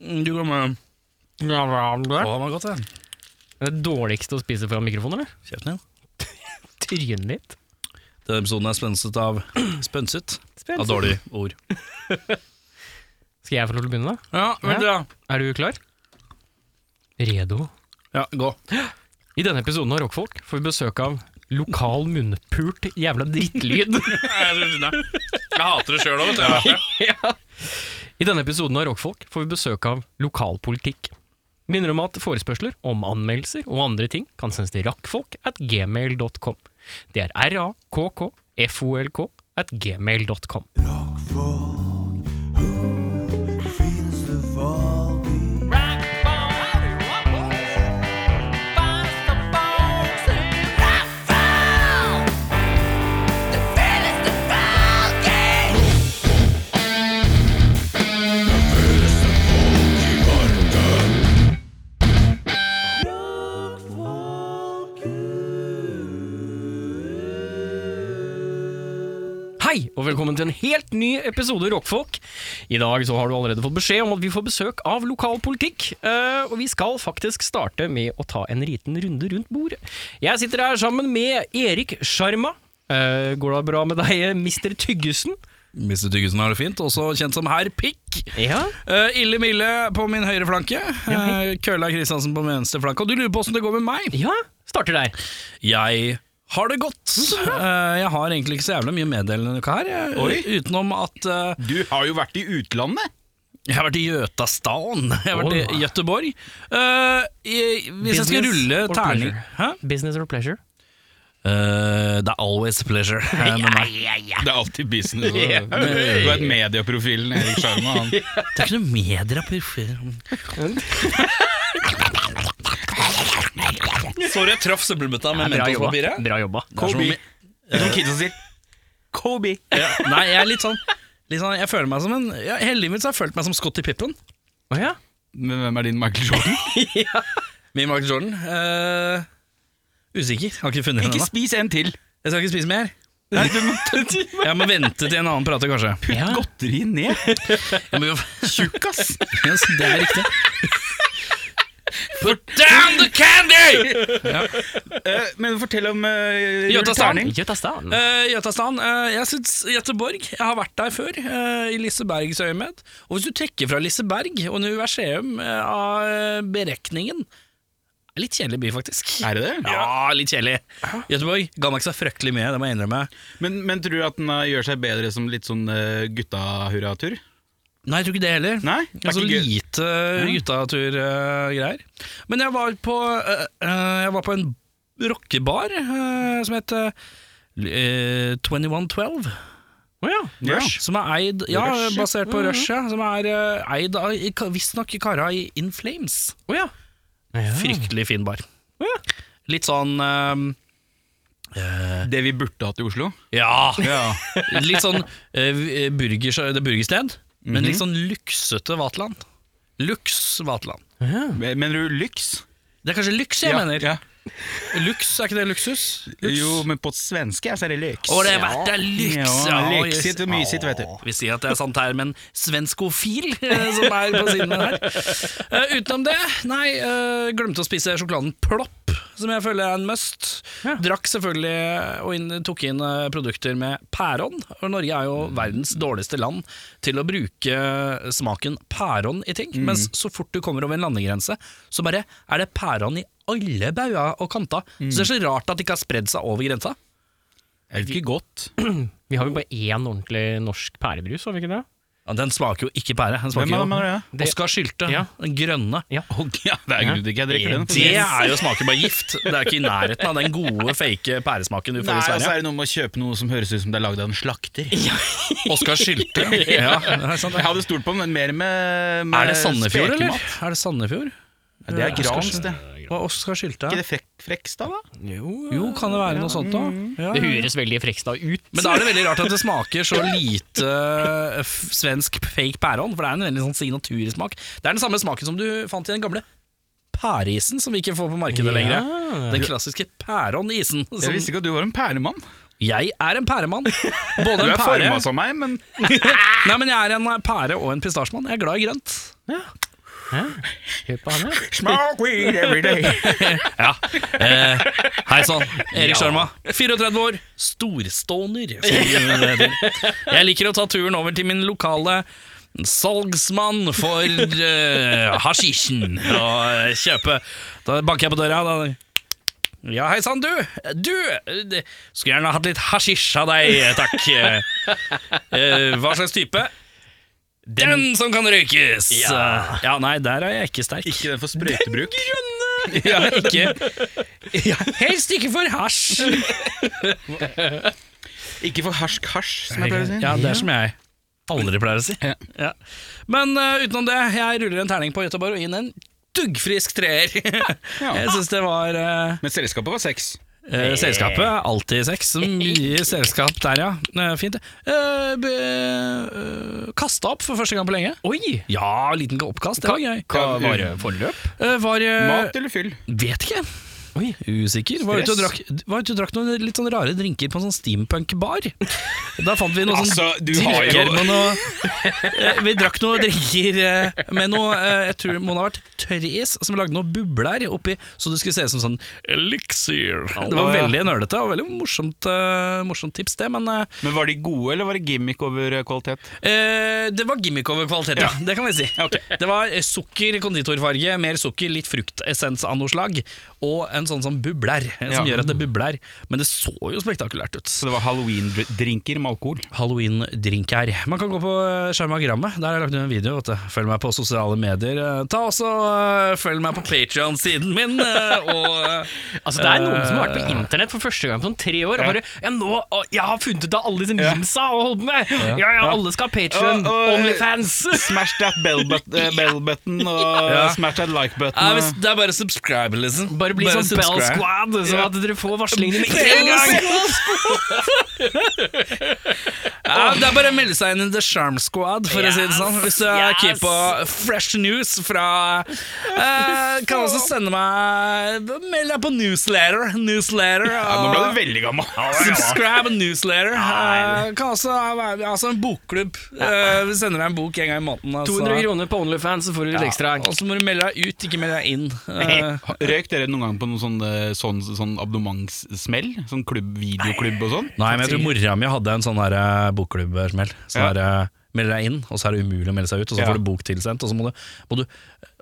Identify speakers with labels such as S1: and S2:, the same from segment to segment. S1: Mm, Du går med Å,
S2: Det
S1: den var godt, den.
S2: er dårligste å spise foran mikrofonen, eller?
S1: Kjeften din.
S2: Trynet ditt.
S1: Denne episoden er spenset av Spenset
S2: Spennende.
S1: av dårlige ord.
S2: Skal jeg få lov til å begynne, da?
S1: Ja,
S2: vent,
S1: ja.
S2: Er du klar? Redo.
S1: Ja, gå.
S2: I denne episoden av Rockfolk får vi besøk av lokal munnpult jævla drittlyd.
S1: Jeg hater det sjøl òg, vet du.
S2: ja. I denne episoden av Rockfolk får vi besøk av lokalpolitikk. Minner om at forespørsler om anmeldelser og andre ting kan sendes til rakkfolk at gmail.com. Det er r-a-k-k-f-o-l-k at gmail.com. Hei, og velkommen til en helt ny episode Rockfolk. I dag så har du allerede fått beskjed om at vi får besøk av lokalpolitikk. eh, Og vi skal faktisk starte med å ta en liten runde rundt bordet. Jeg sitter her sammen med Erik Sjarma. Eh, går det bra med deg, mister Tyggesen?
S1: Mr. Tyggesen har det fint, også kjent som herr Pikk.
S2: Ja.
S1: Eh, ille Mille på min høyre flanke. Uh, Køla Kristiansen på min venstre flanke. Og du lurer på åssen det går med meg?
S2: Ja, starter der.
S1: Jeg har det godt. Eh, jeg har egentlig ikke så jævlig mye å meddele denne uka her. eh,
S3: Oi.
S1: Utenom at eh,
S3: Du har jo vært i utlandet.
S1: Jeg har vært i Gjøtastaden. Jeg har vært
S2: Åh.
S1: i Gøteborg. Eh, jeg, hvis jeg skal
S2: Business
S1: rulle
S2: or
S1: terning
S2: pleasure?
S1: Hæ?
S2: Business or pleasure?
S1: Eh, det er always pleasure. eh, med meg.
S3: Det er alltid business. Du vet medieprofilen Erik Sjarma. han-
S1: Det er ikke noe medier på Sorry, jeg traff søppelbøtta med mentolpapiret.
S2: Bra jobba.
S1: Det er som om jeg-
S3: Det er Som kidsa sier. Kobe.
S1: Ja, Nei, jeg er litt sånn, litt sånn Jeg føler meg som en ja, Hele livet mitt så har jeg følt meg som Scotty Pippen.
S2: Å ja.
S3: Men hvem er din Michael Jordan?
S1: Min Michael Jordan. eh, usikker. Har ikke funnet den
S3: Ikke
S1: ennå.
S3: spis en til.
S1: Jeg skal ikke spise mer.
S3: Nei, du må
S1: Jeg må vente til en annen prater, kanskje.
S3: putte
S2: Ja.
S3: godteri ned.
S1: Jeg må jo-
S3: Tjukk, ass.
S1: Yes, det er riktig. Put down the candy!
S3: Eh, Men fortell om uh,
S1: Gjøtastaden.
S2: Gjøtastan.
S1: Gjøtastan. eh, jeg syns Gøteborg Jeg har vært der før, eh, i Lisebergs øyemed. Og hvis du trekker fra Liseberg og Universeum eh, av eh, berekningen er Litt kjedelig by, faktisk.
S3: Er det det?
S1: Ja, litt kjedelig. Gøteborg ga meg ikke så fryktelig mye, det må jeg innrømme.
S3: Men, men tror du at den eh, gjør seg bedre som litt sånn eh, gutta-hurra-tur?
S1: Nei, jeg tror ikke det heller.
S3: Nei? Det er
S1: Altså
S3: ikke gøy.
S1: lite guttatur-greier. Men jeg var på, eh, eh, jeg var på en rockebar eh, som het eh, eh, 2112.
S2: Å ja.
S3: Ja.
S1: Som er eid Ja,
S3: Rush, ja. Mhm.
S1: basert på Rush, ja. Som er eh, eid av i- visstnok kara i In Flames.
S2: Å ja.
S1: Fryktelig fin bar.
S2: Ja.
S1: Litt sånn eh,
S3: Det vi burde hatt i Oslo?
S1: Ja!
S3: Ja.
S1: Litt sånn eh, v- eh, burgers, det er burgersted, men
S3: Mhm.
S1: litt sånn luksete Vaterland. Lux Vaterland.
S2: Ja.
S3: Mener du lyks?
S1: Det er kanskje lyks jeg mener.
S3: Ja.
S1: Lux, er ikke det luksus? Lux.
S3: Jo, men på svenske så er det lyks.
S1: Å, det er verdt det er lyks,
S3: Ja, lyxigt og mysigt, vet du.
S1: Å, Vi sier at det er sant her, men svenskofil eh, som er på siden her. Eh, utenom det, nei, eh, glemte å spise sjokoladen Plopp, som jeg føler er en must.
S2: Ja.
S1: Drakk selvfølgelig og inn, tok inn eh, produkter med pæron, og Norge er jo verdens dårligste land til å bruke eh, smaken pæron i ting,
S3: Mm.
S1: mens så fort du kommer over en landegrense, så bare er det pæron i alle bauger og kanter.
S3: Mm.
S1: Så det er så rart at det ikke har spredd seg over grensa.
S3: Er det ikke godt?
S2: Vi har jo bare én ordentlig norsk pærebrus, har vi ikke det?
S1: Ja, den smaker jo ikke pære. Den smaker
S3: Hvem er det,
S1: jo
S3: mener du?
S2: Det-
S1: Oskar Sylte,
S2: Ja.
S1: den grønne.
S3: Ja, det er grunnen til ikke jeg drikker den.
S1: Det er jo smaker bare gift. Det er ikke i nærheten av den gode, fake pæresmaken du
S3: Nei,
S1: får i
S3: og så
S1: Sverige.
S3: er det noe med å kjøpe noe som høres ut som det er lagd av en slakter.
S1: Oskar Sylte. Ja, det er, sant,
S3: Jeg
S1: det.
S3: hadde stolt på den, men mer med, med
S1: er det Sandefjord, eller?
S3: spekemat.
S1: Er det Sandefjord?
S3: Ja, Det er Grans, det.
S1: Hva er Oskar Sylte?
S3: Ikke det Frek Frekstad, da?
S1: Jo, kan det være noe sånt da?
S3: Mm.
S1: Ja.
S2: Det høres veldig Frekstad ut.
S1: Men da er det veldig rart at det smaker så lite eh, f- svensk fake pæreånd, for det er en veldig sånn signatursmak. Det er den samme smaken som du fant i den gamle pæreisen, som vi ikke får på markedet lenger. Den klassiske pæreånd-isen.
S3: Jeg visste ikke at du var en pæremann.
S1: Jeg er en pæremann. Både
S3: Du
S1: en
S3: er
S1: pære
S3: forma som meg, men
S1: Nei, men jeg er en pære og en pistasjemann. Jeg er glad i grønt.
S2: Hør på han, ja.
S3: Smoke weed every day.
S1: Ja. Eh, Hei sann, Erik Sjarma. 34 år, storståner. som det heter. Jeg liker å ta turen over til min lokale salgsmann for eh, hasjisjen og eh, kjøpe. Da banker jeg på døra. Da. Ja, hei sann, du. Du eh, skulle gjerne hatt litt hasjisj av deg, takk. Eh, hva slags type? Den som kan røykes! Ja. nei, der er jeg ikke sterk.
S3: Ikke den for sprøytebruk.
S1: Ja, ikke ja, Helst ikke for hasj.
S3: Ikke for harsk hasj, som jeg pleier å si.
S1: Ja, det er som jeg aldri pleier å si.
S3: Ja.
S1: Ja. Men eh, utenom det, jeg ruller en terning på Göteborg og inn en duggfrisk treer. Jeg syns det var eh,
S3: Men selskapet var seks.
S1: eh, Selskapet er alltid sex. Så Mye selskap der, ja. Eh, fint, det. Eh, be- eh, Kasta opp for første gang på lenge.
S2: Oi!
S1: Ja, liten oppkast. Det var gøy.
S2: Hva var det? Forløp?
S1: Eh, Var eh,
S3: Mat eller fyll?
S1: Vet ikke. Oi, Usikker. Var ute og drakk, var ute og drakk noen litt sånn rare drinker på en sånn steampunk-bar. Da fant vi noe sånn
S3: Altså, du har jo-
S1: drinker med noe eh, Vi drakk noen drinker eh, med noe eh, Jeg tror det må ha vært tørris som lagde noen bubler oppi, så det skulle se ut som sånn elixir. Det var veldig nølete og veldig morsomt, eh, morsomt tips, det. Men eh,
S3: Men var de gode, eller var det gimmick over eh, kvalitet?
S1: Eh, det var gimmick over kvalitet, ja. Det kan vi si.
S3: Ok.
S1: Det var eh, sukker, konditorfarge, mer sukker, litt fruktessens av noe slag. Og en sånn som bubler, eh, som
S3: Ja.
S1: gjør at det bubler. Men det så jo spektakulært ut.
S3: Så det var halloween-drinker med alkohol?
S1: Halloween-drink her. Man kan gå på eh, Skjermagrammet. Der har jeg lagt ut en video. Vet du. Følg meg på sosiale medier. Eh, Ta også eh, Følg meg på Patrion-siden min. eh, Og eh,
S2: Altså, det er noen som har vært på internett for første gang på sånn tre år og bare Ja, nå, å, jeg har funnet ut av alle disse limsa og holdt med! Ja, ja, alle skal ha Patron,
S3: Og- og-
S2: Onlyfans!
S3: Smash that bell, but, eh, bell button og smash that like button.
S1: Nei,
S3: og-
S1: hvis- Det er bare subscribe, liksom.
S2: Bare bli sånn Bell
S1: subscribe.
S2: Squad, sånn at dere får varslingene med en
S1: Bell
S2: gang!
S1: Ja, det er bare å melde seg inn i The Charm Squad, for å si det
S2: Yes,
S1: sånn. Hvis du er
S2: yes.
S1: keen på fresh news fra eh, Kan også sende meg Meld deg på newsletter. Newsletter.
S3: ja, nå ble
S1: og-
S3: du veldig gammel.
S1: Subscribe and newsletter. Eh, kan også være altså en bokklubb. Eh, vi sender deg en bok en gang i måneden. Altså.
S2: 200 kroner på Onlyfans, så får du litt ekstra.
S1: Ja, og så må du melde deg ut, ikke melde deg inn. Eh,
S3: Røyk dere noen gang på noen sånn, eh, sånn, sånn abonnementssmell? Sånn klubb, videoklubb og sånn?
S1: Nei, men jeg tror mora mi hadde en sånn der, eh, bokklubbsmell. Sånn
S3: Ja.
S1: der, eh, melder deg inn, og så er det umulig å melde seg ut, og så
S3: Ja.
S1: får du bok tilsendt, og så må du, må du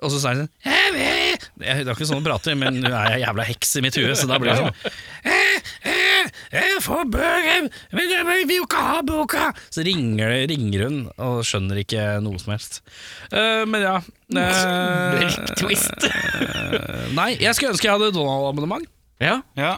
S1: Og så sier hun sånn «Eh, eh». Jeg- Det er ikke sånn hun prater, men hun er ei jævla heks i mitt hue, så da blir det sånn «Eh, eh, jeg får bøker, men jeg vil jo ikke ha boka! Så ringer, det- ringer hun og skjønner ikke noe som helst. Eh, men ja eh,
S2: Mørk twist.
S1: eh, Nei, jeg skulle ønske jeg hadde Donald-abonnement.
S2: Ja.
S3: Ja.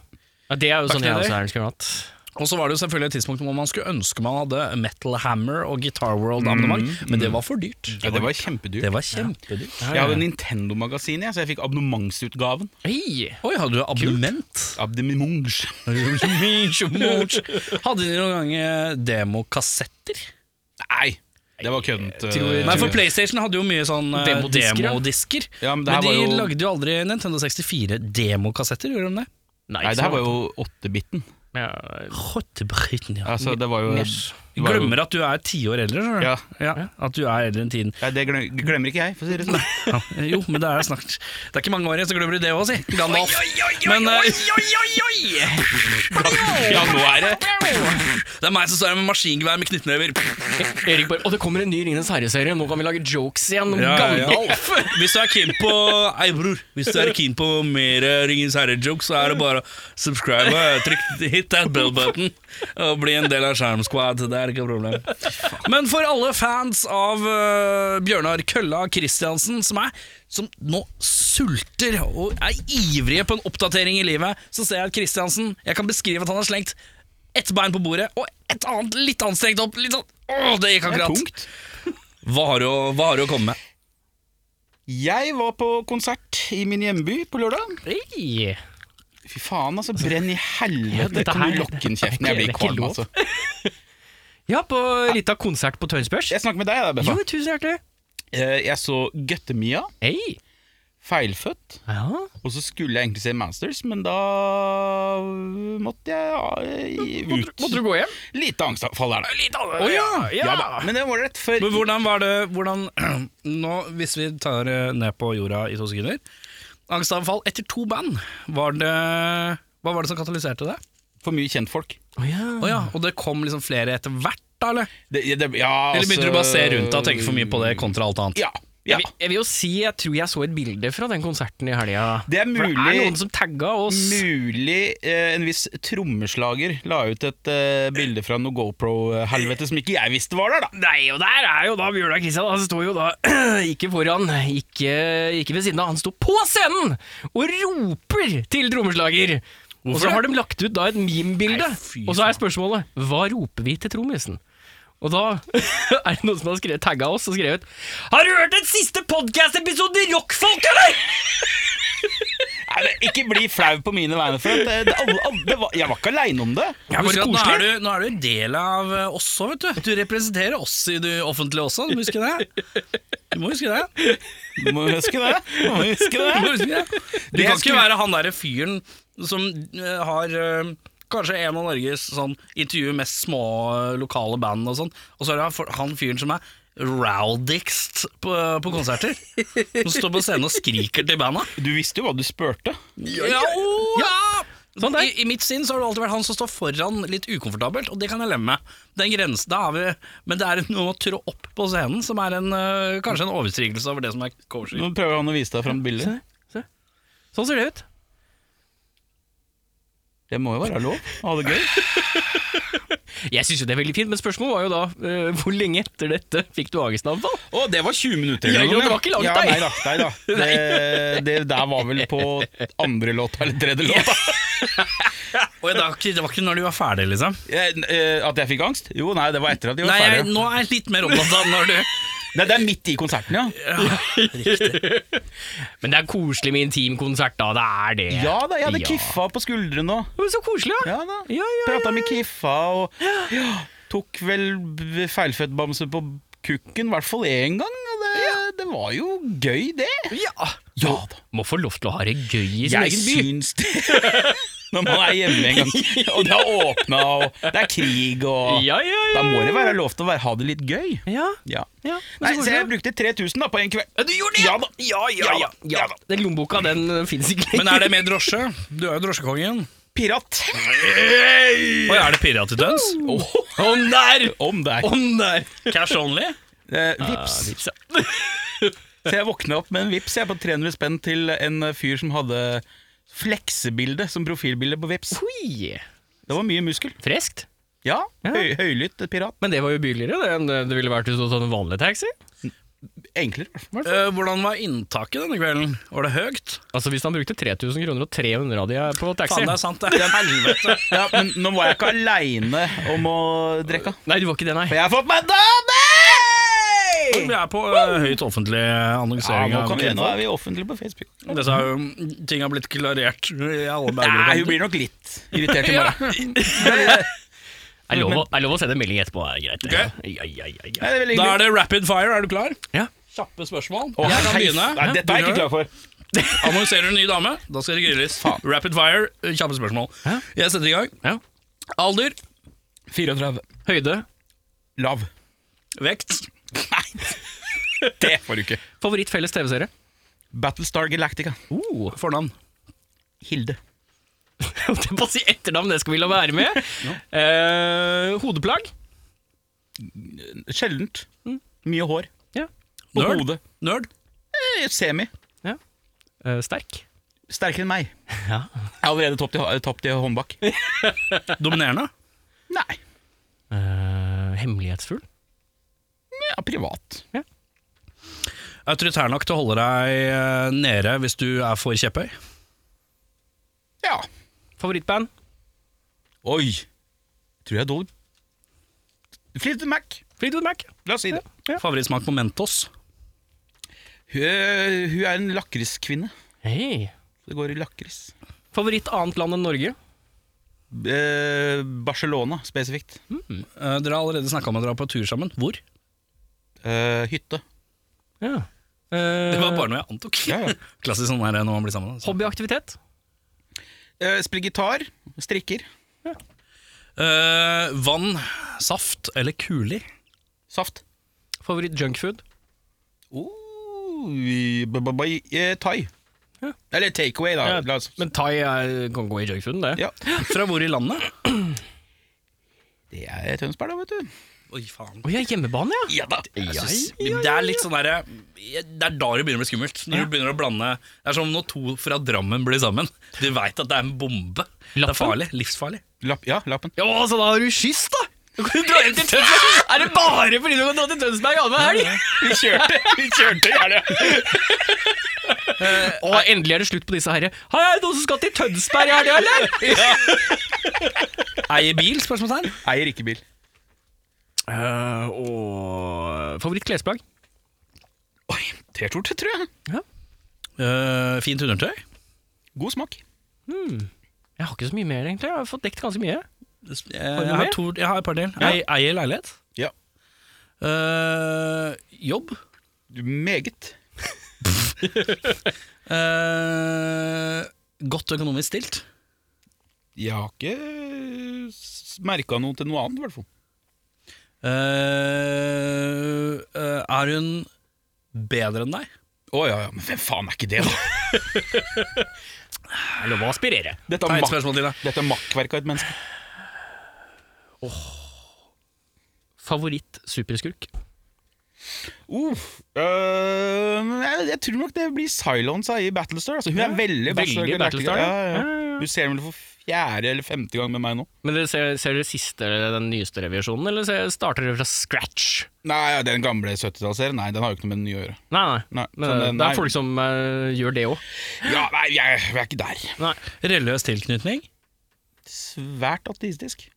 S2: ja, det er jo
S1: Takk
S2: sånn
S1: til
S2: jeg
S1: deg.
S2: også er. skulle hatt.
S1: Og så var det jo selvfølgelig et tidspunkt hvor man skulle ønske man hadde Metal Hammer og Guitar World-abonnement, men det var for dyrt.
S3: Mm. ja, det var kjempedyrt.
S1: Det var kjempedyrt.
S3: Jeg hadde Nintendo-magasin, jeg, så jeg fikk abonnementsutgaven.
S2: Hei!
S1: Oi, hadde du abonnement?
S3: Abdemunge.
S1: hadde de noen gang eh, demokassetter?
S3: Nei, det var køddent. eh,
S2: Tror-
S1: Nei, for PlayStation hadde jo mye sånn eh,
S2: Demodisker, ja.
S1: demodisker.
S3: Ja,
S1: men
S3: men det her
S1: de
S3: var jo-
S1: lagde jo aldri Nintendo 64 demokassetter, gjorde de det?
S3: Nei, det her var jo 8-biten.
S2: ja,
S1: Rottebryten, ja.
S3: Altså, Eh, det var jo
S2: Yes.
S1: Du glemmer at du er ti år eldre, skjønner du.
S3: Ja.
S1: Ja, at du er eldre enn tiden.
S3: ja, det glem- glemmer ikke jeg, for å si det sånn.
S1: Ja, jo, men det er snart Det er ikke mange år igjen, så glemmer du det òg, si. Gandalf. Men eh,
S3: Ja, nå er det
S1: det er meg som står her med maskingevær med knyttnever.
S2: Erik bare Og det kommer en ny Ringenes herre-serie, nå kan vi lage jokes igjen om
S1: Ja, ja, ja.
S2: Gandalf!
S1: Hvis du er keen på Ei, bror. Hvis du er keen på mer eh, Ringens herre-jokes, så er det bare å subscribe. eh, Trykk hit that bell button og bli en del av Charm Squad. Det er ikke noe problem. Men for alle fans av eh, Bjørnar Kølla Kristiansen, som er som nå sulter og er ivrige på en oppdatering i livet, så ser jeg at Kristiansen Jeg kan beskrive at han har slengt ett bein på bordet og et annet litt anstrengt opp. Litt sånn Åh, det gikk
S3: Det er
S1: akkurat.
S3: tungt.
S1: Hva har du å- hva har du å komme med?
S3: Jeg var på konsert i min hjemby på lørdag.
S2: Hei!
S3: Fy faen, altså. Brenn i
S2: Ja,
S3: helvete.
S2: dette
S3: Kan
S2: her-
S3: du lokke inn kjeften?
S2: Det
S3: Jeg blir
S2: er ikke
S3: kvalm,
S2: lov.
S3: altså.
S2: Ja, på litt av konsert på Tønsbergs.
S3: Eh, Jeg snakker med deg, da,
S2: Jo,
S3: Beffa.
S2: tusen hjertelig.
S3: Eh, Jeg så Gøttemia.
S2: Hei!
S3: feilfødt.
S2: Ja.
S3: Og så skulle jeg egentlig se Masters, men da øh, måtte jeg ja, ut.
S2: Måtte du gå hjem?
S3: Lite angstanfall er det.
S2: Å ja!
S3: Ja da, men det var rett før
S1: Men hvordan var det hvordan, nå, Hvis vi tar eh, ned på jorda i to sekunder Angstavfall etter to band var det, Hva var det som katalyserte det?
S3: For mye kjentfolk.
S2: Å ja.
S1: Å ja, og det kom liksom flere etter hvert da, eller?
S3: Det, det, ja,
S1: Eller begynte
S3: altså-
S1: du bare å se rundt deg og tenke for mye på det kontra alt annet?
S3: Ja. ja.
S2: Jeg, vil, jeg vil jo si jeg tror jeg så et bilde fra den konserten i helga.
S3: Det er
S2: For det er
S3: mulig-
S2: noen som tagga oss.
S3: Mulig eh, en viss trommeslager la ut et eh, bilde fra noe GoPro-helvete som ikke jeg visste var der, da.
S2: Nei, og der er jo da Bjørnar Kristian. Han står jo da ikke foran, ikke, ikke ved siden av. Han står på scenen og roper til trommeslager. Og så
S1: det?
S2: har de lagt ut da et meme-bilde.
S1: Nei, fy
S2: Og så er spørsmålet hva roper vi til trommisen? Og da er det noen som har skrevet, tagga oss og skrevet Har du hørt den siste podkast-episoden i Rockfolk, eller?!
S3: Nei, det, ikke bli flau på mine vegne, for at, eh, det, alle, alle, det var, jeg var ikke aleine om det.
S2: Ja,
S1: Husk
S2: bare
S1: at nå
S2: koselig.
S1: er, du, nå er du en del av eh, oss også, vet du. Du representerer oss i det offentlige også, du må huske det. Du må huske det.
S3: Du må huske det. Du må huske
S1: Du, må
S3: det.
S1: huske det. du
S3: Det
S1: kan ikke
S3: skulle-
S1: være han derre fyren som eh, har eh, Kanskje en av Norges sånn, intervjuer mest små eh, lokale band og sånn, og så er det han for- han fyren som er rowdicst på, på konserter. Som står på scenen og skriker til banda.
S3: Du visste jo hva du spurte.
S1: Ja, å, ja.
S2: Sånn der.
S1: I, I mitt sinn så har det alltid vært han som står foran litt ukomfortabelt, og det kan jeg leve med. Den grensen, da har vi, men det er noe å trå opp på scenen som er en, øh, kanskje en overstigelse over det som er coaching.
S3: Nå prøver han å vise deg fram bildet.
S2: Se. Sånn ser det ut.
S3: Det må jo være lov å ha det gøy.
S2: Jeg syns jo det er veldig fint, men spørsmålet var jo da eh, hvor lenge etter dette fikk du Agestanfall?
S3: Å, det var 20 minutter.
S2: Ja,
S3: eller noe,
S2: det var ikke langt,
S3: ja,
S2: nei.
S3: nei da. Nei, da. Det, det der var vel på andre låta eller tredje låta.
S1: Og det var, ikke, det var ikke når du var ferdig, liksom?
S3: Jeg, eh, at jeg fikk angst? Jo, nei, det var etter at de var
S1: Nei, jeg,
S3: ferdige.
S1: nå er jeg litt mer opptatt av når du
S3: Nei, det er midt i konserten, ja.
S2: Men det er koselig med intimkonsert, da. Det er det.
S3: Ja da, jeg hadde
S2: Ja.
S3: kiffa på skuldrene og
S2: Men Så koselig, da.
S3: Ja da.
S2: Ja, ja,
S3: Prata med kiffa og ja, Tok vel b- feilfødt bamse på kukken, i hvert fall én gang. Og det, det var jo gøy, det.
S2: Ja.
S3: Ja da.
S2: Må få lov til å ha det gøy i sin
S3: Jeg
S2: egen by.
S3: syns det. Når man er hjemme en gang, og det har åpna, og det er krig og
S2: Ja, ja, ja.
S3: Da må det være lov til å være, ha det litt gøy.
S2: Ja,
S3: Ja.
S2: ja.
S3: Nei, så jeg brukte 3000 da på en kveld.
S2: Du gjorde det!
S3: Ja da.
S2: ja, ja, ja, ja.
S3: Ja da.
S2: Den lommeboka, den eh, finnes ikke
S1: Men er det med drosje? Du er jo drosjekongen.
S3: Pirat.
S1: Og er det pirat i døns?
S3: Åh,
S2: Om der!
S3: om det er
S2: Om Ah, der!
S1: Cash only?
S3: eh, vips. Så jeg våkna opp med en vips jeg på 300 spenn til en fyr som hadde fleksebilde som profilbilde på vips.
S2: Oi!
S3: Det var mye muskel.
S2: Freskt.
S3: Ja, høy, høylytt pirat.
S2: Men det var jo billigere det enn eh, det ville vært hvis du hadde tatt en vanlig taxi.
S3: Enklere. i hvert fall.
S1: Øh, hvordan var inntaket denne kvelden? Var det høyt?
S2: Altså Hvis han brukte 3000 kroner og 300 av de er på taxi
S1: Faen, det er sant, det. Helvete.
S3: Ja, men nå var jeg ikke aleine om å drikke.
S2: Nei, du var ikke det, nei.
S3: For jeg har fått meg dame!
S1: Vi er på øh, høyt offentlig
S3: Ja,
S1: annonsering.
S3: nå,
S1: av
S3: kan vi, nå er vi offentlige på Facebook.
S1: Dette har jo mm, ting har blitt klarert i alle
S3: Nei,
S1: bauger.
S3: hun blir nok litt irritert i morgen.
S2: Er lov, å, er lov å sende melding etterpå, er greit. Okay. Ja, ja, ja, ja.
S3: Nei, det er veldig
S1: Da
S3: hyggelig.
S1: er det rapid fire, er du klar?
S2: Ja.
S1: Kjappe spørsmål.
S3: Å,
S1: jeg kan
S3: hei,
S1: begynne.
S3: Nei, dette er jeg ikke klar for.
S1: Annonserer du en ny dame, da skal det grilles. Rapid fire, kjappe spørsmål.
S2: Ja.
S1: Jeg setter i gang.
S2: Ja.
S1: Alder,
S3: 34.
S2: Høyde.
S3: Lav.
S1: vekt,
S3: Det får du ikke.
S2: Favoritt felles TV-serie?
S3: Battlestar Galactica.
S2: Oh.
S1: fornavn.
S3: Hilde.
S2: Det er bare å si etternavn, det skal vi la være med. Eh, hodeplagg.
S3: Sjeldent.
S1: Mm.
S3: Mye hår.
S2: Ja.
S3: På
S1: Nerd.
S3: hodet.
S1: Nerd.
S3: Eh, Semi.
S2: Eh, sterk.
S3: Sterkere enn meg.
S2: Ja.
S3: Jeg har allerede tapt i, tapt i håndbak.
S1: Dominerende.
S3: Nei.
S2: Eh, hemmelighetsfull.
S3: Ja, privat.
S1: Autoritær nok til å holde deg eh, nede hvis du er for kjepphøy.
S3: Ja.
S2: Favorittband.
S3: Oi. Tror jeg er dårlig. Flipped Mac.
S2: Fleetwood Mac.
S3: La oss si det.
S1: Favorittsmak på Mentos.
S3: Hun, hun er en lakriskvinne.
S2: Hei.
S3: Det går i lakris.
S2: Favoritt annet land enn Norge.
S3: Eh, Barcelona spesifikt.
S1: Eh, Dere har allerede snakka om å dra på tur sammen. Hvor?
S3: Eh, hytte.
S2: Ja.
S1: Det var bare noe jeg antok.
S3: Ja, ja.
S1: Klassisk sånn her når man blir sammen. altså.
S2: Hobbyaktivitet?
S3: Eh, Spille gitar, strikker,
S1: Eh, vann, saft eller kuler?
S3: saft.
S2: Favoritt-junkfood?
S3: Oh, b- b- b- eh, thai.
S2: Ja.
S3: Eller takeaway, da.
S2: Ja,
S3: La oss-
S2: Men thai er, kan gå i junkfooden, det.
S3: ja.
S1: Fra hvor i landet?
S3: Det er Tønsberg, da, vet du.
S1: Oi, faen.
S2: Å ja, hjemmebane, ja!
S1: Ja da. Jeg
S2: Ja,
S1: synes,
S2: ja, ja,
S1: Det er litt sånn derre Det er da det begynner å bli skummelt. Når du begynner å blande Det er som når to fra Drammen blir sammen. Du veit at det er en bombe. Det
S2: Lappen?
S1: er farlig. Livsfarlig.
S3: Lapp, ja, lappen.
S2: Ja, så da har du skyss, da! Du kan dra hjem til Tønsberg! Er det bare fordi du kan dra til Tønsberg annenhver helg?
S3: Vi kjørte! vi kjørte ja, det.
S2: Og endelig er det slutt på disse herre. Hei, er det noen som skal til Tønsberg i helga, eller?
S1: Eier bil? spørsmålstegn
S3: Eier ikke bil.
S2: Uh, og favorittklesplagg?
S3: Oi, T-skjorte, tror jeg.
S1: Eh, Fint undertøy?
S3: God smak.
S2: Jeg har ikke så mye mer, egentlig. Jeg har fått dekt ganske mye.
S1: Jeg,
S2: du
S1: jeg, har,
S2: mer?
S1: to, jeg har et par til.
S3: Ja.
S1: Ei- Eier leilighet?
S3: Ja.
S1: Eh, jobb?
S3: Du, Meget.
S1: Eh, godt økonomisk stilt?
S3: Jeg har ikke merka noe til noe annet, i hvert fall.
S1: Eh, eh, er hun bedre enn deg?
S3: Å ja, ja, men hvem faen er ikke det, da?
S2: Det er lov å aspirere.
S3: Dette
S1: Ta
S3: er,
S1: et
S3: mak
S1: spørsmål til, da.
S3: dette er makkverket av et menneske.
S2: Favoritt-superskurk?
S3: Uh, øh, jeg, jeg tror nok det blir Silence i Battlestar. Altså, hun er veldig,
S2: veldig Battlestar, ja.
S3: Ja, ja,
S2: Ja, ja,
S3: ja.
S2: ja.
S3: Du ser henne vel for fjerde eller femte gang med meg nå.
S2: Men dere ser, ser dere siste, den nyeste revisjonen, eller ser, starter dere fra scratch?
S3: Nei, ja, Den gamle 70-tallsserien Nei, den har jo ikke noe med den nye å gjøre.
S2: Nei, nei.
S3: Nei,
S2: Men
S3: sånn,
S2: det,
S3: nei.
S2: er folk som eh, gjør det òg.
S3: Ja, nei, jeg, jeg er ikke der.
S1: Religiøs tilknytning?
S3: Svært ateistisk.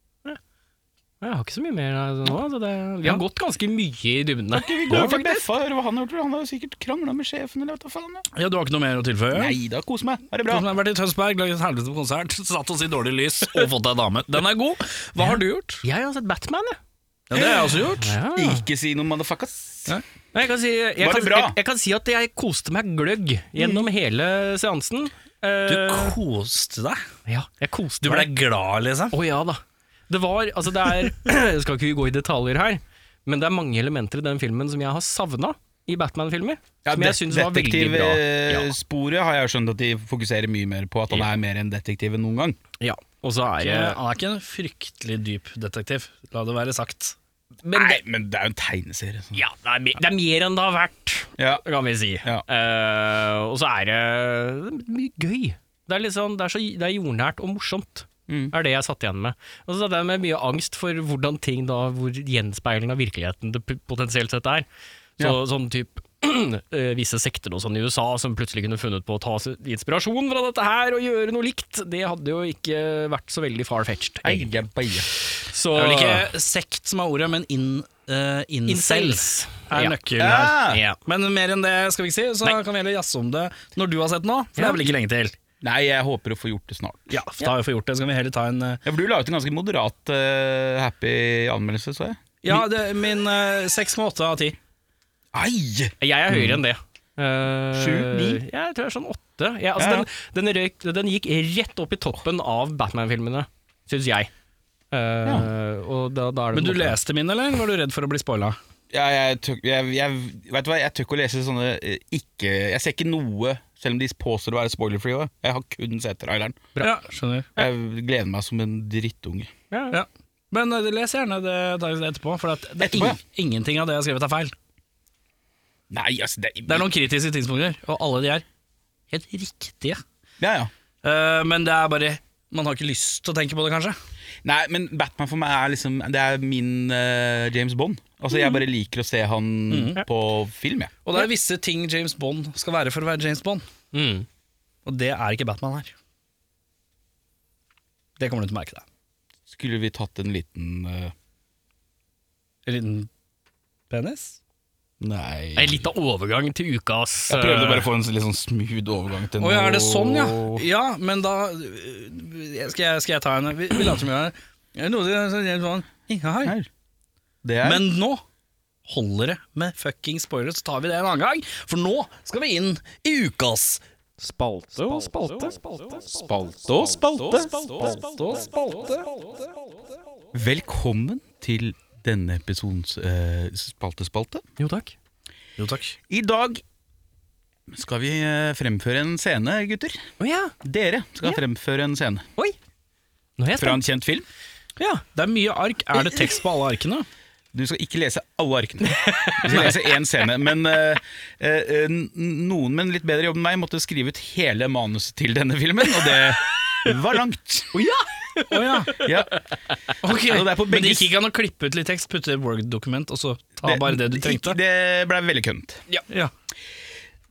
S2: Jeg har ikke så mye mer altså, nå. Altså, det, vi har gått ganske mye i dybdene.
S3: Vi går over til Beffa og hører hva han har gjort. for Han har jo sikkert krangla med sjefen eller hva da faen. Ja.
S1: Ja, Du har ikke noe mer å tilføye?
S3: Nei da, kos meg. Ha det bra.
S1: Hvordan Sånn har vært i Tønsberg, laget et helvete på konsert, satt oss i dårlig lys og fått deg dame. Den er god. Hva har du gjort?
S2: Jeg har sett Batman, jeg.
S1: Ja, det har jeg også gjort.
S2: Ja.
S3: Ikke si noe, motherfuckers.
S2: Jeg, kan si, jeg,
S3: Var det
S2: kan,
S3: bra?
S2: jeg, jeg kan si at jeg koste meg gløgg gjennom hele seansen.
S1: Du
S2: Eh,
S1: koste deg.
S2: ja, jeg koste
S1: Du ble
S2: meg.
S1: glad, liksom.
S2: Å ja da. Det var Altså, det er Jeg skal ikke gå i detaljer her, men det er mange elementer i den filmen som jeg har savna i Batman-filmer. som jeg syns var veldig bra. Ja.
S3: Detektivsporet eh, har jeg skjønt at de fokuserer mye mer på. At han
S2: Ja.
S3: er mer en detektiv enn noen gang.
S2: ja. Og så er det
S1: Eh, Han er ikke en fryktelig dyp detektiv, la det være sagt.
S2: Men
S3: Nei,
S2: det,
S3: men det er jo en tegneserie. sånn.
S2: ja, det, er mer, det er mer enn det har vært,
S3: Ja.
S2: kan vi si.
S3: Ja.
S2: Eh, og så er det det er mye gøy. Det er, litt sånn, det er, så, det er jordnært og morsomt,
S3: Mm.
S2: er det jeg satt igjen med. Og så satt jeg med mye angst for hvordan ting da, hvor gjenspeiling av virkeligheten det p- potensielt sett er. Så,
S3: Ja.
S2: Sånn typ eh, visse sekter og sånn i USA som plutselig kunne funnet på å ta s- inspirasjon fra dette her og gjøre noe likt, det hadde jo ikke vært så veldig far-fetched.
S3: Ei, jeg beier.
S2: Så
S1: Det er vel ikke sekt som er ordet, men in, eh, incels
S2: incels.
S1: er
S2: Ja.
S1: nøkkelen her.
S2: Ja.
S1: Men mer enn det skal vi ikke si, så
S2: Nei.
S1: kan vi heller jazze om det når du har sett den nå. For det
S2: Ja.
S1: er vel ikke lenge til.
S3: Nei, jeg håper å få gjort det snart.
S1: Ja, for da har vi fått gjort det, så kan vi heller ta en eh,
S3: Ja, for Du la ut en ganske moderat eh, happy anmeldelse, så jeg.
S1: Ja, det, min eh, 6,8 av 10.
S3: Ei!
S2: Jeg er høyere enn det. Eh,
S3: Mm. Sju, ni?
S2: Ja, jeg tror jeg er sånn åtte. Ja, altså,
S3: Ja,
S2: Den, den, røyk, den gikk rett opp i toppen av Batman-filmene, syns jeg. Eh, Og da, da er det
S1: Men du
S2: på en måte-
S1: leste min, eller var du redd for å bli spoila?
S3: Ja, jeg, tør- jeg, jeg, vet du hva, jeg tør ikke å lese sånne eh, ikke Jeg ser ikke noe, selv om de påstår å være spoiler-free. også. Jeg har kun sett traileren.
S2: Bra.
S1: Ja, skjønner.
S3: Jeg gleder meg som en drittunge.
S2: Ja, ja.
S1: Ja. Men eh, les gjerne det dagen etterpå, for at det er
S3: Etterpå, ja.
S1: ing- ingenting av det jeg har skrevet er feil.
S3: Nei, altså Det,
S1: Det er noen kritiske tidspunkter, og alle de er helt riktige.
S3: Ja, ja.
S1: Eh, men det er bare Man har ikke lyst til å tenke på det, kanskje.
S3: Nei, men Batman for meg er liksom Det er min eh, James Bond. Altså,
S1: Mm.
S3: Jeg bare liker å se han på film, jeg.
S1: Og det er visse ting James Bond skal være for å være James Bond,
S2: Mm.
S1: og det er ikke Batman her. Det kommer du til å merke deg.
S3: Skulle vi tatt en liten eh,
S1: En liten penis?
S3: Nei
S2: En liten overgang til ukas eh,
S3: Jeg prøvde bare å få en litt sånn smooth overgang til
S1: Å ja, er det sånn, ja? Ja, men da øh, Skal jeg, skal jeg ta en Vi, vi later som vi er Noe som James Bond ikke har.
S3: Her. Det er
S1: Men nå holder det med fucking spoilere, så tar vi det en annen gang. For nå skal vi inn i ukas
S2: Spalte og spalte. spalte.
S3: Spalte og spalte. Velkommen til denne episodens eh, spalte-spalte.
S2: Jo takk.
S1: Jo takk.
S3: I dag skal vi eh, fremføre en scene, gutter.
S2: Å ja.
S3: Dere skal
S2: Ja.
S3: fremføre en scene
S2: Oi. Nå er jeg
S3: fra en
S2: spent.
S3: kjent film.
S1: Ja, det er mye ark. Er det tekst på alle arkene?
S3: Du skal ikke lese alle arkene. Du skal lese én scene. Men eh, eh, n- noen med en litt bedre jobb enn meg måtte skrive ut hele manuset til denne filmen, og det var langt.
S2: Å ja.
S1: Å ja.
S3: Ja,
S1: Ok,
S3: Ja, det er på
S1: Men det
S3: begge
S1: gikk ikke an å klippe ut litt tekst, putte i et Word-dokument, og så ta bare det du trengte?
S3: Det ble veldig kønt.
S1: Ja.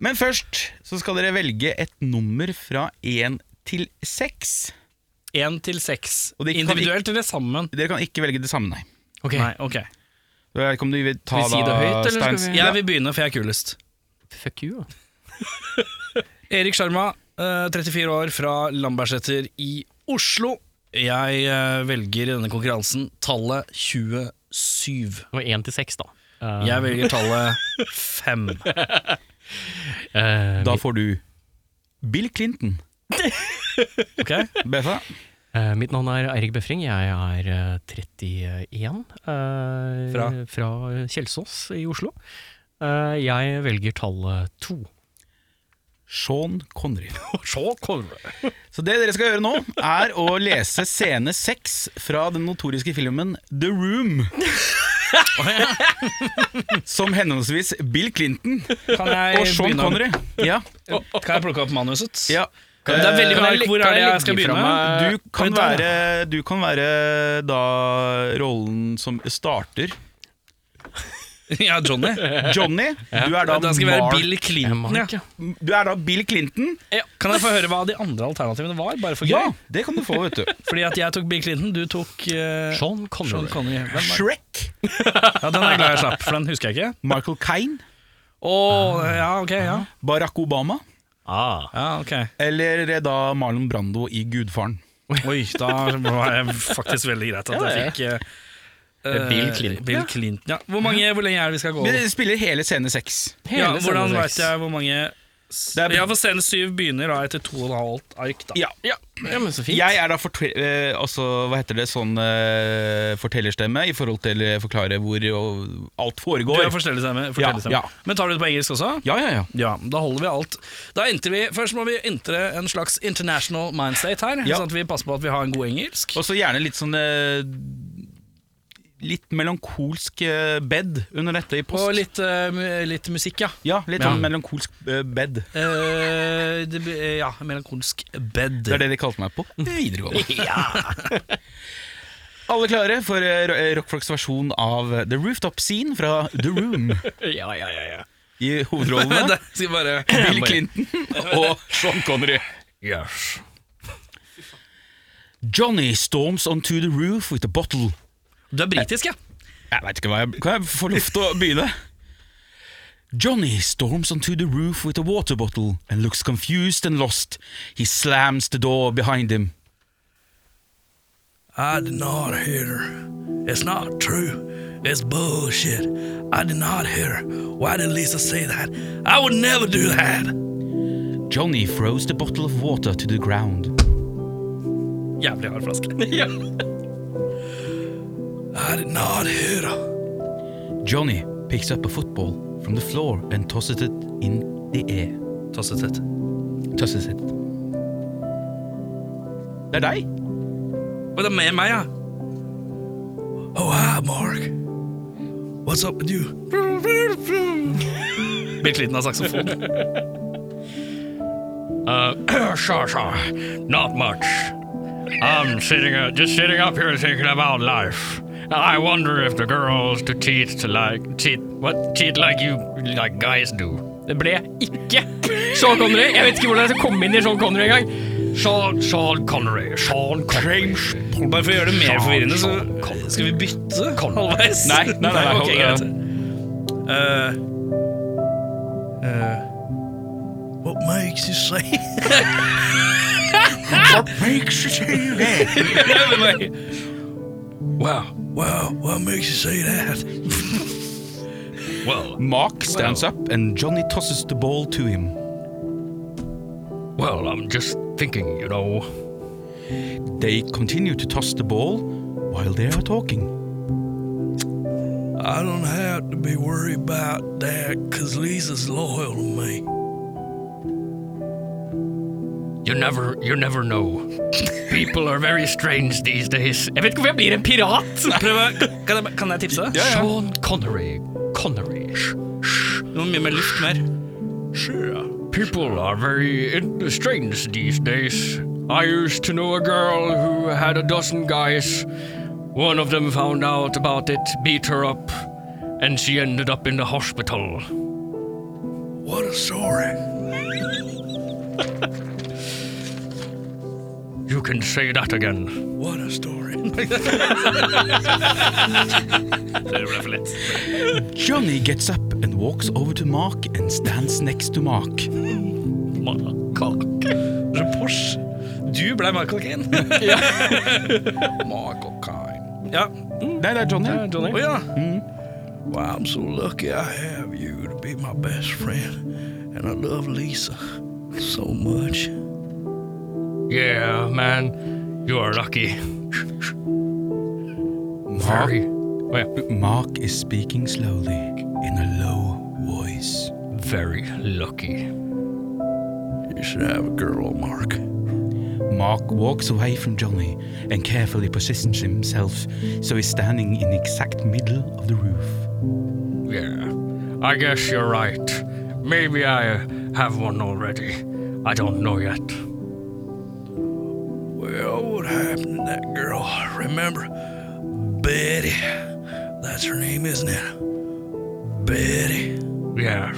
S3: Men først så skal dere velge et nummer fra én til seks.
S1: Én til seks.
S3: Og det kan-
S1: Individuelt eller sammen?
S3: Dere kan ikke velge det samme, nei.
S2: Ok.
S1: Nei, ok.
S3: Jeg vet ikke om du vil ta
S2: Skal vi si det
S3: da,
S2: høyt, eller skal
S3: Steins-
S2: vi-
S1: Jeg vil begynne, for jeg er kulest.
S2: Fuck you, da.
S1: Erik Sjarma, eh, 34 år, fra Lambertseter i Oslo. Jeg eh, velger i denne konkurransen tallet 27.
S2: Det var én til seks, da. Eh,
S1: Jeg velger tallet 5.
S2: eh,
S3: Da får du Bill Clinton.
S1: Ok?
S3: Beffa.
S2: Eh, mitt navn er Eirik Befring, jeg er eh, 31 eh,
S1: Fra?
S2: fra Kjelsås i Oslo. Eh, jeg velger tallet to.
S3: Sean Connery.
S1: Så kommer
S3: Så det dere skal gjøre nå, er å lese scene seks fra den notoriske filmen The Room. Som henholdsvis Bill Clinton
S1: Kan jeg
S3: og Sean
S1: begynne?
S3: Connery. Ja,
S1: Kan jeg plukke opp manuset?
S3: ja. Eh,
S1: Det er veldig
S2: Kan
S1: mye ark.
S2: jeg legge-
S1: Eh, Hvor
S2: kan
S1: er det
S2: jeg
S1: jeg skal
S2: legge fra
S1: begynne?
S2: meg-
S3: Du kan,
S1: vent da.
S3: være, du kan være da rollen som starter.
S1: Ja, Johnny.
S3: Johnny, du er da,
S1: Da skal jeg være
S3: Mark-
S1: Bill Clinton.
S2: Mark,
S1: Ja.
S3: du er da Bill Clinton.
S1: Kan jeg få høre hva de andre alternativene var? Bare for gøy?
S3: Ja, det kan du få, vet du.
S1: Fordi at jeg tok Bill Clinton, du tok eh,
S2: Sean Connery.
S1: Sean Connery. Hvem var-
S3: Shrek.
S1: Ja, den er jeg glad jeg slapp, for den husker jeg ikke.
S3: Michael Kane.
S1: Å, ja, ok, ja.
S3: Barack Obama.
S2: Ah.
S1: ja ok.
S3: Eller eh, da Marlon Brando i Gudfaren.
S1: Oi, da var det faktisk veldig greit at jeg fikk eh,
S2: Bill
S1: eh,
S2: Clinton.
S1: Bill Clinton ja. hvor, mange, hvor lenge er det vi skal gå?
S3: Men det spiller hele scene seks.
S1: Ja,
S2: Hele
S1: hvordan
S2: sendingen.
S1: vet jeg hvor mange
S3: Det er-
S1: Ja, for scene syv begynner da etter to og et halvt ark, da.
S3: Ja.
S2: Ja, men så fint.
S3: Jeg er da forte- eh, altså, hva heter det, sånn eh, fortellerstemme i forhold til å forklare hvor og alt
S1: Du
S3: foregår.
S1: er forstellestemme. forstellestemme.
S3: Ja, ja.
S1: Men tar du det på engelsk også?
S3: Ja, ja, ja.
S1: Ja, da holder vi alt. Da entrer vi, Først må vi entre en slags international mindstate her,
S3: Ja.
S1: sånn at vi passer på at vi har en god engelsk.
S3: Og så gjerne litt sånn eh, Litt melankolsk eh, bed under dette i post.
S1: Og litt, eh, mu- litt musikk, ja.
S3: Ja, litt
S1: Ja.
S3: sånn melankolsk eh, bed.
S1: Eh, det, be- eh, ja, melankolsk bed.
S3: Det er det de kalte meg på videregående.
S1: Ja.
S3: Alle klare for eh, Rockfolks versjon av The Rooftop Scene fra The Room
S2: ja, ja, ja, ja.
S3: i
S1: Det
S3: hovedrollene.
S1: skal jeg bare
S3: Bill Clinton og Sean Connery.
S1: Yes.
S3: Johnny storms onto the roof with a bottle.
S1: Du er britisk, ja.
S3: Jeg vet ikke hva jeg Kan jeg få lov til å begynne? Johnny storms onto the roof with a water bottle and looks confused and lost. He slams the door behind him.
S1: I did not hear her. It's not true. It's bullshit. I did not hear her. Why did Lisa say that? I would never do that.
S3: Johnny throws the bottle of water to the ground.
S1: Jævlig hard flaske. I did not hear her.
S3: Johnny picks up a football from the floor and tosses it in the air.
S1: Tosset tett.
S3: Tosses it. Det er deg.
S1: Å, det er med meg, ja. Oh, hi, Mark. What's up with you? Bill Clinton har saksofon.
S2: Uh, sure, sure. Not much. I'm sitting, uh, just sitting up here thinking about life. I wonder if the girls to cheat to like cheat what cheat like you like guys do. Det ble ikke Sean Connery. Jeg vet ikke hvordan jeg skal komme inn i Sean Connery engang. Sean, Sean Connery. Sean Connery.
S1: Bare for å gjøre det mer
S2: Sean
S1: forvirrende, så
S2: Connery.
S1: skal vi bytte halvveis.
S3: Nei, nei, nei, nei,
S1: ok,
S3: hold-
S1: greit.
S3: ja.
S1: Eh, eh, What makes you say Wow, wow, what makes you say that? Well.
S3: Mark stands up, and Johnny tosses the ball to him.
S2: Well, I'm just thinking, you know.
S3: They continue to toss the ball while they are talking.
S4: I don't have to be worried about that 'cause Lisa's loyal to me.
S2: You never, you never know. People are very strange these days. Jeg vet ikke hvorfor jeg blir en pirat!
S1: Kan jeg, kan jeg tipse?
S3: Ja, ja.
S2: Sean Connery. Connery.
S1: Noe mye mer luft mer. Sure.
S2: People are very in- strange these days. I used to know a girl who had a dozen guys. One of them found out about it, beat her up, and she ended up in the hospital.
S4: What a story.
S2: You can say that again.
S4: What a story.
S3: Johnny gets up and walks over to Mark and stands next to Mark.
S1: Rapport. Du ble Michael Kane.
S4: Michael Kine.
S1: ja.
S3: Nei, det er Johnny.
S1: Å ja.
S4: Why, I'm so lucky I have you to be my best friend. And I love Lisa so much.
S2: Yeah, man. You are lucky. Very.
S3: Mark,
S2: Oh, yeah.
S3: Mark is speaking slowly in a low voice.
S2: Very lucky.
S4: You should have a girl, Mark.
S3: Mark walks away from Johnny and carefully positions himself so he's standing in exact middle of the roof.
S2: Yeah. I guess you're right. Maybe I have one already. I don't know yet.
S4: Well, what happened to that girl? Remember? Betty. That's her name, isn't it? Betty.
S2: Yes.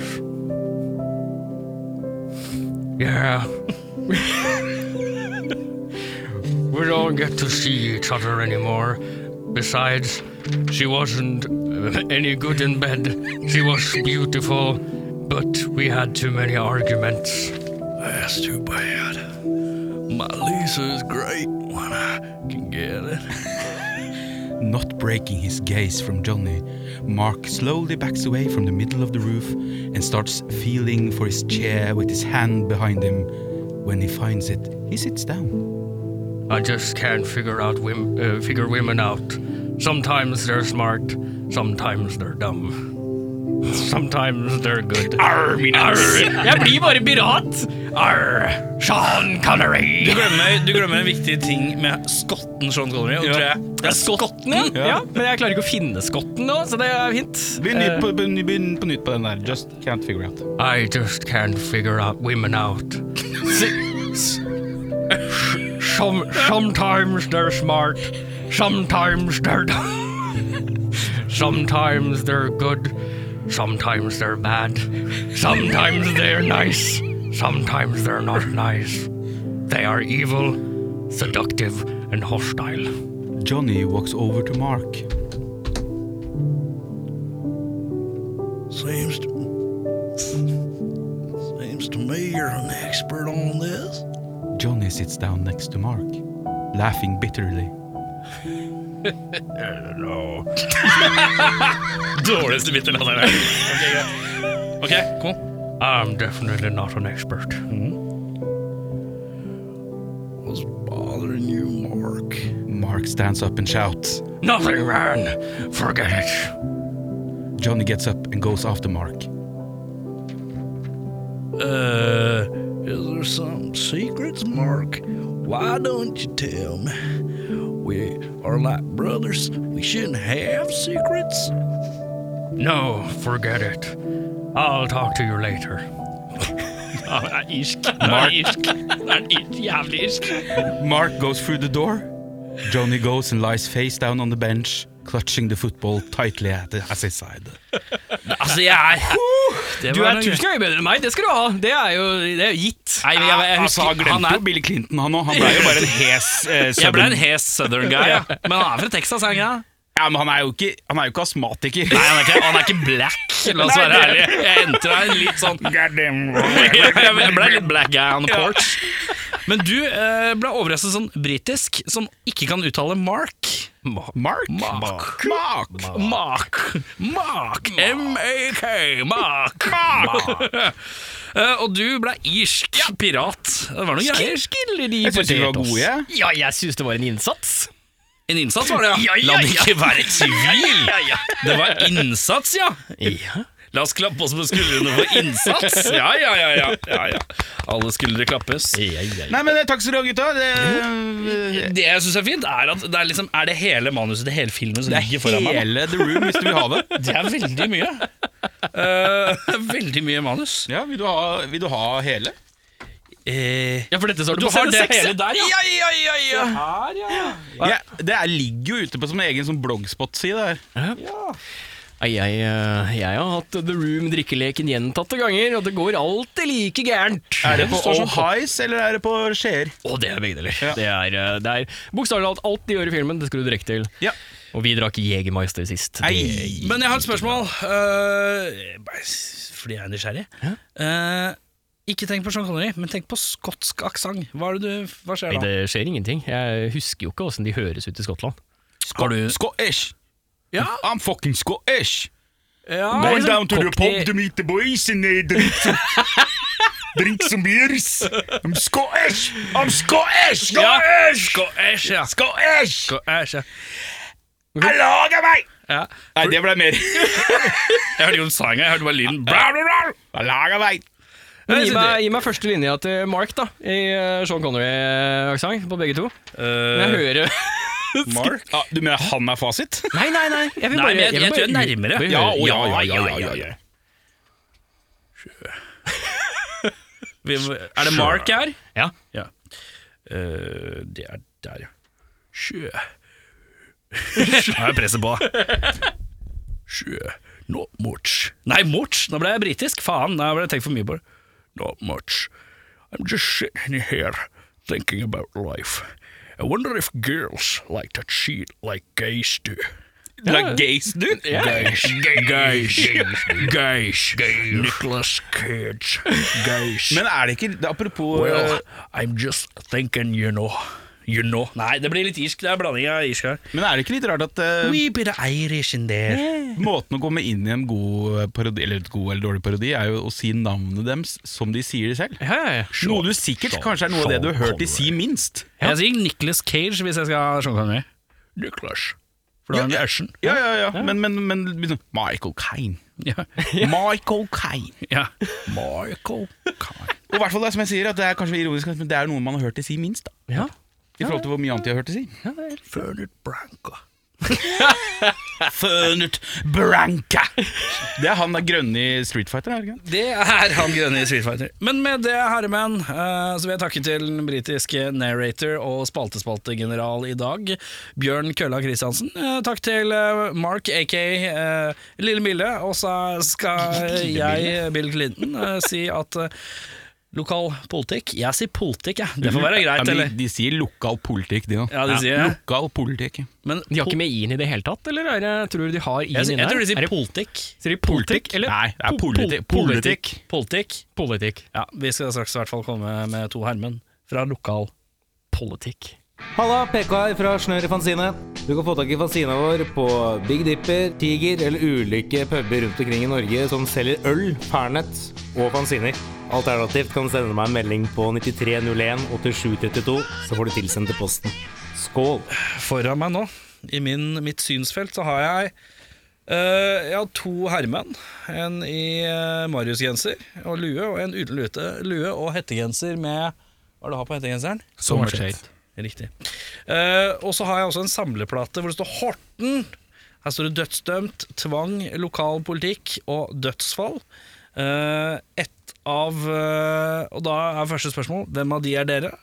S2: Yeah. we don't get to see each other anymore. Besides, she wasn't uh, any good in bed. She was beautiful, but we had too many arguments.
S4: That's too bad. My Lisa is great when I can get it.
S3: Not breaking his gaze from Johnny, Mark slowly backs away from the middle of the roof and starts feeling for his chair with his hand behind him. When he finds it, he sits down.
S2: I just can't figure out wim- uh, figure women out. Sometimes they're smart, sometimes they're dumb. Sometimes they're good. Arr, min Jeg blir bare pirat! Arr, Sean Connery!
S1: Du glemmer, du glemmer en viktig ting med skotten Sean Connery. og tror jeg- Det er skotten, ja.
S2: Ja, men jeg klarer ikke å finne skotten nå, så det er fint.
S3: Begynn på nytt på den der. Just can't figure out.
S2: I just can't figure out women out. S- s- Some, sometimes they're smart, sometimes they're dumb. Sometimes they're good, sometimes they're bad, sometimes they're nice, sometimes they're not nice. They are evil, seductive, and hostile.
S3: Johnny walks over to Mark.
S4: Seems to, seems to me you're an expert on this.
S3: Johnny sits down next to Mark, laughing bitterly.
S1: Dårligste biten av det. Ok, kom.
S2: I'm definitely not an expert.
S4: What's bothering you, Mark?
S3: Mark stands up and shouts.
S2: Nothing, man! Forget it.
S3: Johnny gets up and goes after Mark.
S4: Uh, is there some secrets, Mark? Why don't you tell me? We are like brothers. We shouldn't have secrets.
S2: No, forget it. I'll talk to you later. Han er irsk. Han er irsk. Han er ir- jævlig irsk.
S3: Mark goes through the door. Johnny goes and lies face down on the bench, clutching the football tightly at, at his side.
S1: Altså, jeg er Det
S2: Du
S1: var
S2: er
S1: noe-
S2: tusen ganger bedre enn meg, det skal du ha. Det er jo, det er jo gitt.
S1: Nei, jeg, jeg, jeg
S3: altså, han
S1: husker
S3: glemte
S1: han er,
S3: jo Bill Clinton, han òg. Han ble jo bare en hes eh,
S1: Jeg ble
S3: sønn.
S1: en hes southern guy, ja. men han er fra Texas, er han ikke? det?
S3: Ja, men han er jo ikke, han er jo ikke astmatiker.
S1: Nei, han er ikke, han er ikke black, la oss være ærlige. Jeg endte der litt sånn Ja, Jeg ble litt black guy on the porch. Men du eh, ble overrasket sånn britisk, som ikke kan uttale Mark. Mark.
S3: Mark?
S1: Mark.
S3: Mark.
S1: Mark. Mark. M-A-K. Mark. Eh, og du ble irsk pirat. Det var noe greier.
S3: Jeg syns de var gode. jeg.
S2: Ja, jeg syns det var en innsats.
S1: En innsats var det,
S2: Ja, ja,
S1: La det
S2: ja.
S1: ikke være et tvil!
S2: Ja, ja.
S1: Det var innsats, ja.
S2: Ja.
S1: La oss klappe oss på skuldrene for innsats. Ja, ja, ja. ja, ja, ja. Alle skuldre klappes.
S3: Nei, men eh, Takk skal du ha, gutta. Det,
S1: Det jeg syns er fint, er at det er, liksom, er det hele manuset til hele filmen som
S3: det
S1: ligger
S3: er
S1: foran meg. nå?
S3: hele The Room hvis du vil ha det.
S1: Det er veldig mye. Eh, veldig mye manus.
S3: Ja, Vil du ha, vil du ha hele?
S2: ja, for dette så
S1: Du har det hele
S2: der, ja.
S3: Ja, det er, ligger jo ute på som en egen sånn bloggspot-side. her.
S2: Nei, Jeg, eh, jeg har hatt The Room drikkeleken gjentatte ganger, og det går alltid like gærent.
S3: Er det på
S2: står sånn-
S3: Ohais eller er det på Skjeer?
S2: Å, det er begge deler.
S3: Ja.
S2: Det er, eh, det er bokstavelig talt alt de gjør i filmen, det skal du drikke til.
S3: Ja.
S2: Og vi drakk Jegermeister sist. Det-
S3: Ei.
S1: Men jeg har et spørsmål, eh, bare s- fordi jeg er nysgjerrig. Eh, ikke tenk på Sean Connery, men tenk på skotsk aksent. Hva, er det du- hva skjer
S2: Nei,
S1: da?
S2: det skjer ingenting. Jeg husker jo ikke åssen de høres ut i Skottland.
S1: Har du-
S3: Scottish!
S1: Ja.
S3: I'm fucking Scottish! Ah,
S1: Ja.
S3: altså,
S2: Nei, sånn cockney-
S3: meet the boys and they drink some, drink some beers. I'm Scottish! I'm Scottish!
S1: Ja, Scottish, ja.
S3: Scottish!
S1: Scottish, ja.
S3: Jeg lager meg!
S1: Ja.
S3: Nei, det ble mer.
S1: Jeg hørte jo en sang, jeg hørte bare lyden. Bra, bra, bra.
S3: Jeg lager meg.
S2: Men gi,
S1: Jeg synes
S2: meg, gi meg første linja til Mark, da, i eh, Sean Connery-aksent på begge to. Jeg
S1: Eh,
S2: hører
S1: Mark?
S3: Ja, du mener han er fasit?
S2: Nei, nei, nei. Jeg vil
S1: Nei,
S2: bare
S1: men jeg- jeg
S2: vil
S1: tror
S2: bare
S1: jeg er
S2: ut-
S1: nærmere.
S2: vil
S3: Ja,
S2: høre-
S3: å, ja, ja, ja, ja, ja, ja.
S1: Vi, er det Mark her?
S2: Ja.
S1: Ja. Eh, det er der, ja. Sjø. Nå er presset på. Sjø. Not much. Nei, much! Nå ble jeg britisk. Faen, nå ble jeg tenkt for mye på det. Not much. I'm just sitting here thinking about life. I wonder if girls like to cheat like gays do.
S3: Like gays, du?
S1: Gays. Gays. Gays. Nicholas Cage. Gays.
S3: Men er det ikke det- Apropos
S1: Well,
S3: eh,
S1: I'm just thinking, you know. You know. Nei, det blir litt irsk. Det er blanding av irsk her.
S3: Men er det ikke litt rart at eh,
S1: Wee bit of Irish in there.
S3: måten å komme inn i en god eh, parodi, eller et god eller dårlig parodi, er jo å si navnet deres som de sier det selv?
S2: Ja, ja, ja.
S3: Noe du sikkert kanskje er noe av det du har hørt de si minst.
S1: Jeg sier Nicholas Cage hvis jeg skal ha Sean Connery. Nicholas. For da er han i Ashen.
S3: Ja, ja, ja, men, men, men liksom, Michael Kane.
S1: Ja.
S3: Michael Kane.
S1: ja. Michael Caine.
S3: Og i hvert fall det er som jeg sier, at det er kanskje ironisk, men det er noe man har hørt de si minst, da.
S2: Ja.
S3: I forhold til hvor mye annet de har hørt de si.
S1: Fernand Branca.
S3: Fønut Branca! Det er han der grønne i Street Fighter, er det ikke? det?
S1: Det er han grønne i Street Fighter. Men med det, herremenn, eh, så vil jeg takke til den britiske narrator og spaltespaltegeneral i dag, Bjørn Kølla Kristiansen. Eh, Takk til eh, Mark, aka eh, Lille Mille. Og så skal jeg, Bill Clinton, eh, si at eh, lokal politikk Jeg sier politikk, jeg. Det får være
S3: Ja,
S1: greit,
S3: men
S1: eller?
S3: de sier lokal politikk, de da.
S1: Ja, de sier det.
S3: Lokal politikk.
S1: Men
S2: De har ikke med i-en i det hele tatt, eller er det, tror du de har i-en
S1: jeg,
S2: inne?
S1: jeg tror de
S2: Er
S1: sier
S2: det
S1: politikk.
S2: Sier de politikk, eller?
S3: Nei, det er
S2: Po-
S3: politi-
S2: pol-
S3: politikk.
S1: Politikk.
S2: Politikk.
S1: Ja, vi skal straks i hvert fall komme med to hermen fra lokal
S2: Politikk.
S5: Halla, PK her fra Snør i Fanzine. Du kan få tak i fanzina vår på Big Dipper, Tiger eller ulike puber rundt omkring i Norge som selger øl, pernett og fanziner. Alternativt kan du sende meg en melding på 9301 8732, så får du tilsendt til posten. Skål!
S1: foran meg nå, i min, mitt synsfelt, så har jeg eh, Jeg har to herremenn. En i eh, Marius-genser og lue, og en uten lute, lue og hettegenser med Hva er det du har på hettegenseren?
S3: Sommerskjøt.
S1: Riktig. Eh, og så har jeg også en samleplate hvor det står Horten. Her står det dødsdømt, tvang, lokal politikk og dødsfall. Eh, ett av eh, Og da er første spørsmål hvem av de er dere?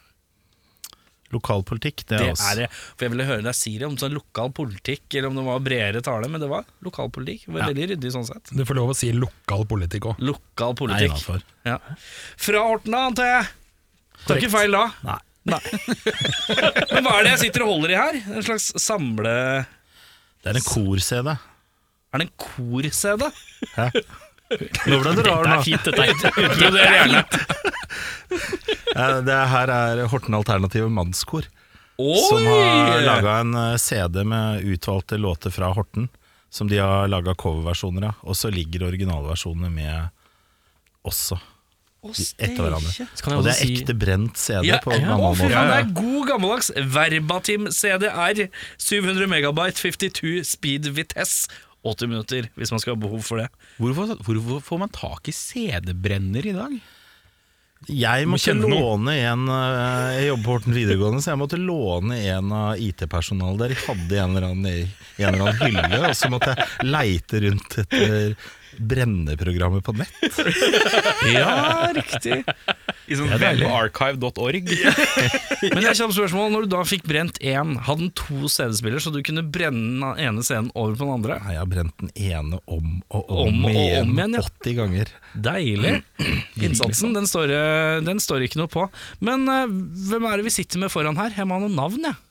S6: Lokalpolitikk, det
S1: Det
S6: er oss.
S1: er det. For jeg ville høre deg si det om sånn lokal politikk, eller om det var bredere tale, men det var lokal politikk. Det var Veldig ryddig sånn sett.
S6: Du får lov å si lokal politikk òg.
S1: Lokal politikk. Ja. Fra Horten av, antar jeg. Tar ikke feil da.
S6: Nei.
S1: Men hva er det jeg sitter og holder i her? En slags samle...
S6: Det er en kor-CD.
S1: Er det en kor-CD?
S6: Nå ble det rar, da.
S2: fint, dette er
S6: Eh, Det her er Horten Alternative Mannskor. Som har laga en eh, CD med utvalgte låter fra Horten. Som de har laga coverversjoner av. Og så ligger originalversjonene med også. Etter hverandre.
S2: Så kan jeg
S6: Og det
S2: også
S6: er
S2: si-
S6: ekte brent CD
S1: Ja,
S6: på
S1: ja.
S6: gammel
S1: Å, fy
S6: måte.
S1: faen, det er god gammeldags Verbatim CDR 700 megabyte 52 speed vitesse 80 minutter, hvis man skal ha behov for det.
S7: Hvorfor, hvorfor får man tak i CD-brenner i dag?
S6: Jeg måtte
S7: kjenne noe.
S6: låne en eh, Jeg jobber på Horten videregående, så jeg måtte låne en av IT-personalet der. Jeg hadde en eller, annen, i- en eller annen hylle, og så måtte jeg leite rundt etter brenneprogrammet på nett.
S1: Ja, riktig.
S7: I sånn webarchive.org?
S1: Men jeg kommer til spørsmål, når du da fikk brent én, hadde den to CD-spiller, så du kunne brenne den ene scenen over på den andre?
S6: Nei, jeg har brent den ene om og om,
S1: Om og
S6: igjen,
S1: om igjen, ja.
S6: 80 ganger.
S1: Deilig. Mm. Innsatsen, den står, eh, den står ikke noe på. Men eh, hvem er det vi sitter med foran her? Jeg må ha noen navn, jeg.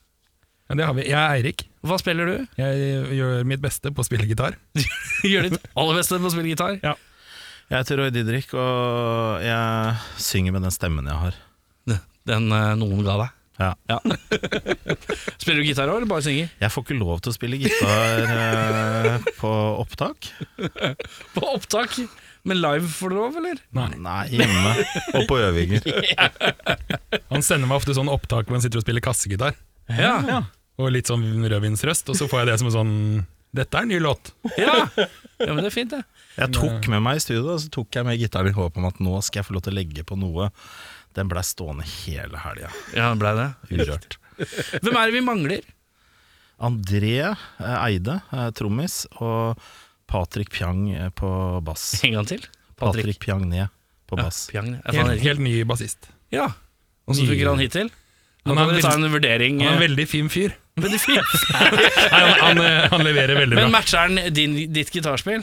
S8: Ja, det har vi. Jeg er Eirik.
S1: Hva spiller du?
S8: Jeg gjør mitt beste på å spille gitar.
S1: Gjør ditt aller beste på å spille gitar.
S6: Jeg heter Roy Didrik, og jeg synger med den stemmen jeg har.
S1: Den eh, noen ga deg.
S6: Ja.
S1: Spiller du gitar òg, eller bare synger?
S6: Jeg får ikke lov til å spille gitar eh, på opptak.
S1: På opptak. Men live får du lov, eller?
S6: Nei, hjemme og på øvinger.
S8: Han sender meg ofte sånn opptak hvor han sitter og spiller kassegitar,
S1: Ja. ja.
S8: og litt sånn rødvinsrøst, og så får jeg det som en sånn Dette er en ny låt.
S1: men det er fint, det.
S6: Jeg tok med meg i studio, og så tok jeg med gitaren i håp om at nå skal jeg få lov til å legge på noe. Den blei stående hele helga,
S1: Ja, det blei det.
S6: urørt.
S1: Hvem er det vi mangler?
S6: André eh, Eide, eh, trommis, og Patrick Pjang eh, på bass.
S1: En gang til.
S6: Patrick Pjangné på
S1: Ja,
S6: bass.
S1: Pjang. Jeg fant
S8: Helt,
S1: ikke.
S8: helt ny bassist.
S1: Ja. Åssen funker han hittil? Nå
S8: Han er
S1: kan dere ta
S8: veldig-
S1: en vurdering.
S8: Han er en
S1: eh,
S8: veldig fin fyr.
S1: veldig fin.
S8: Nei, han, han, eh, han leverer veldig
S1: Men
S8: bra.
S1: matcher han din- ditt gitarspill?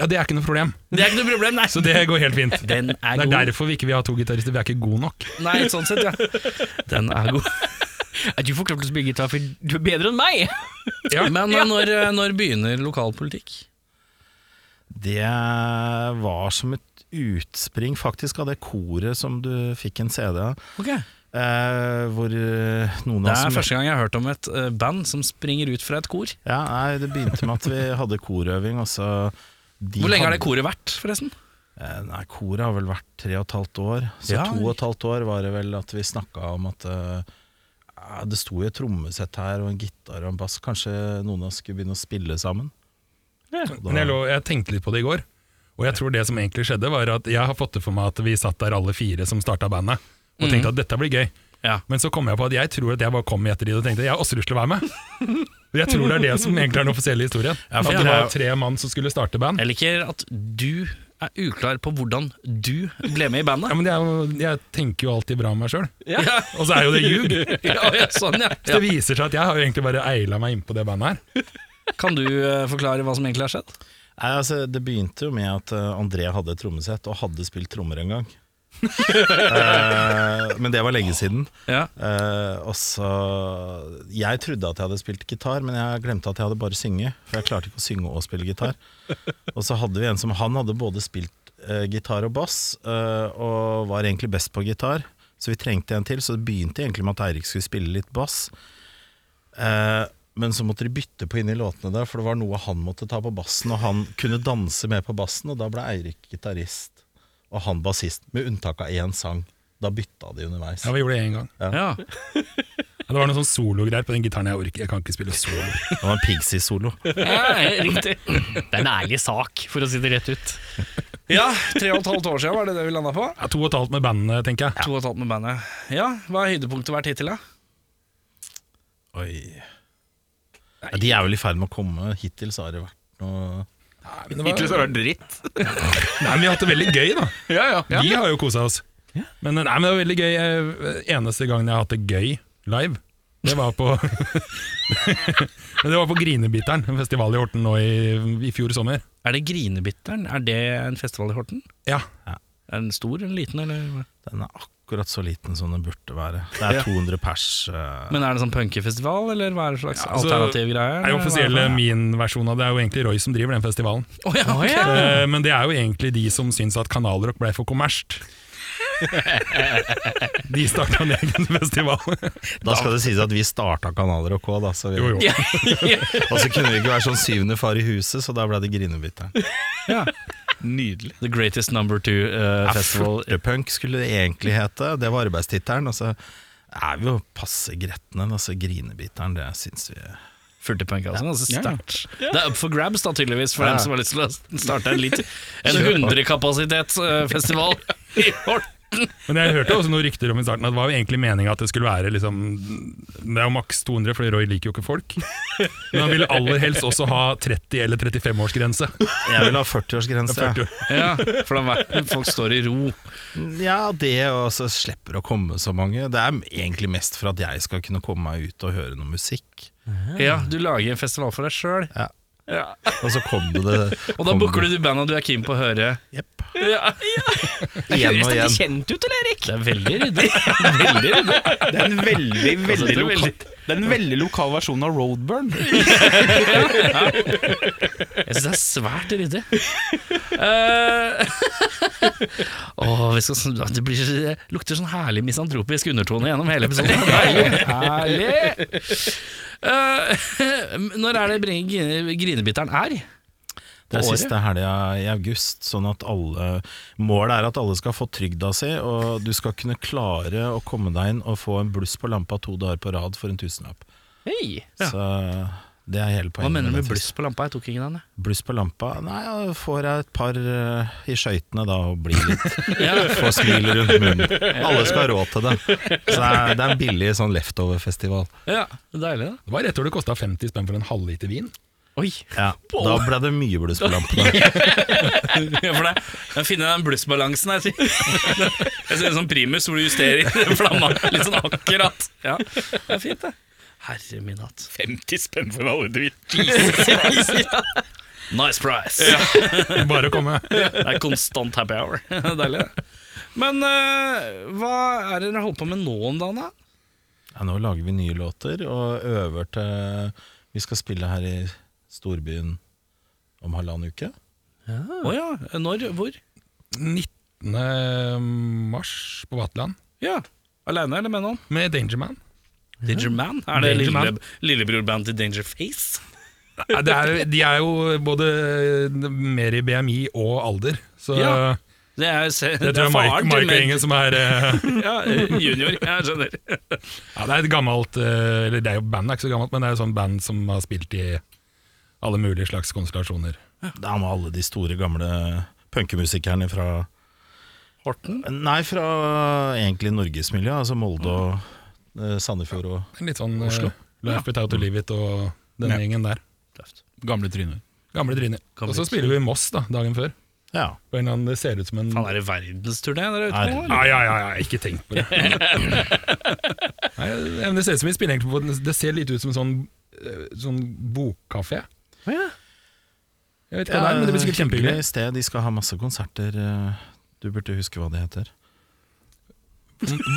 S8: Ja, Det er ikke noe problem,
S1: Det er ikke noe problem, nei.
S8: så det går helt fint. Det
S1: Den er
S8: er
S1: god.
S8: derfor vi ikke vil ha to gitarister, vi er ikke gode nok.
S1: Nei, sånn sett, ja. Den er god.
S2: Nei, Du får ikke lov til å spille gitar, for du er bedre enn meg!
S1: Men eh, når, eh, når begynner lokalpolitikk?
S6: Det var som et utspring faktisk av det koret som du fikk en CD av.
S1: Ok.
S6: Eh, hvor eh, noen
S1: Det
S6: av
S1: er
S6: oss
S1: første gang jeg har hørt om et eh, band som springer ut fra et kor.
S6: ja, nei, Det begynte med at vi hadde korøving. Og så de
S1: Hvor lenge har
S6: hadde-
S1: det koret vært, forresten?
S6: Eh, nei, Koret har vel vært tre og et halvt år. Så
S1: Ja.
S6: to og et halvt år var det vel at vi snakka om at eh, ja, det sto jo et trommesett her og en gitar og en bass. Kanskje noen av oss skulle begynne å spille sammen? Og da-
S8: Men jeg, lå, jeg tenkte litt på det i går, og jeg tror det som egentlig skjedde, var at jeg har fått det for meg at vi satt der alle fire som starta bandet, og tenkte at dette blir gøy.
S1: Mhm. Ja.
S8: Men så kom jeg på at jeg tror at jeg bare kom i ettertid og tenkte jeg har også lyst til å være med. Og Jeg tror det er det som egentlig er den offisielle historien. at
S1: for
S8: det
S1: det er
S8: var
S1: jo-
S8: tre mann som skulle starte band.
S1: Jeg liker at du er uklar på hvordan du ble med i
S8: Ja,
S1: bandet.
S8: men det er jo, jeg tenker jo alltid bra om meg sjøl,
S1: Ja, ja,
S8: og så er jo det ljug.
S1: ja sånn, ja.
S8: Så det viser seg at jeg har jo egentlig bare eila meg innpå det bandet her.
S1: Kan du eh, forklare hva som egentlig har skjedd?
S6: Nei, altså, det begynte jo med at eh, André hadde et trommesett, og hadde spilt trommer en gang. Eh, men det var lenge siden.
S1: Ja.
S6: Eh, og så Jeg trodde at jeg hadde spilt gitar, men jeg glemte at jeg hadde bare synge. For jeg klarte ikke å synge og spille gitar. Og så hadde vi en som han hadde både spilt eh, gitar og bass, eh, og var egentlig best på gitar. Så vi trengte en til, så det begynte egentlig med at Eirik skulle spille litt bass. Eh, men så måtte de bytte på inni låtene der, for det var noe han måtte ta på bassen, og han kunne danse med på bassen, og da ble Eirik gitarist og han bassist, med unntak av én sang. Da bytta de underveis.
S8: Ja, Vi gjorde det én gang.
S1: Ja.
S8: Ja, Det var noen sånn sologreier på den gitaren. Jeg orker, jeg kan ikke spille solo.
S6: Det var en Pixies-solo.
S2: Riktig. Det er en ærlig sak, for å si det rett ut.
S1: ja, tre og et halvt år siden var det det vi landa på.
S8: Ja, to og et halvt med bandet, tenker jeg.
S1: To og et halvt med bandet. Ja, Hva har høydepunktet vært hittil, da?
S6: Oi. Ja, de er vel i ferd med å komme. Hittil så har det vært noe
S7: Hittil så har det vært dritt.
S8: Nei, men Vi har hatt det veldig gøy, da.
S7: Ja, ja.
S8: Vi har jo kosa oss. Men, nei, men det var veldig gøy. Eh, Eneste gangen jeg har hatt det gøy live, det var på Det var på Grinebiteren, en festival i Horten nå i, i fjor sommer.
S1: Er det Grinebitteren? Er det en festival i Horten?
S8: Ja,
S1: Er den stor eller liten? Eller? hva?
S6: Den er akkurat så liten som den burde være. Det er 200 pers. eh,
S1: Men er det sånn punkefestival, eller hva er det slags
S8: altså,
S1: alternativ greie?
S8: Det er jo offisielle min versjon av det. Det er jo egentlig Roy som driver den festivalen.
S1: Å ja, ok.
S8: Eh, Men det er jo egentlig de som syns at kanalrock ble for kommersielt. De starta en egen festival.
S6: Da skal det sies at vi starta Kanaler og K, da, så vi,
S8: Jo, jo.
S6: og så kunne vi ikke være sånn syvende far i huset, så da ble det Grinebiteren.
S3: Nydelig.
S2: The Greatest Number Two eh,
S6: Ja,
S2: Festival.
S6: Furtepunk skulle det egentlig hete, det var arbeidstittelen. Og så er vi jo passe gretne, altså Grinebiteren, det syns vi
S2: Furtepunk, altså. Ganske
S3: Ja, ja.
S2: sterkt. Det er up for grabs, da, tydeligvis, for
S6: Ja.
S2: dem som har lyst til å starte en litt En
S6: Kjør på.
S2: hundrekapasitetsfestival i år.
S8: Men jeg hørte også noen rykter om i starten at det var jo egentlig meninga at det skulle være liksom Det er jo maks 200, for Roy liker jo ikke folk. Men han ville aller helst også ha 30- eller 35-årsgrense.
S6: Jeg vil ha 40-årsgrense. jeg.
S2: Ja, for da verden folk står i ro.
S6: Ja, det og så slipper å komme så mange. Det er egentlig mest for at jeg skal kunne komme meg ut og høre noe musikk.
S2: Ja, du lager en festival for deg sjøl.
S6: Ja.
S2: Ja.
S6: Og så kom det, det
S2: Og da booker du de banda du er keen på å høre.
S6: Jepp.
S2: Ja,
S6: Igjen og
S9: Høres dette
S6: igjen.
S9: kjent ut, eller, Erik?
S2: det er veldig ryddig. Veldig ryddig.
S3: Det er en veldig,
S7: Altså,
S3: veldig,
S2: det er
S3: lokal, det er en veldig lokal versjon av Roadburn.
S2: Jeg syns det er svært ryddig. Eh, Åh, vi skal, sn- det, blir, det lukter sånn herlig misantropisk undertone gjennom hele episoden. Deilig! Herlig! Eh, når er det bring- Grinebiteren er?
S6: Det er
S2: På året?
S6: siste helga i august, sånn at alle Målet er at alle skal få trygda si, og du skal kunne klare å komme deg inn og få en bluss på lampa to dager på rad for en tusenlapp.
S9: Hei.
S6: Så det er hele
S2: Hva
S6: poenget.
S2: mener du med
S6: den
S2: bluss på lampa? Jeg tok ingen den. jeg.
S6: festen. Bluss på lampa? Nei, da får jeg et par eh, i skøytene da og blir litt Får smil rundt munnen. Alle skal ha råd til det. Så det er, det er en billig sånn leftover-festival.
S2: Ja, Deilig, da.
S8: Det var rett hvor det kosta 50 spenn for en halvliter vin.
S2: Oi.
S6: Ja, da ble det mye bluss på lampene.
S2: Ja, for det, jeg finner den blussbalansen jeg sier. Jeg ser en sånn primus hvor du justerer flamma litt sånn akkurat. Ja, det er fint, det. Herre min hatt.
S3: 50 spenn for en halvdøyt.
S2: Nice price.
S8: Bare å komme.
S2: Det er konstant happy hour. Deilig. det. Men eh, hva er det dere holder på med nå om dagen, da?
S6: Ja, nå lager vi nye låter og øver til Vi skal spille her i storbyen om halvannen uke.
S2: Å ja. Når? Hvor?
S8: 19. mars på Vaterland
S2: Ja. Aleine eller med noen?
S8: med Dangerman.
S2: Dangerman? Er det
S8: Danger Man.
S2: lille, lillebrorband til Dangerface?
S8: De er jo både mer i BMI og alder, så
S2: Ja. Det er, se,
S8: det, tror jeg er Mike,
S2: faren til
S8: Mike
S2: meg.
S8: Engen som er eh,
S2: Ja, eh, junior. Jeg skjønner.
S8: Ja, det er et gammelt eh, Eller det er jo bandet er ikke så gammelt, men det er jo sånn band som har spilt i alle mulige slags konstellasjoner.
S6: Da må alle de store, gamle punkemusikerne fra
S2: Horten?
S6: Nei, fra egentlig norgesmiljøet. Altså Molde og eh, Sandefjord og
S8: Litt sånn Oslo. Life Without To Live It og denne gjengen der.
S3: Gamle tryner.
S8: Gamle tryner. Og så spiller vi i Moss da, dagen før.
S6: Ja.
S8: På en eller annen, det ser ut som en
S2: Faen, er det verdensturné dere er ute på? eller?
S6: Herregud.
S8: Ja, ja, ja, ja, ikke tenk på det. Nei, men det ser ut som vi spiller egentlig på Det ser litt ut som en sånn, eh, sånn bokkafé. Jeg vet ikke hva det er, men det blir sikkert kjempehyggelig.
S6: Hyggelig sted. De skal ha masse konserter. eh, Du burde huske hva det heter.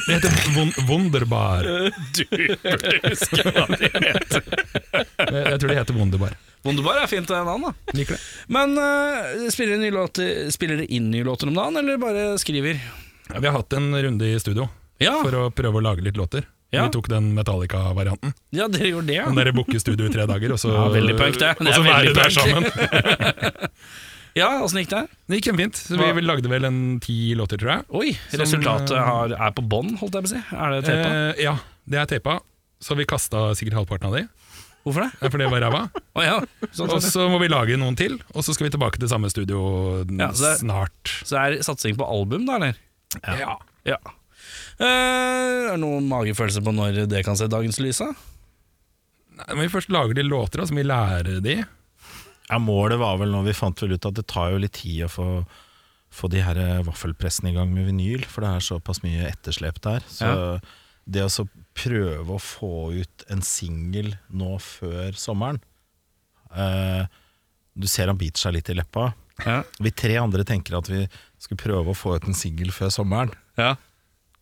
S8: Det heter Won- Wunderbar.
S2: Du burde huske hva det heter.
S8: Jeg jeg tror det heter Wunderbar.
S2: Wunderbar er fint en annen, da.
S8: Liker det.
S2: Men eh, spiller dere nye låter- spiller dere inn nye låter om dagen, eller bare skriver?
S8: Ja, Vi har hatt en runde i studio
S2: Ja,
S8: for å prøve å lage litt låter.
S2: Ja.
S8: Vi tok den Metallica-varianten.
S2: ja dere gjorde det, ja.
S8: Den dere booker studio i tre dager, og så,
S2: Ja, veldig punk, det.
S8: og
S2: Det er
S8: så være
S2: veldig
S8: der sammen.
S2: punk. Ja, Åssen gikk det?
S8: Det gikk kjempefint. Så vi vi lagde vel en ti låter, tror jeg.
S2: Oi,
S8: Som,
S2: resultatet
S8: eh,
S2: har, er på bånn, holdt jeg på å si. Er det tepa?
S8: Eh, ja, det er teipa. Så vi kasta sikkert halvparten av de,
S2: Hvorfor det?
S8: eh, for det var ræva.
S2: Å ja. sånn,
S8: Og
S2: sånn.
S8: så må vi lage noen til, og så skal vi tilbake til samme studio
S2: Ja, så det-
S8: snart.
S2: Så det er satsing på album, da, eller?
S8: Ja.
S2: Ja. Eh, er det noen magefølelse på når det kan se dagens lys? da?
S8: Nei, men vi først lager de låter, da, så må vi lære de.
S6: Ja, målet var vel når vi fant vel ut at det tar jo litt tid å få, få de her eh, vaffelpressene i gang med vinyl, for det er såpass mye etterslep der. Så det å så prøve å få ut en singel nå før sommeren eh, Du ser han biter seg litt i leppa.
S2: Ja.
S6: Vi tre andre tenker at vi skulle prøve å få ut en singel før sommeren.
S2: ja.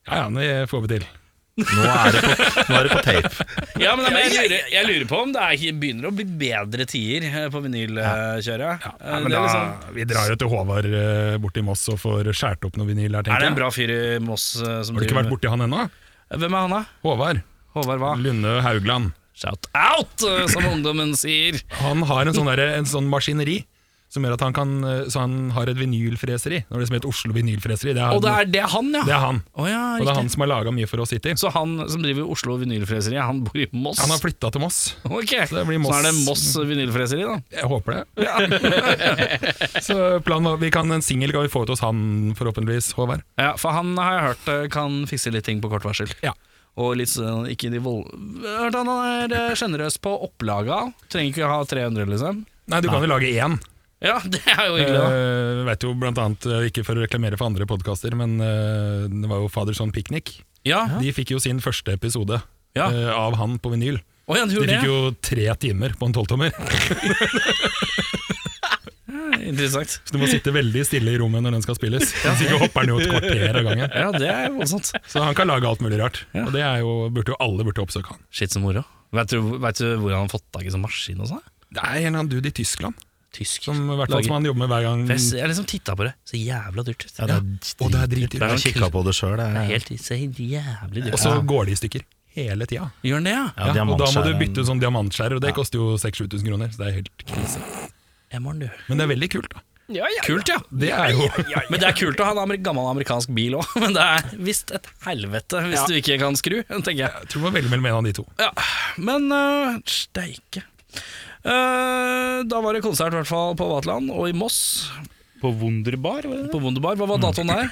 S8: Ja ja, det får vi til.
S6: Nå er det på, nå er det på tape.
S2: Ja, men jeg lurer, jeg lurer på om det er, ikke- begynner å bli bedre tider eh, på vinylkjøret.
S8: Ja,
S2: Eh,
S8: men
S2: det er,
S8: da,
S2: liksom,
S8: vi drar jo til Håvard eh, bort i Moss og får skjært opp noe vinyl her,
S2: er
S8: tenker
S2: det en
S8: jeg.
S2: bra fyr i Moss eh, som
S8: Har du ikke
S2: driver
S8: vært
S2: med-
S8: borti han ennå?
S2: Hvem er han, da?
S8: Håvard
S2: Håvard hva?
S8: Lunde Haugland.
S2: Shout out, eh, som ungdommen sier.
S8: Han har en sånn, derre- en sånn maskineri som gjør at han kan eh, Så han har et vinylfreseri. Det var det som het Oslo Vinylfreseri. Det er,
S2: Og det er det han, ja!
S8: det er han.
S2: Å ja,
S8: Og det er
S2: riktig.
S8: han som har laga mye for oss hittil.
S2: Så han som driver Oslo Vinylfreseri, han bor i Moss?
S8: Han har flytta til Moss.
S2: Ok,
S8: Så det blir
S2: Så er det Moss
S8: Moss.
S2: Vinylfreseri, da.
S8: Jeg håper det. så planen var vi kan En singel kan vi få ut hos han, forhåpentligvis, Håvard.
S2: Ja, For han har jeg hørt eh, kan fikse litt ting på kort varsel.
S8: Ja.
S2: Og litt sånn ikke de vold... Hørt han er eh, sjenerøs på opplaga. Trenger ikke ha 300, liksom. Eh,
S8: Nei, du kan jo lage én.
S2: Ja, det er jo hyggelig, da.
S8: Uh, vet jo blant annet, eh, ikke for å reklamere for andre podkaster, men eh, det var jo Faderson Picnic.
S2: Ja,
S8: De fikk jo sin første episode
S2: Ja.
S8: eh, av han på vinyl.
S2: Å, ja, du
S8: De
S2: gjorde
S8: fikk
S2: det?
S8: jo tre timer på en tolvtommer.
S2: Interessant.
S8: Så du må sitte veldig stille i rommet når den skal spilles. Hvis ikke hopper den jo et kvarter av gangen.
S2: Ja, det er voldsomt.
S8: Så han kan lage alt mulig rart.
S2: Ja.
S8: Og det er jo, burde jo alle burde oppsøke han.
S2: Shit, så moro. Vet du, vet du hvor han har fått tak i sånn maskin og sånn?
S8: Det er en eller annen dude i Tyskland
S2: Tysk.
S8: som, i hvert fall,
S2: Lager-
S8: som han jobber med hver gang.
S2: For jeg, s- jeg liksom titta på det. Så jævla dyrt ut.
S6: Ja,
S2: Ja,
S6: det er
S8: Og det er
S6: dritdyrt.
S8: dritdyrt.
S6: Jeg har kikka på det sjøl.
S2: det er helt så jævlig dyrt.
S8: Og så går de i stykker hele tida.
S2: Gjør han det, ja?
S6: Ja,
S8: og da må
S6: diamantskjær
S8: du
S6: er en-
S8: bytte ut sånn diamantskjærer, og det koster jo 6000-7000 kroner. Så det er helt krise.
S2: Jeg må han, du.
S8: Men det er veldig kult, da.
S10: Ja, ja.
S2: Kult, ja.
S8: Det er jo
S2: Men det er kult å ha en amer gammel amerikansk bil òg, men det er visst et helvete hvis du ikke kan skru, tenker jeg.
S8: Jeg tror det var veldig mellom en av de to.
S2: Ja, men uh, steike. Eh, da var det konsert i hvert fall på Vaterland og i Moss,
S3: På Wunderbar? var det Mm. det?
S2: på Wunderbar. Hva var datoen der?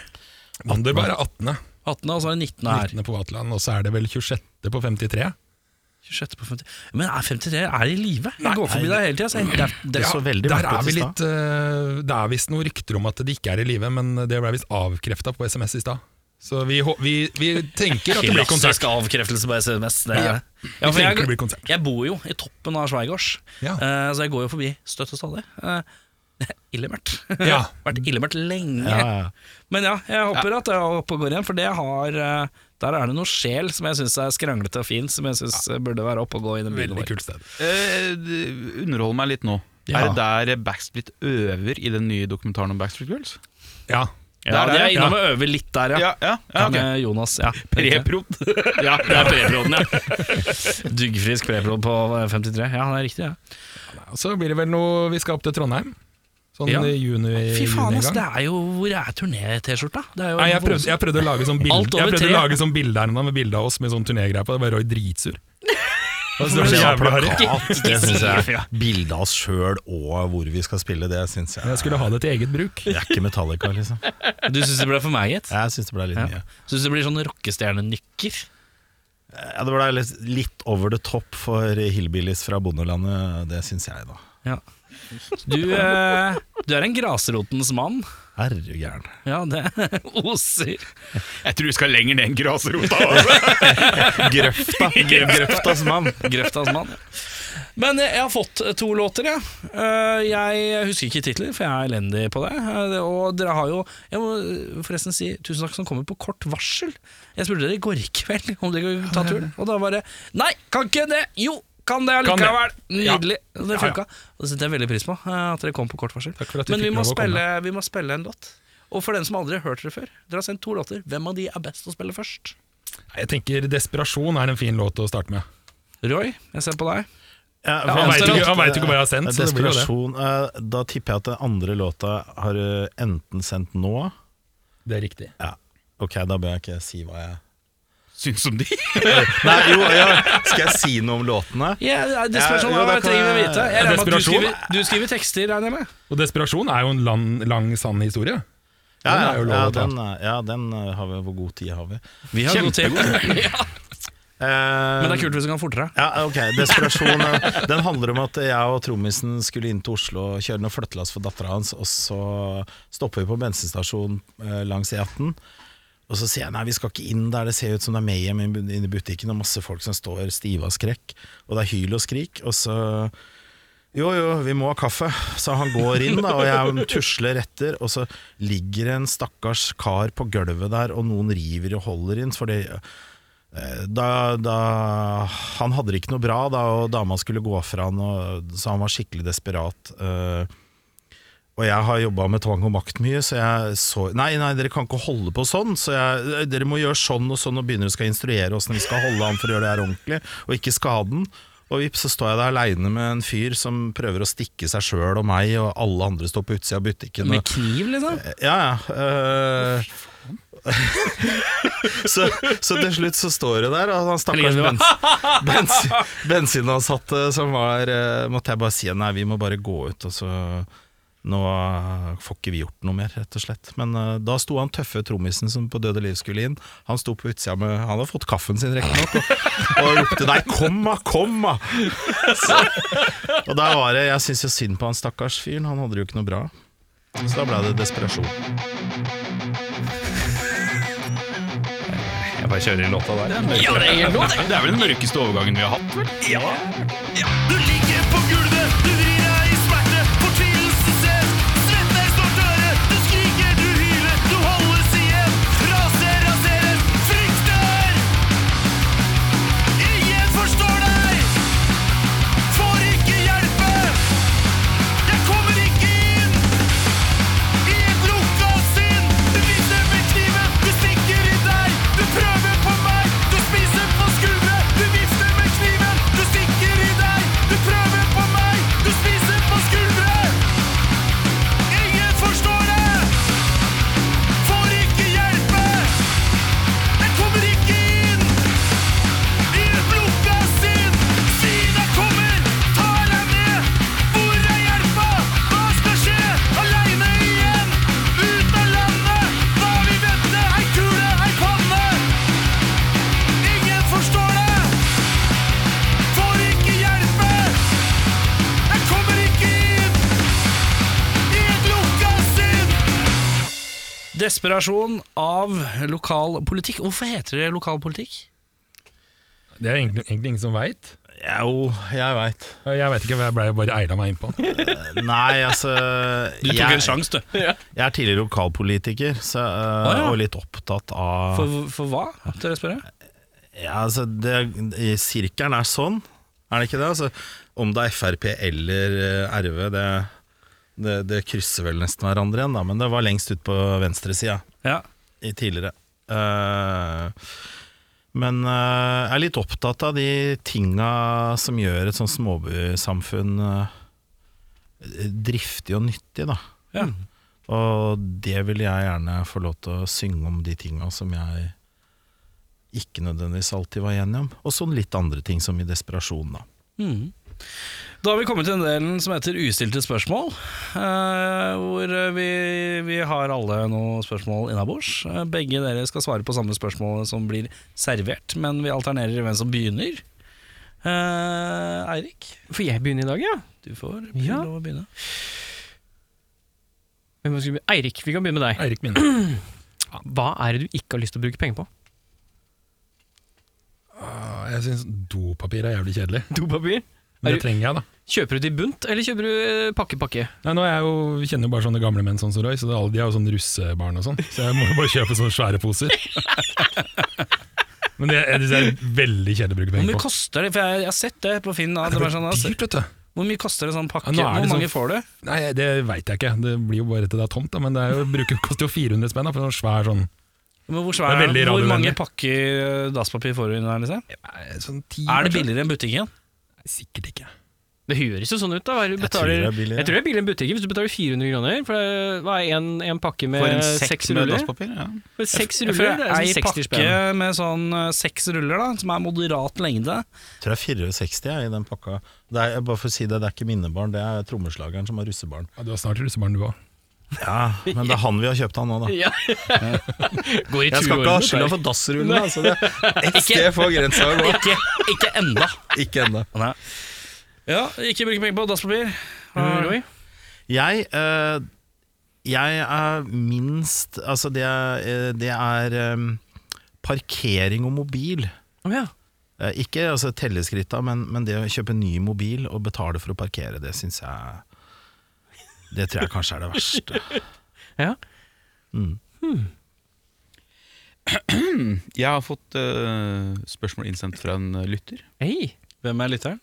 S8: Wunderbar er 18.
S2: 18., og så er det 19. her.
S8: 19. på Vaterland, og så er det vel 26. på 53.
S2: 26. på 50. Men er 53 er de i live? Jeg går forbi deg hele tida. så jeg- Det, er- det,
S6: Det
S2: er-
S6: så veldig
S8: Der
S6: mørkt
S8: er
S6: ut
S8: vi
S6: i stad.
S8: litt eh, Det er visst noen rykter om at de ikke er i live, men det ble visst avkrefta på SMS i stad. Så vi, hå- vi, vi tenker at det blir konsert.
S2: Klassisk avkreftelse på SMS. Det,
S8: Ja.
S2: er- ja,
S8: Vi
S2: for
S8: tenker
S2: jeg,
S8: det blir konsert.
S2: jeg bor jo i toppen av Sveigårds,
S8: Ja.
S2: eh, så jeg går jo forbi støtt og stadig. Eh, det er Illemørkt.
S8: Ja.
S2: Vært illemørkt lenge.
S6: Ja, ja.
S2: Men ja, jeg håper at det er oppe og går igjen, for det har eh, der er det noe sjel som jeg syns er skranglete og fint, som jeg syns burde være oppe og gå i den byen vår.
S8: Veldig kult sted.
S3: Eh, d- underhold meg litt nå.
S2: Ja.
S3: Er det der Backstreet øver i den nye dokumentaren om Backstreet Girls?
S8: Ja.
S2: Ja,
S3: Der er
S2: de er
S3: det,
S2: innom og øver litt der, ja.
S3: Ja, ja, ja ok.
S2: Med Jonas. Ja.
S3: Preprod.
S2: Ja, det er preproden, ja. Duggfrisk preprod på 53. Ja, det er riktig, ja.
S8: Og så blir det vel noe Vi skal opp til Trondheim. Sånn
S2: Ja.
S8: i juni,
S2: Fy faen,
S8: juni en
S2: ass.
S8: gang.
S2: Det er jo Hvor er turné-T-skjorta? Det er jo
S8: Nei, jeg prøvde, jeg prøvde å lage sånn bilde
S2: Alt over
S8: Jeg prøvde
S2: tre.
S8: å lage sånn bilde her nå med bilde av oss med sånn turnégreier på. Det var Roy dritsur. Altså, det var
S6: Det
S8: så
S6: var
S8: jævlig harry.
S6: plakat, det syns jeg. Bilde av oss sjøl og hvor vi skal spille, det syns jeg.
S8: Jeg skulle ha det til eget bruk.
S6: Det er ikke Metallica, liksom.
S2: Du syns det ble for meg, gitt?
S6: Jeg syns det ble litt mye.
S2: Syns det blir sånn rockestjernenykker?
S6: Ja, det ble litt, litt over the top for hillbillies fra bondelandet, det syns jeg, da.
S2: Ja. Du, eh, du er en grasrotens mann.
S6: Herregæren.
S2: Ja, det oser.
S3: Jeg tror vi skal lenger ned enn grasrota. Altså.
S6: Grøfta. Grøftas mann.
S2: Grøftas mann. Men eh, jeg har fått to låter, jeg. Eh, Jeg husker ikke titler, for jeg er elendig på det. Eh, Og dere har jo Jeg må eh, forresten si tusen takk som kommer på kort varsel. Jeg spurte dere i går kveld om dere kunne ta turen, og da var det Nei, kan ikke det! Jo! Kan det
S8: Kan det.
S2: allikevel!
S8: Ja.
S2: Nydelig. Det
S8: Ja, ja.
S2: funka. Og Det setter jeg veldig pris på, eh, at dere kom på kort varsel.
S8: Takk for at du
S2: Men vi
S8: fikk
S2: må,
S8: lov å
S2: spille, vi må spille en låt. Og for den som aldri har hørt dere før, dere har sendt to låter. Hvem av de er best å spille først?
S8: Nei, Jeg tenker 'Desperasjon' er en fin låt å starte med.
S2: Roy, jeg ser på deg.
S6: Ja, for
S8: Han
S6: jeg
S8: vet
S6: tror
S8: ikke- han
S6: at-
S8: vet ikke hva jeg har sendt, så det blir jo det.
S6: Desperasjon, eh, Da tipper jeg at den andre låta har du enten sendt nå
S8: Det er riktig.
S6: Ja, ok, da bør jeg ikke si hva jeg
S3: Syns som de.
S6: Nei, jo, ja. skal jeg si noe om låtene?
S2: Ja, det er desperasjon,
S6: Ja, jo,
S2: hva
S6: da kan
S2: trenger vi å
S6: jeg-
S2: vite? Jeg regner med at du
S8: Desperasjon?
S2: skriver, du skriver tekster, regner jeg med?
S8: Og 'Desperasjon' er jo en lang, lang sann historie.
S6: Ja,
S8: Den er jo
S6: ja,
S8: lov
S6: ja,
S8: å ta. Eh,
S6: den, er- ja, den eh, har vi. Hvor god tid har vi?
S2: Vi har god tid. Ja,
S6: Eh,
S2: Men det er kult hvis du kan fortere.
S6: Ja, ok, Desperasjon eh, Den handler om at jeg og trommisen skulle inn til Oslo og kjøre noe flyttelass for dattera hans, og så stopper vi på bensinstasjonen eh, langs E18. Og så sier jeg nei, vi skal ikke inn der, det ser ut som det er Mayhem inn- inne i butikken, og masse folk som står stive av skrekk, og det er hyl og skrik. Og så jo, jo, vi må ha kaffe. Så han går inn, da, og jeg tusler etter. Og så ligger det en stakkars kar på gulvet der, og noen river og holder inn. Fordi eh, da, da Han hadde det ikke noe bra da, og dama skulle gå fra han, og, så han var skikkelig desperat. eh, og jeg har jobba med tvang og makt mye, så jeg så Nei, nei, dere kan ikke holde på sånn, så jeg, dere må gjøre sånn og sånn, og begynner å skal instruere åssen vi skal holde han for å gjøre det her ordentlig, og ikke skade den. Og vips, så står jeg der aleine med en fyr som prøver å stikke seg sjøl og meg, og alle andre står på utsida av butikken.
S1: Med
S6: og-
S1: kniv, liksom?
S6: ja, ja. eh, så, så til slutt så står det der, og han stakkars
S1: Jeg liker det.
S6: bens, bens, bensinansatte som var eh, Måtte jeg bare si nei, vi må bare gå ut, og så Nå eh, får ikke vi gjort noe mer, rett og slett. Men eh, da sto han tøffe trommisen som på Døde liv skulle inn. Han sto på utsida med Han hadde fått kaffen sin, riktignok, og, og ropte 'nei, kom da, kom da'. Så- Og der var det Jeg syns jo synd på han stakkars fyren, han hadde det jo ikke noe bra. Så da ble det desperasjon.
S1: Jeg bare kjører i låta der.
S7: Ja, det, er det er vel den mørkeste overgangen vi har hatt, vel?
S11: Du ligger på gulvet, du vrir deg i smerte. Fortvilelse ses. Svette står tørre. Du skriker, du hyler, du holdes igjen. Raser, raseres, frykter. Ingen forstår deg. Får ikke hjelpe. Jeg kommer ikke inn. I et lukka sinn. Du viser med kniven, du stikker i deg. Du prøver på meg, du spiser på skuldre. Du vifter med kniven, du stikker i deg. Du prøver på meg, du spiser på skuldre. Ingen forstår det. Får ikke hjelpe. Jeg kommer ikke inn. I et lukka sinn. Siden jeg kommer, tar jeg ned. Hvor er hjelpa? Hva skal skje? Aleine igjen. Ut av landet. Hva vi vente? Ei kule, ei panne. Ingen forstår det. Får ikke hjelpe. Jeg kommer ikke inn. I et lukka sinn.
S1: Desperasjon av lokal politikk. Hvorfor heter det lokal politikk?
S8: Det er egentlig, egentlig ingen som veit.
S6: Jo, jeg veit.
S8: Jeg veit ikke, jeg ble bare eila meg innpå.
S6: Nei, altså
S1: Du tok en
S6: jeg,
S1: sjanse, du.
S6: jeg er tidligere lokalpolitiker så, eh,
S1: Å, ja.
S6: og litt opptatt av
S1: For, for hva, tør jeg spørre?
S6: ja, altså, det, i Sirkelen er sånn, er det ikke det? Altså, om det er Frp eller eh, RV, det, det, det krysser vel nesten hverandre igjen, da, men det var lengst ut på venstresida
S1: Ja.
S6: i- tidligere. Eh, men eh, jeg er litt opptatt av de tinga som gjør et sånt småbysamfunn eh, driftig og nyttig, da.
S1: Ja.
S6: Og det vil jeg gjerne få lov til å synge om de tinga som jeg ikke nødvendigvis alltid var gjennom. Og sånn litt andre ting, som i desperasjon, da.
S1: Mhm. Da har vi kommet til den delen som heter ustilte spørsmål. eh, hvor eh, vi, vi har alle noen spørsmål innabords. Eh, begge dere skal svare på samme spørsmål som blir servert, men vi alternerer i hvem som begynner. Eh, Eirik,
S2: For jeg begynner i dag, ja.
S1: du får
S2: Ja.
S1: lov å begynne.
S2: Hvem skal vi begynne? Eirik, vi kan begynne med deg.
S8: Eirik Minne.
S2: Hva er det du ikke har lyst til å bruke penger på?
S8: Ah, Jeg syns dopapir er jævlig kjedelig.
S2: Dopapir?
S8: Men
S2: Er
S8: det trenger jeg, da.
S2: Kjøper du det i bunt, eller kjøper du eh, pakke, pakke?
S8: Nei, nå er jeg jo, vi kjenner jo bare sånne gamle menn sånn som Roy, så det er alle de er jo sånne russebarn og sånn. Så jeg må jo bare kjøpe sånne svære poser. Men det, det er veldig kjedelig å bruke
S1: Hvor
S8: penger
S1: mye
S8: på.
S1: koster det? For jeg, jeg har sett det på Finn. Da. Det
S8: Det
S1: var sånn,
S8: blir
S1: altså,
S8: dyrt, vet du.
S1: hvor mye koster det sånn pakke?
S8: Ja, nå er
S1: Hvor
S8: det
S1: mange
S8: sånn-
S1: får du?
S8: Nei, det veit jeg ikke. Det blir jo bare til det er tomt, da. Men det er jo, bruker, koster jo 400 spenn da, for en svær sånn
S1: Men hvor,
S8: Det
S1: svær,
S8: er veldig
S1: hvor mange
S8: radiovennlig.
S1: pakker eh, dasspapir får du inn her? Liksom?
S8: Nei, sånn ti,
S1: Er det
S8: kanskje?
S1: billigere enn butikken?
S8: Sikkert ikke.
S2: Det høres jo sånn ut, da. Hva er det du
S6: Jeg tror
S2: betaler,
S6: det er billig,
S2: jeg tror det er billig i en butikk hvis du betaler 400 kroner. For det- hva er en, en pakke med
S1: Eh,
S7: For en
S2: seks
S7: sekk med
S2: ruller?
S7: dasspapir. Ja.
S2: For seks
S1: Jeg
S2: ruller,
S1: føler
S2: det er
S1: Ei
S2: sånn 60
S1: pakke
S2: spenn.
S1: med sånn eh, seks ruller, da, som er moderat lengde.
S6: Jeg tror jeg er 64 jeg, i den pakka. Det er, bare for å si det, det er ikke mine barn, det er trommeslageren som har russebarn.
S8: Ja, du har snart russebarn, du òg.
S6: Ja, men det er han vi har kjøpt han nå, da.
S2: Ja. Går i
S6: Jeg skal ikke ha
S2: turorden,
S6: skylda
S2: dette
S6: for dassrullen, altså. Det er et sted for grensa å gå.
S1: Ikke, ikke enda.
S6: Ikke ennå.
S1: Ja, ikke bruke penger på dasspapir.
S2: her. Roy?
S6: Jeg, eh, jeg er minst Altså, det er, eh, det er eh, parkering og mobil.
S2: Å ja.
S6: Eh, Ikke altså, telleskritta, men, men det å kjøpe ny mobil og betale for å parkere, det syns jeg Det tror jeg kanskje er det verste.
S2: Ja.
S3: Jeg har fått eh, spørsmål innsendt fra en lytter.
S2: Hei!
S1: Hvem er lytteren?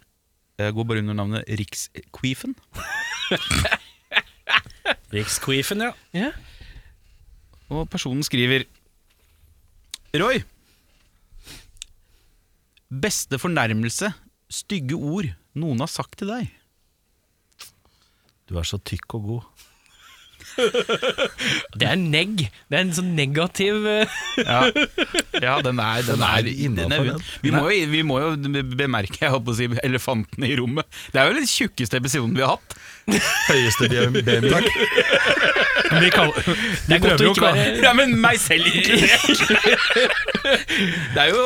S3: Jeg går bare under navnet Riksqueefen.
S1: Riksqueefen, ja.
S2: Ja.
S3: Og personen skriver Roy Beste fornærmelse Stygge ord noen har sagt til deg
S6: Du er så tykk og god.
S2: Det er negg. Det er en sånn negativ eh,
S3: Ja, den er, den
S6: er
S3: er, den
S6: innenfor
S3: er
S6: den.
S3: vi, må jo, vi må jo bemerke jeg holdt på å si, elefantene i rommet Det er jo den tjukkeste episoden vi har hatt
S6: Høyeste BMW.
S8: De, kall, de
S2: Det er godt
S8: prøver
S2: å
S8: jo å
S2: ikke
S8: kalle
S2: være
S3: Ja, men meg selv inkludert Det er jo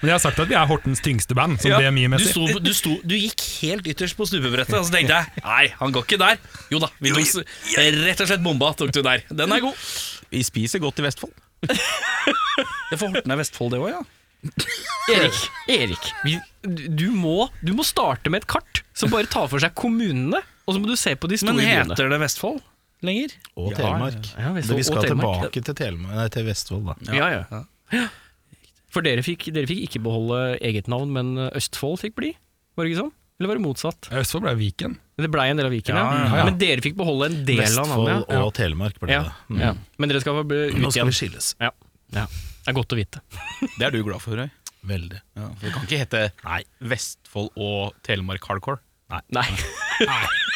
S8: Men jeg har sagt at vi er Hortens tyngste band, som
S3: Ja,
S1: Du,
S8: BMI-messig.
S1: sto, du, sto, du gikk helt ytterst på snupebrettet, og så tenkte jeg nei, han går ikke der. Jo da, vi tok, s- eh, rett og slett bomba tok du der. Den er god.
S3: Vi spiser godt i Vestfold
S1: Det får Horten er Vestfold, det òg, ja.
S2: Erik, Erik vi, du, må, du må starte med et kart som bare tar for seg kommunene, og så må du se på de store
S1: Men
S2: byene.
S1: heter det Vestfold lenger?
S6: Og Telemark.
S2: ja, Vestfold
S6: Men vi
S2: og
S6: skal
S2: Telemark.
S6: tilbake til, Telemark, nei, til Vestfold, da.
S2: Ja, ja. For dere fikk, dere fikk ikke beholde eget navn, men Østfold fikk bli? Var det ikke sånn? Eller var det motsatt?
S8: Østfold ble Viken.
S2: Det blei en del av Viken, ja.
S8: ja, ja.
S2: Men dere fikk beholde en del av
S6: Vestfold
S2: navnet.
S6: og Telemark ble
S2: Ja.
S1: Mm.
S6: det. Mm.
S2: Ja. Men dere skal bli ut
S6: Nå skal
S2: igjen.
S6: vi skilles.
S2: Ja. ja. Det er godt å vite.
S3: Det er du glad for, Røy
S6: Veldig.
S3: ja, for Det kan ikke hete Vestfold og Telemark Hardcore
S2: Nei.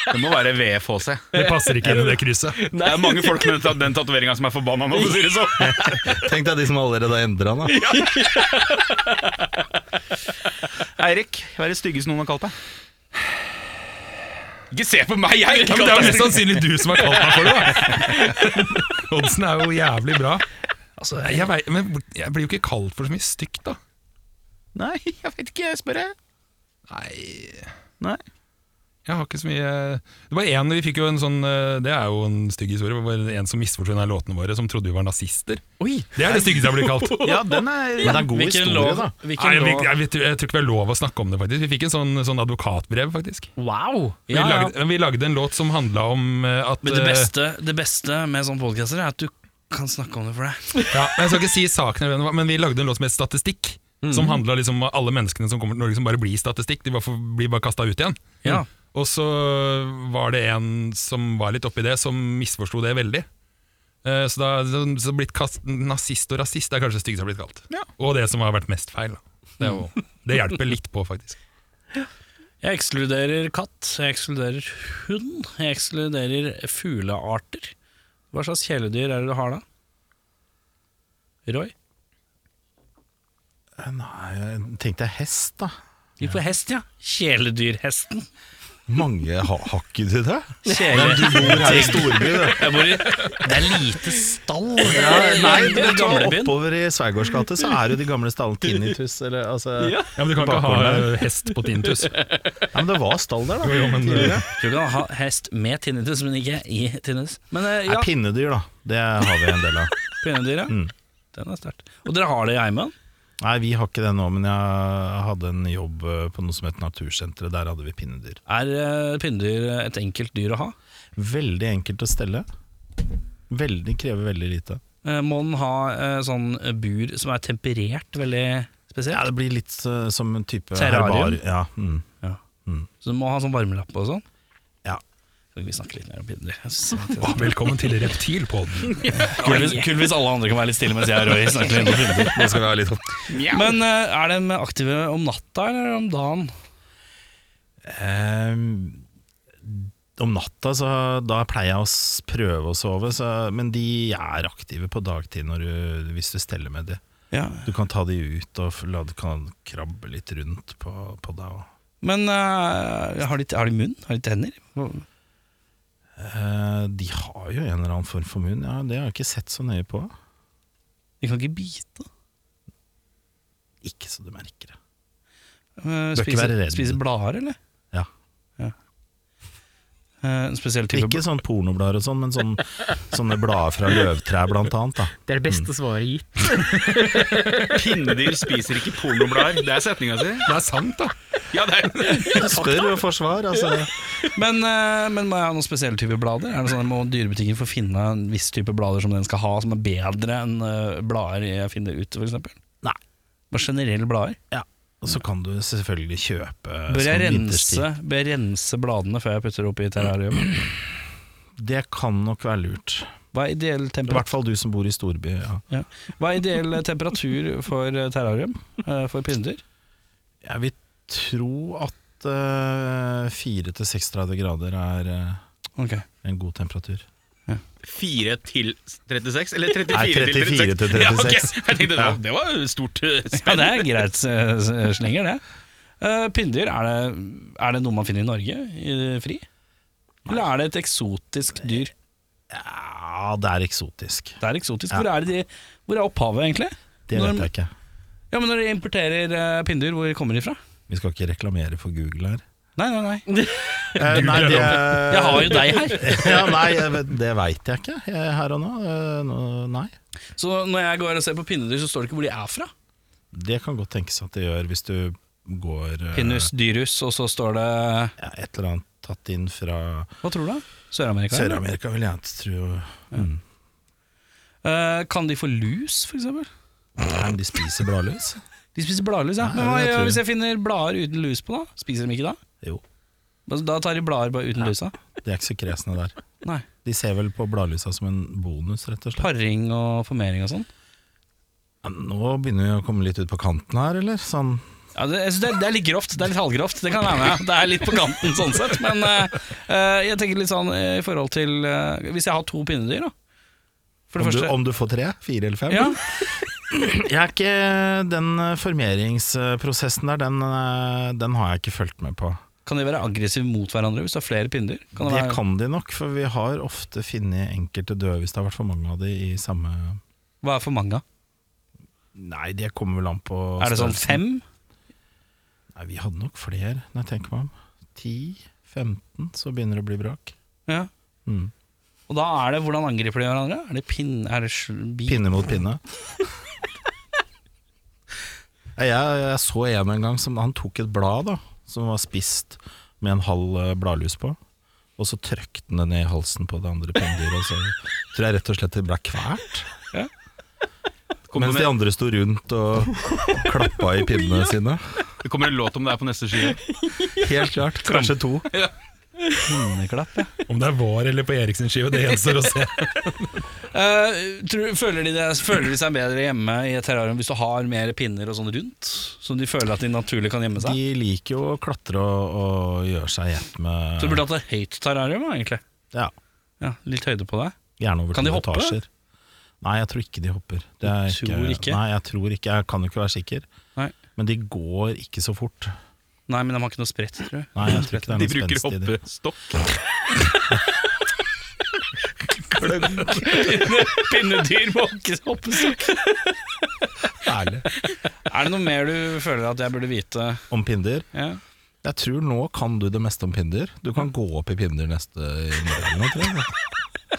S3: Det må være VFHC
S8: Det passer ikke inn i det krysset.
S3: Det er mange folk med den- den tatueringen som er forbanna nå, for å si det sånn.
S6: Tenk deg de som allerede har endra, da.
S3: Eirik, hva er det styggeste noen har kalt deg? Ikke se på meg, jeg har
S8: Ja,
S3: ikke
S8: men det er
S3: kalt
S8: jo
S3: deg
S8: mest
S7: sånn.
S8: sannsynlig du som har kalt meg for det. da. Oddsen er jo jævlig bra. Altså, jeg, vet, men jeg blir jo ikke kalt for så mye stygt, da.
S3: Nei, jeg vet ikke, jeg spør jeg. Nei.
S8: Jeg har ikke så mye Det var en, vi fikk jo en sånn eh, Det er jo en stygg historie. Det var en som misforsto en av låtene våre, som trodde vi var nazister.
S2: Oi!
S8: Det er det styggeste jeg blir kalt.
S3: Ja, den er
S6: Men det er en god
S1: Hvilken
S6: historie,
S1: lov?
S6: da.
S8: Nei,
S1: Hvilken
S8: jeg,
S1: lov?
S8: jeg, jeg, vet- jeg tror ikke vi har lov å snakke om det, faktisk. Vi fikk en sånn, sånn advokatbrev, faktisk.
S2: Wow!
S8: Vi,
S1: Ja, ja.
S8: Lagde, vi lagde en låt som handla om eh, at
S1: Men det
S8: eh,
S1: beste, det beste med sånne podkaster er at du kan snakke om det for deg.
S8: Ja, men jeg skal ikke si saken, eller hvem det var, men vi lagde en låt som het Statistikk. Som handla liksom om alle menneskene som kommer til Norge som bare blir statistikk. De bare får, blir bare kasta ut igjen. Mm.
S1: Ja.
S8: Og så var det en som var litt oppi det, som misforsto det veldig. Eh, Så da så, så blitt kast, nazist og rasist er kanskje det styggeste jeg har blitt kalt. Og det som har vært mest feil. Da. Det, er jo, det hjelper litt på, faktisk.
S1: Jeg ekskluderer katt, jeg ekskluderer hund, jeg ekskluderer fuglearter. Hva slags kjæledyr er det du har da? Roy?
S6: Nei, jeg tenkte hest, da.
S1: Vi får hest, ja. Kjæledyrhesten.
S6: Mange ha, har ikke de det?
S1: Kjæle.
S6: Du bor her i storby, du.
S1: Jeg bor i Det er lite stall.
S6: Ja, nei, men vet du hva,
S1: Gamlebyen.
S6: oppover i Sveigårds gate så er jo de gamle stallene Tinnitus, eller altså ja.
S8: Ja, men Du kan ikke ha
S6: Bakgården
S8: hest på tinnitus.
S6: Men det var stall der, da.
S8: Jo, jo, men- eh,
S6: tidligere.
S1: Du kan ha hest med tinnitus, men ikke i tinnitus. Men eh,
S6: Nei,
S1: ja,
S6: pinnedyr, da. Det har vi en del av.
S1: pinnedyr, ja.
S6: Mm.
S1: Den er sterkt. Og dere har det i heimen?
S6: Nei, vi har ikke det nå, men jeg hadde en jobb eh, på noe som het Natursenteret. Der hadde vi pinnedyr.
S1: Er eh, pinnedyr et enkelt dyr å ha?
S6: Veldig enkelt å stelle. Veldig, krever veldig lite.
S1: Eh, Må den ha eh, sånn bur som er temperert veldig
S6: Ja,
S1: spesielt?
S6: det blir litt eh, som en type
S1: Terrarium?
S6: herbar- Ja, mm.
S1: Så du må ha sånn varmelapp og sånn?
S6: Ja.
S1: Kan ikke vi snakke litt mer om pinnedyr? Jeg synes det er
S8: Og Velkommen til Reptilpodden.
S1: Kult hvis, kult hvis alle andre kan være litt stille mens jeg og Roy snakker litt om pinnedyr.
S6: Nå skal vi ha litt opp.
S1: Men eh, er de aktive om natta eller om dagen?
S6: Ehm, om natta så da pleier jeg å s- prøve å sove, så, men de er aktive på dagtid når du, hvis du steller med de.
S1: Ja.
S6: Du kan ta de ut og f- la de kan krabbe litt rundt på, på deg. og-
S1: Men eh, har, de, har de munn? Har de tenner?
S6: Eh, de har jo en eller annen form for munn, ja, det har jeg ikke sett så nøye på.
S1: De kan ikke bite.
S6: Ikke så du merker det.
S1: Eh,
S6: Bør ikke
S1: Spise,
S6: være redd.
S1: spise blader, eller?
S6: Ja.
S1: Ja. Eh, En spesiell type
S6: Ikke sånn pornoblader og sånn, men sånn, sånne blader fra løvtrær blant annet. Da.
S2: Det er det
S1: Mm.
S2: beste svaret gitt.
S7: Pinnedyr spiser ikke pornoblader. Det er setninga si.
S8: Det er sant, da.
S7: Ja, det er
S6: Du spør og får svar. Altså.
S1: Men, eh, men må jeg ha noen spesielle typer blader? Er det sånn at Må dyrebutikken få finne en viss type blader som den skal ha, som er bedre enn eh, blader jeg finner ute, f.eks.?
S6: Nei.
S1: Bare generelle blader?
S6: Og så kan du selvfølgelig kjøpe
S1: Bør jeg,
S6: sånn vinterstid.
S1: rense, bør jeg rense bladene før jeg putter det opp i terrarium?
S6: Det kan nok være lurt.
S1: Hva er ideell
S6: I
S1: temperatur,
S6: hvert fall du som bor i storby. Ja.
S1: Hva er ideell temperatur for eh, terrarium? eh, For pinnedyr?
S6: Jeg vil tro at uh, 4-36 grader er eh,
S1: Ok.
S6: en god temperatur.
S7: 4 til 36? Eller 34
S6: Nei, 34 til 36.
S7: Ja, ok. Jeg tenkte, det var- Det var jo stort eh,
S1: Ja,
S7: spenn.
S1: det er greit eh, s- slenger, det. Uh, Pinnedyr, er det, er det noe man finner i Norge i det fri? Eller er det et eksotisk dyr?
S6: Ja, det er eksotisk.
S1: Det er eksotisk. Hvor er, det de, hvor er opphavet, egentlig?
S6: Det
S1: Når-
S6: vet jeg ikke.
S1: Ja, men Når de importerer uh, pinnedyr, hvor kommer de fra?
S6: Vi skal ikke reklamere for Google her.
S1: Nei, nei, nei.
S6: Eh, nei, det,
S1: Jeg har jo deg her.
S6: ja, nei, jeg vet- det veit jeg ikke eh, her og nå. Eh, nå- Nei.
S1: Så når jeg går og ser på pinnedyr, så står det ikke hvor de er fra.
S6: Det kan godt tenkes at det gjør hvis du går eh,
S1: Pinnus dyrus, og så står det
S6: ja, et eller annet tatt inn fra
S1: Hva tror du? da? Sør-Amerika? eller?
S6: Sør-Amerika, vil jeg tro. Mm.
S1: Eh, kan de få lus, for eksempel?
S6: Nei, men de spiser bladlus.
S1: De spiser bladlus, ja.
S6: Ja,
S1: Men hva
S6: jeg
S1: gjør
S6: tror
S1: jeg hvis
S6: det.
S1: jeg finner blader uten lus på, da? Spiser de ikke da?
S6: Jo,
S1: Altså, Da tar de blader bare uten lus, da?
S6: de er ikke så kresne der.
S1: Nei.
S6: De ser vel på bladlusa som en bonus, rett og slett.
S1: Paring og formering og sånn?
S6: Ja, Nå begynner vi å komme litt ut på kanten her, eller? Sånn.
S1: Ja, det, jeg synes det, er- det er litt grovt. Det er litt halvgrovt. Det kan jeg være med. Det er litt på kanten sånn sett. Men eh, eh, jeg tenker litt sånn eh, i forhold til eh, Hvis jeg har to pinnedyr, da. For det
S6: Om, du,
S1: første.
S6: om du får tre? Fire eller fem?
S1: ja,
S6: Jeg er ikke, den eh, formeringsprosessen der, den, eh, den har jeg ikke fulgt med på.
S1: kan de være aggressive mot hverandre hvis du har flere pinnedyr? Kan det
S6: det
S1: være-
S6: kan de nok, for vi har ofte funnet enkelte døde hvis det har vært for mange av de i samme
S1: Hva er for mange?
S6: Nei, det kommer vel an på
S1: Er det sånn
S6: størrelsen.
S1: fem?
S6: Nei, vi hadde nok flere, når jeg tenker meg om. 10-15, så begynner det å bli brak.
S1: Ja.
S6: Mm.
S1: Og da er det hvordan angriper de hverandre? Er det pinn... Er det sl- bi-
S6: Pinne mot pinne. Nei, jeg, jeg så en en gang som han tok et blad da, som var spist med en halv eh, bladlus på. Og så trøkte han det ned i halsen på det andre pinnedyret. og Så tror jeg rett og slett det ble kvært.
S1: Ja.
S6: Mens de andre sto rundt og klappa i pinnene sine.
S7: Det kommer en låt om det her på neste side.
S6: Helt klart. Kanskje to.
S1: Pinneklapp, ja.
S8: Om det er vår eller på Eriksens skive, det gjenstår å se.
S1: Eh, tror, føler, de det, føler de seg bedre hjemme i et terrarium hvis du har mer pinner og sånn rundt? Som de føler at de naturlig kan gjemme seg?
S6: De liker jo å klatre og, og gjøre seg i ett med
S1: Så du burde hatt et høyt terrarium, da, egentlig.
S6: Ja,
S1: Ja, litt høyde på deg.
S6: Gjerne over
S1: Kan de
S6: to
S1: hoppe?
S6: etasjer. Nei, jeg tror ikke de hopper. Det er
S1: Du tror ikke?
S6: Nei, jeg tror ikke. Jeg kan jo ikke være sikker.
S1: Nei.
S6: Men de går ikke så fort.
S1: Nei, men de har ikke noe spredt, tror jeg.
S6: Nei, jeg tror ikke det er
S7: De
S6: noe
S7: bruker
S6: spenst i det.
S7: hoppestokk.
S1: Pinnedyr må ikke hoppe så
S6: Ærlig.
S1: Er det noe mer du føler at jeg burde vite?
S6: Om pinder.
S1: Ja.
S6: Jeg tror nå kan du det meste om pinder. Du kan gå opp i pinder neste i morgen. nå, tror jeg.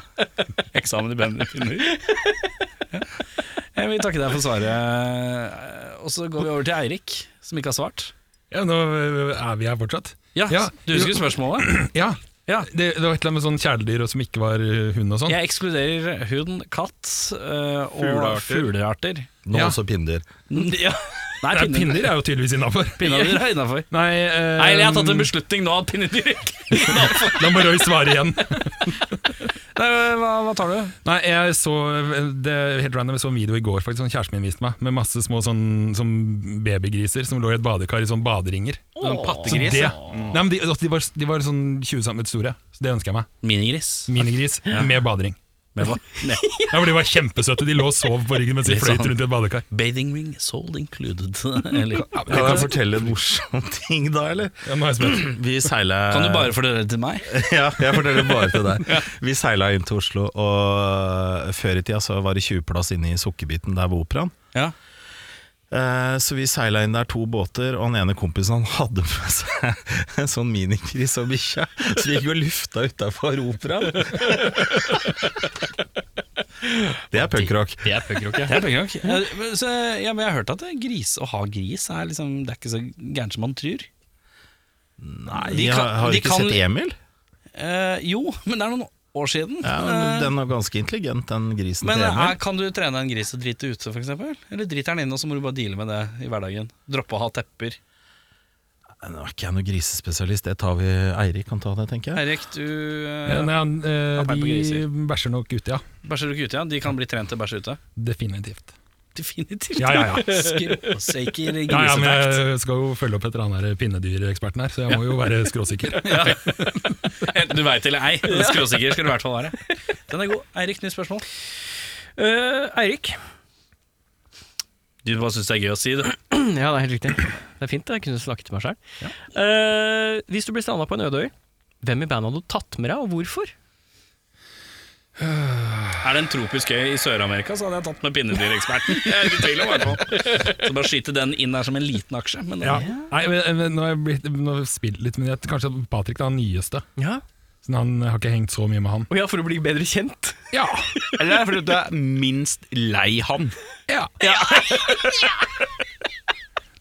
S1: Eksamen i bandet pinner. Ja. Jeg vil takke deg for svaret. Og så går vi over til Eirik, som ikke har svart.
S8: Ja, nå eh, er vi her fortsatt.
S1: Ja,
S8: Ja.
S1: Du husker spørsmålet?
S8: Ja,
S1: Ja.
S8: det, det var et eller annet med sånn kjæledyr og som ikke var eh, hund og sånn.
S1: Jeg ekskluderer hund, katt eh, og
S7: Fuglearter.
S1: fuglearter.
S6: Nå
S8: Ja.
S6: også pinder.
S1: Ja. Nei,
S8: Nei,
S1: pinner.
S8: pinner er jo tydeligvis innafor.
S1: Pinnedyr er innafor.
S8: Nei, eh,
S1: Nei, eller jeg har
S2: Um,
S1: tatt en beslutning nå at pinnedyr ikke
S8: Da må Roy svare igjen.
S1: Nei, Eh, hva, hva tar du?
S8: Nei, jeg så det er helt random, jeg så en video i går faktisk, som kjæresten min viste meg, med masse små sånn, sånn babygriser som lå i et badekar i sånn baderinger.
S7: Sånn
S8: Så
S7: pattegris.
S8: det, nei, men de, altså, de, var, de var sånn 20 cm store, så det ønsker jeg meg.
S1: Minigris.
S8: Minigris med badering.
S1: Med hva? Nei.
S8: Ja, for De var kjempesøte, de lå og sov på ryggen mens de
S1: Litt
S8: fløyt
S1: sånn.
S8: rundt i et badekar.
S1: Bathing ring sold included. Eller,
S6: Kan jeg fortelle en morsom ting da, eller?
S8: Ja, nå er jeg spent.
S6: Vi seila
S1: kan du bare fortelle det til meg?
S6: Ja, jeg forteller bare til deg. Vi seila inn til Oslo, og før i tida så var det 20-plass inne i Sukkerbiten der ved Operaen.
S1: Ja.
S6: Eh, Eh, Så vi seila inn der to båter, og han ene kompisen han hadde med seg en sånn minikris og bikkja. Så vi gikk og lufta utafor operaen. Det er punkrock.
S2: Det er punkrock, ja.
S1: Det er pengerock. Eh, men Så, ja, men jeg har hørt at det er gris, å ha gris er liksom, det er ikke så gærent som man tror.
S6: Nei,
S1: De kan-
S6: har du
S1: de
S6: ikke
S1: kan-
S6: sett Emil?
S1: Eh, jo, men det er noen år siden.
S6: Ja,
S1: Eh,
S6: men Den er ganske intelligent, den grisen
S1: men eh,
S6: til
S1: er,
S6: Emil.
S1: kan du trene en gris til å drite ute, f.eks.? Eller driter den inne, og så må du bare deale med det i hverdagen? Droppe å ha tepper.
S6: Nå er ikke jeg noen grisespesialist, det tar vi Eirik kan ta det, tenker jeg.
S1: Eirik, du
S8: Ja,
S1: eh,
S8: nei, han, eh,
S1: peil på
S8: de
S1: griser.
S8: bæsjer nok ut, ja.
S1: bæsjer du ikke ute? Ja? De kan bli trent til å bæsje ute?
S8: Definitivt.
S1: Definitivt.
S8: Ja, ja, ja.
S1: Skråsikker
S8: Ja, ja, men
S1: grisetakt.
S8: jeg skal jo følge opp etter han der pinnedyreksperten her, så jeg må jo være skråsikker.
S1: Enten du veit eller ei, skråsikker skal du i hvert fall være. Den er god. Eirik, nytt spørsmål.
S2: Eh, Eirik.
S1: Du bare syns det er gøy å si, du.
S2: Ja, det er helt riktig. Det er fint, jeg kunne snakket til meg sjøl. hvis du blir stranda på en øde øy, hvem i bandet hadde du tatt med deg, og hvorfor?
S1: Er det en tropisk øy i Sør-Amerika, så hadde jeg tatt med pinnedyreksperten. Jeg er ikke i tvil om i hvert fall. Så bare skyte den inn der som en liten aksje. Men
S8: Ja. Nei, men, men, nå har jeg blitt, nå har jeg spilt litt, men jeg, kanskje Patrick er den nyeste.
S2: Ja.
S8: Så han jeg har ikke hengt så mye med han.
S2: Og ja, for å bli bedre kjent.
S8: Ja,
S7: Eller er det fordi du er minst lei han?
S8: ja.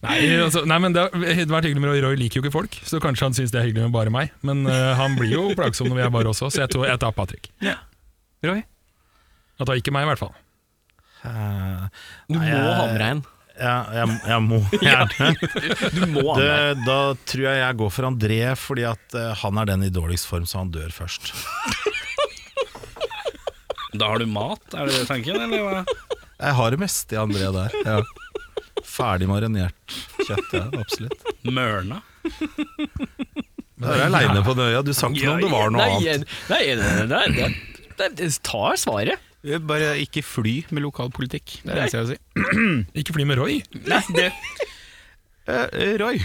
S8: Nei, altså, nei, men det har det har vært hyggelig med Roy. Roy liker jo ikke folk, så kanskje han syns det er hyggelig med bare meg. Men eh, han blir jo plagsom når vi er bare også, så jeg, tror jeg tar Patrick.
S2: Roy,
S8: Han tar ikke meg, i hvert fall.
S6: Eh,
S2: du må
S6: Nei, jeg-
S2: ha med deg en.
S6: Ja, jeg, jeg må gjerne
S2: Du må ha med deg
S6: det, Da tror jeg jeg går for André, fordi at eh, han er den i dårligst form, så han dør først.
S1: Da har du mat, er det tanken, eller hva?
S6: Jeg har det meste i André der. Ja. Ferdig marinert kjøtt, ja, absolutt.
S1: Mørna.
S6: Da er jeg aleine på den øya. Du sa ikke noe om det var noe
S2: nei,
S6: annet.
S2: Nei, nei, nei, nei, nei, nei ta svaret.
S7: Bare ikke fly med lokalpolitikk. Det er det eneste jeg vil si.
S8: Ikke fly med Roy.
S7: Nei, det Eh, Roy,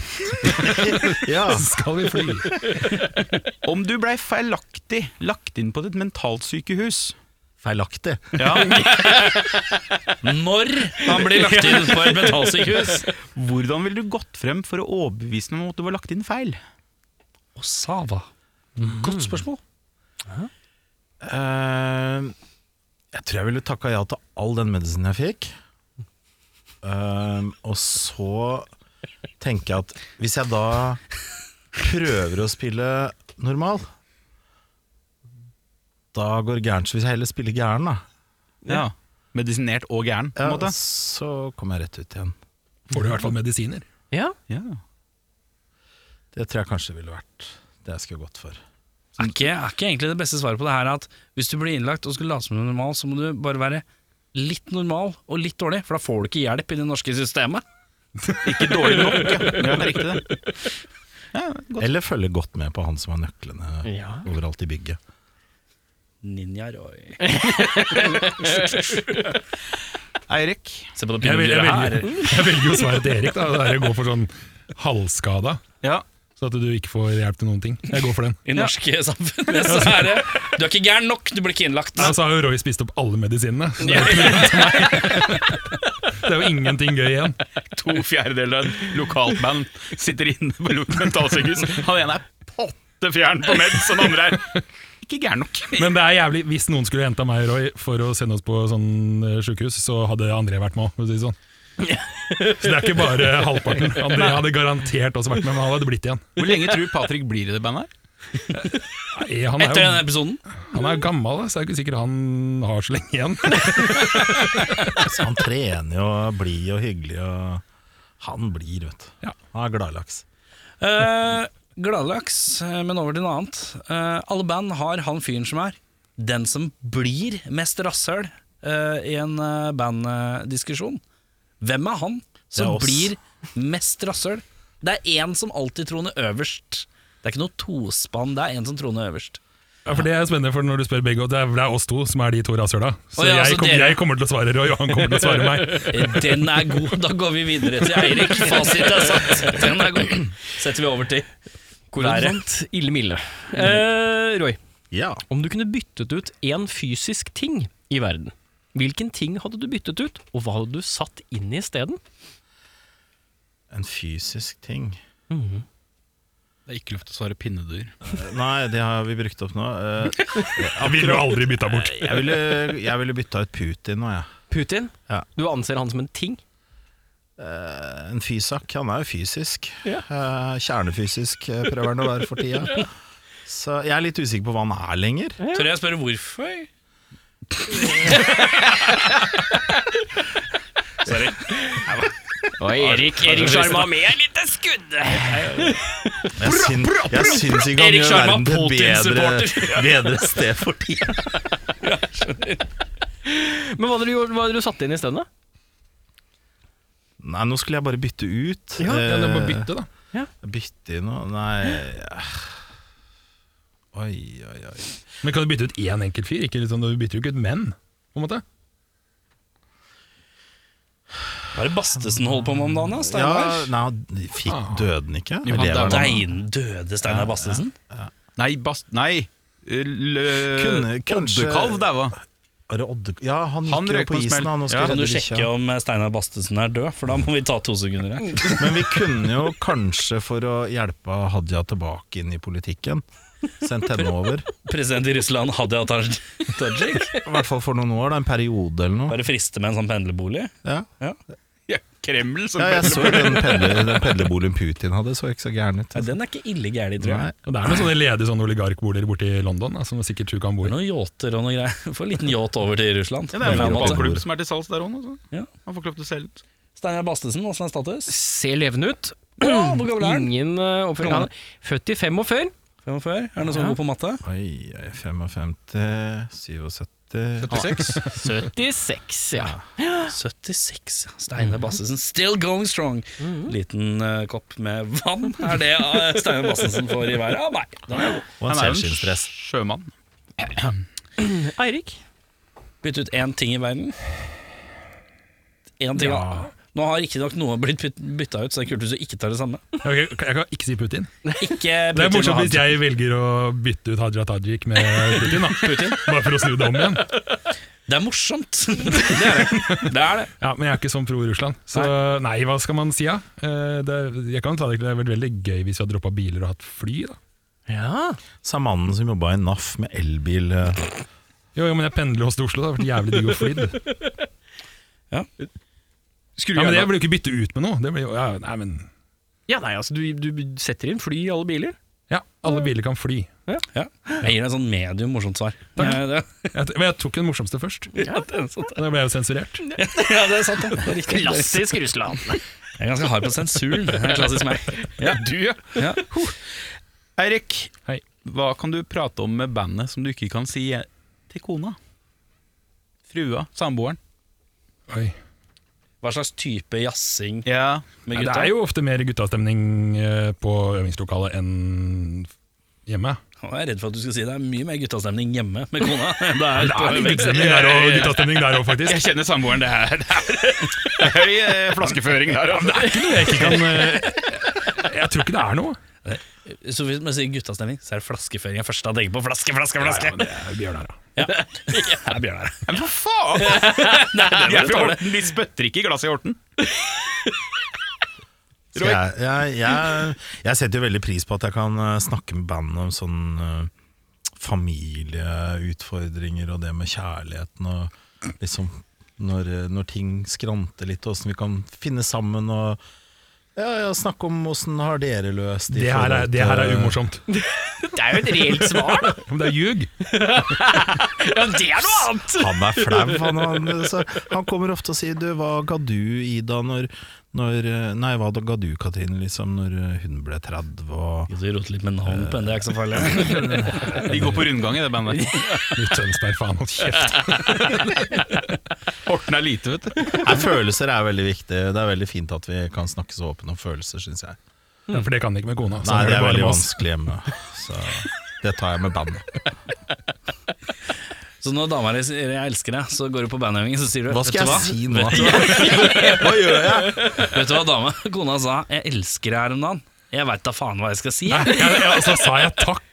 S6: Ja,
S8: Skal vi fly?
S7: om du blei feilaktig lagt inn på et mentalsykehus
S6: Feilaktig.
S1: Når han blir lagt inn på et mentalsykehus.
S7: Hvordan ville du gått frem for å overbevise meg om at du var lagt inn feil?
S1: Og Sava. Godt spørsmål.
S6: Eh, jeg tror jeg ville takka ja til all den medisinen jeg fikk. Eh, og så tenker jeg at hvis jeg da prøver å spille normal, da går det gærent. Så hvis jeg heller spiller gæren, da,
S7: Ja. Medisinert og gæren, på en
S6: ja,
S7: måte.
S6: så kommer jeg rett ut igjen.
S8: Får du i hvert fall medisiner.
S2: Ja.
S7: Ja.
S6: Det tror jeg kanskje ville vært det jeg skulle gått for.
S1: Er ikke, er ikke egentlig det beste svaret på det her at hvis du blir innlagt og skulle late som du er normal, så må du bare være litt normal og litt dårlig, for da får du ikke hjelp i det norske systemet.
S7: Ikke dårlig nok, ja. ja. Det er riktig, det. Ja, godt.
S6: Eller følge godt med på han som har nøklene
S2: ja.
S6: overalt i bygget.
S1: Ninja Roy.
S7: Eirik,
S1: Se på det
S8: Jeg, vil, jeg,
S1: pinnedyret her.
S8: velger, jeg velger jo svaret til Erik. Da. Det er å gå for sånn halvskada,
S7: ja.
S8: så at du ikke får hjelp til noen ting. Jeg går for den.
S1: I norske samfunnet så er det Du er ikke gæren nok, du blir ikke innlagt.
S2: altså,
S8: Nei, så har jo Roy spist opp alle medisinene. Så det, er jo ikke- det er jo ingenting gøy igjen.
S7: to fjerdedeler av et lokalt band sitter inne på lo- mentalsykehus. Han ene er potte fjern på meds, og den andre er ikke gæren nok.
S8: Men det er jævlig, hvis noen skulle henta meg og Roy for å sende oss på sånn eh, sjukehus, så hadde André vært med òg. Si det sånn. Så det er ikke bare halvparten. André hadde garantert også vært med, men han hadde blitt igjen.
S7: Hvor lenge tror du Patrick blir i det bandet? her?
S8: Nei, Han er
S1: Etter
S8: jo
S1: denne episoden.
S8: han er jo gammel, da, så det er ikke sikkert han har så lenge igjen.
S6: Så han trener jo og blir og hyggelig og Han blir, vet du.
S8: Ja.
S6: Han er gladlaks.
S1: Eh, Gladlaks, eh, men over til noe annet. Eh, alle band har han fyren som er den som blir mest rasshøl eh, i en eh, banddiskusjon. Hvem er han som
S6: Det er oss.
S1: blir mest rasshøl? Det er én som alltid troner øverst. Det er ikke noe tospann, det er én som troner øverst.
S8: Ja, for Det er spennende, for når du spør begge, og det er, det er oss to som er de to rasshøla. Så
S1: Å ja,
S8: jeg,
S1: altså
S8: kommer-
S1: dere-
S8: jeg kommer til å svare Roy, og han kommer til å svare meg.
S1: Eh, Den er god, da går vi videre til Eirik. Fasit er satt. Den er god. Setter vi over til været.
S2: Korrekt. Ille milde.
S1: Mm.
S2: Eh, Roy,
S6: Ja.
S2: om du kunne byttet ut én fysisk ting i verden, hvilken ting hadde du byttet ut, og hva hadde du satt inn i isteden?
S6: En fysisk ting?
S7: Det er ikke lov til å svare pinnedyr.
S6: Nei, det har vi brukt opp nå. Eh,
S8: Han ville jo aldri bytta bort.
S6: Jeg ville, jeg ville bytta ut Putin nå, jeg.
S2: Putin?
S6: Ja.
S2: Du anser han som en ting?
S6: Eh, En fysak, han er jo fysisk. Eh, Kjernefysisk eh, prøver han å være for tida. Så jeg er litt usikker på hva han er lenger.
S1: Tør jeg spørre hvorfor?
S2: Og Erik Erik Sjarma med et lite skudd!
S6: Jeg, syn, jeg syns ikke han
S1: Erik
S6: gjør
S1: Sharma,
S6: verden til et bedre,
S1: Putin-supporter.
S6: bedre sted for tida.
S2: Men hva hadde du, gjort- hva hadde du satt inn isteden, da?
S6: Nei, nå skulle jeg bare bytte ut.
S8: Ja, ja, det er bare å
S6: Eh,
S8: bytte, da.
S6: Bytte i noe Nei Oi, oi, oi.
S8: Men kan du bytte ut én enkelt fyr? Ikke liksom, du bytter jo ikke ut menn, på en måte.
S1: Hva er det Bastesen holder på med om dagen? da,
S6: Ja,
S1: Steinar?
S6: nei, han fikk døde han ikke?
S7: Jo, han
S6: Lever
S7: døde.
S6: han?
S1: Dein døde Steinar Bastesen?
S7: Nei, bast... Nei! Lø...
S6: Kunne kanskje-
S7: Oddekalv daua.
S6: Er det Odde... Ja, han gikk
S7: Han
S6: jo
S7: røk på
S6: på
S7: smell.
S6: isen, han. og skulle
S7: Ja,
S1: Kan du
S6: redde bikkja.
S1: sjekke om Steinar Bastesen er død, for da må vi ta to sekunder her.
S6: Men vi kunne jo kanskje, for å hjelpe Hadia tilbake inn i politikken, sendt henne over.
S1: President i Russland, Hadia Taj- Tajik,
S6: I hvert fall for noen år, da, en periode eller noe.
S1: bare friste med en sånn pendlerbolig.
S6: Ja,
S7: Ja, Kreml som
S6: ja jeg så den, pendler, den pendlerboligen Putin hadde, så ikke så gæren ut.
S1: Ja, den er ikke ille gæren, tror
S6: Nei.
S1: jeg.
S8: Og Det er noen sånne ledige sånne oligarkboliger borte i London, da, som sikkert tror ikke han
S1: Det
S8: bor
S1: er
S8: i.
S1: Noen yachter og noe greier. Få en liten yacht over til Russland.
S7: Ja, det er
S1: På en
S7: en
S1: måte.
S7: fotballklubb som er til salgs der òg.
S1: Ja.
S7: Han får ikke lov til å selge ut.
S1: Steinar Bastesen, åssen er status?
S2: Ser levende ut.
S1: Å, hvor gammel er han?
S2: Ingen eh, oppfølging.
S1: Gammel.
S2: Han er Født i 45.
S1: 45? Er det noen som er god på matte?
S6: Oi, oi, 55, 77
S2: 76, ja.
S1: 76, ja. Steinar Bastesen, still going strong. Liten eh, kopp med vann, er det eh, Steinar Bastesen får i været? Ah, nei. Da er jeg god.
S6: Og en
S7: Han er jo en
S6: selvskinnsdress.
S7: sjømann.
S2: Eirik?
S1: Bytte ut én ting i verden. Én ting. Ja. Nå har riktignok noe blitt bytta ut, så det er kult hvis du ikke tar det samme.
S8: Ok, jeg kan ikke si Putin.
S1: Ikke
S8: Det er
S1: Putin og
S8: morsomt hvis
S1: Hadia.
S8: jeg velger å bytte ut Hadia Tajik med Putin, da. Bare for å snu det om igjen.
S1: Det er morsomt! det er det. det, er det.
S8: Ja, Men jeg er ikke sånn pro-Russland. Så nei, hva skal man si, da? Eh, Det, jeg kan ta det, det hadde vært veldig gøy hvis vi hadde droppa biler og hatt fly. da
S2: Ja.
S6: Sa mannen som jobba i NAF med elbil. eh,
S8: Jo, jo, men jeg pendler også til Oslo. Det har vært jævlig digg å fly. det.
S7: Skru
S8: Ja, men
S7: gjerne
S8: Jeg vil jo ikke bytte ut med noe. Det blir jo, ja, nei, men
S2: ja, nei, altså, du, du setter inn fly i alle biler.
S8: Ja, alle biler kan fly.
S1: Ja. Jeg gir deg et sånn medium morsomt svar. Ja, det,
S8: Jeg, men jeg tok den morsomste først.
S1: ja, det, er sant, det.
S8: Da ble jeg jo sensurert.
S1: ja, det er sant, det. det er riktig.
S2: Klassisk Russland.
S1: Jeg er ganske hard på sensuren. Det er klassisk meg.
S7: Ja, du, ja.
S1: Ja.
S7: Huh. Eirik,
S8: Hei.
S7: hva kan du prate om med bandet som du ikke kan si til kona? Frua? Samboeren?
S8: Oi.
S1: Hva slags type jazzing
S7: Ja.
S1: med
S8: Ja, det
S1: gutta?
S8: er jo ofte mer guttastemning eh, på øvingslokalet enn hjemme.
S1: Jeg er redd for at du skal si det er mye mer guttastemning hjemme med kona. enn Det er
S8: Det er
S1: på
S8: litt
S1: vekst.
S8: guttastemning der og guttastemning der òg, faktisk.
S7: Jeg kjenner samboeren. Det er, det er høy eh, flaskeføring der. Altså.
S8: Det er ikke noe jeg ikke kan eh, Jeg tror ikke det er noe.
S1: Så hvis man sier guttastemning, så er det flaskeføring jeg først da tenker på. Flaske, flaske,
S8: Ja,
S1: flaske!
S8: men det er Bjørnar, da.
S1: Det er Bjørnar.
S7: Ja, Men hva faen?
S1: det
S7: Jeg er fra
S1: tåler.
S7: Horten. Vi spytter ikke i glasset i Horten.
S6: Så Jeg, jeg, jeg, jeg setter jo veldig pris på at jeg kan eh, snakke med bandet om sånn eh, familieutfordringer og det med kjærligheten og liksom når, eh, når ting skranter litt, åssen vi kan finne sammen og ja, ja, snakke om åssen har dere løst i
S8: Det her
S6: forhold
S8: er, det her er
S6: til-
S8: umorsomt.
S2: Det er jo et reelt svar.
S8: Men det er ljug.
S2: Ja, det er noe annet!
S6: Han er flau. Han, han, så han kommer ofte og sier du, 'hva ga du, Ida, når, når eh, Nei, hva ga du, Katrine, liksom, når eh, hun ble 30? og...
S1: Du roter litt med navn på en, det er ikke så farlig.
S7: De går på rundgang i det bandet.
S8: Nytt Tønsberg, faen. Hold kjeft.
S7: Horten er lite, vet du.
S6: Nei, følelser er veldig viktig. Det er veldig fint at vi kan snakke så åpent om følelser, syns jeg.
S8: Ja, for det kan jeg ikke med kona. så
S6: Nei, det Sånn er
S8: bare
S6: veldig
S8: med oss.
S6: vanskelig hjemme. Så det tar jeg med bandet.
S1: Så når dama di sier 'jeg elsker deg', så går du på bandøvingen, så sier du
S6: Hva skal
S1: vet du
S6: jeg
S1: hva?
S6: si nå? Hva gjør jeg?
S1: Vet du hva dama, kona sa 'jeg elsker deg' her om dagen'? Jeg veit da faen hva jeg skal si.
S8: Nei,
S1: jeg.
S8: ja, ja, og så sa jeg takk.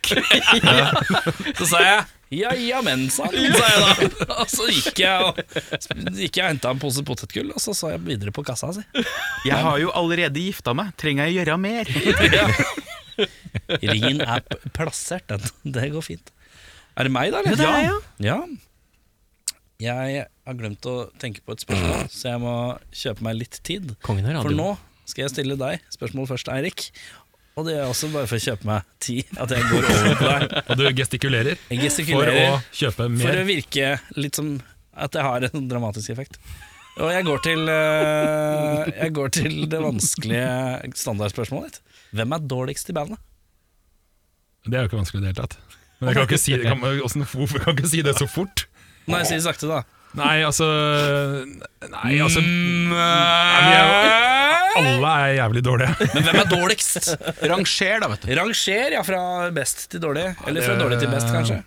S1: Så sa jeg Ja, ja, men, sa han, sa jeg da. Og så gikk jeg og, gikk jeg og henta en pose potetgull, og så sa jeg videre på kassa si.
S7: Jeg har jo allerede gifta meg, trenger jeg gjøre mer?
S1: Ringen er p- plassert, den. Det går fint. Er det meg, da? Eller? Ja, ja. Jeg har glemt å tenke på et spørsmål, så jeg må kjøpe meg litt tid.
S2: Kongen av
S1: For
S2: radioen.
S1: nå skal jeg stille deg spørsmål først, Eirik. Og det gjør jeg også bare for å kjøpe meg tid. At jeg går over på deg.
S8: Og du gestikulerer
S1: Jeg
S8: for å
S1: gestikulerer
S8: kjøpe
S1: for
S8: mer.
S1: å virke litt som at jeg har en sånn dramatisk effekt. Og jeg går til, eh, jeg går til det vanskelige standardspørsmålet ditt. Hvem er dårligst i bandet?
S8: Det er jo ikke vanskelig i det hele tatt. Men jeg kan ikke si det, kan, man- hvordan- hvorfor kan jeg ikke si det så fort.
S1: Nei, si det sakte, da.
S8: Nei, altså Nei, altså nei, men jeg, Alle er jævlig dårlige.
S1: Men hvem er dårligst?
S7: Ranger, da, vet du.
S1: Ranger, ja, fra best til dårlig. Eller fra dårlig til best, kanskje.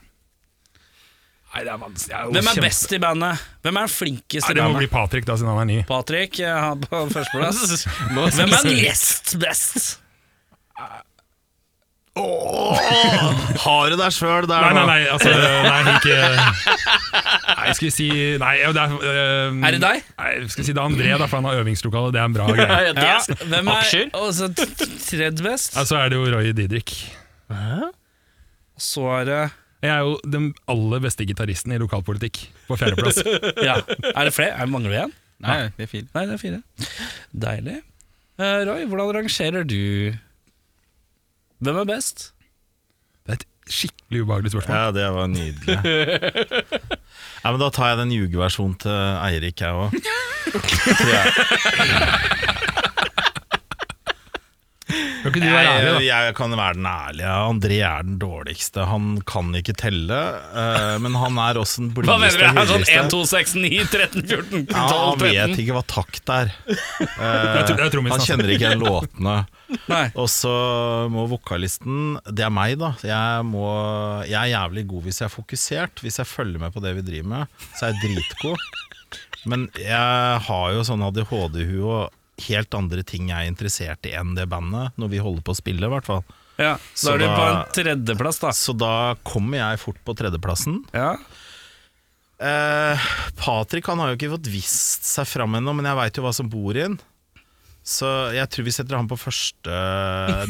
S8: Nei, det er vanskelig. det jo
S1: Hvem er
S8: kjempe-
S1: best i bandet? Hvem er den flinkeste
S8: Nei,
S1: i
S8: det må
S1: bandet?
S8: bli Patrick, da, siden han er ny.
S1: Patrik eh, han på førsteplass. Hvem er nest best?
S6: Har du deg sjøl der
S8: Nei, nei,
S6: nå?
S8: nei, altså Nei, ikke Nei, skal vi si Nei, det er øh,
S1: Er det deg?
S8: Nei, skal vi si det er André, da, for han har øvingslokale. Det er en bra greie.
S1: Ja, hvem er og så t- tredje best?
S8: Ja, Så er det jo Roy Didrik.
S1: Og så er det
S8: Jeg er jo den aller beste gitaristen i lokalpolitikk, på fjerdeplass.
S1: Ja, er det flere? Er det mangler vi en?
S7: Nei, det er fint.
S1: Nei, det er fire. Deilig. Eh, Roy, hvordan rangerer du Hvem er best?
S8: Det er et skikkelig ubehagelig spørsmål.
S6: Ja, det var nydelig. Nei, men Da tar jeg den ljugeversjonen til Eirik, jeg òg.
S8: Kan ikke du være ærlig,
S6: Jeg,
S8: da?
S6: jeg kan være den ærlige. André er den dårligste. Han kan ikke telle, eh, men han er også den
S1: Hva mener du?
S6: blideste
S1: Er det sånn 1,
S6: hyggeligste.
S1: 2, 6, 9, 13, 14, 12,
S6: Ja, han
S1: 13?
S6: vet ikke hva takt er. Eh,
S8: Jeg tror- jeg tror vi
S6: han
S8: snakker.
S6: kjenner ikke igjen låtene.
S1: Nei.
S6: Og så må vokalisten Det er meg, da. Jeg, må, jeg er jævlig god hvis jeg er fokusert. Hvis jeg følger med på det vi driver med, så er jeg dritgod. Men jeg har jo sånn ADHD-hue og helt andre ting jeg er interessert i enn det bandet, når vi holder på å spille, i hvert fall.
S1: Ja, da
S6: Så
S1: er du på en
S6: da-
S1: tredjeplass, da.
S6: Så da kommer jeg fort på tredjeplassen.
S1: Ja.
S6: Eh, Patrick han har jo ikke fått vist seg fram ennå, men jeg veit jo hva som bor i den. Så jeg tror vi setter han på første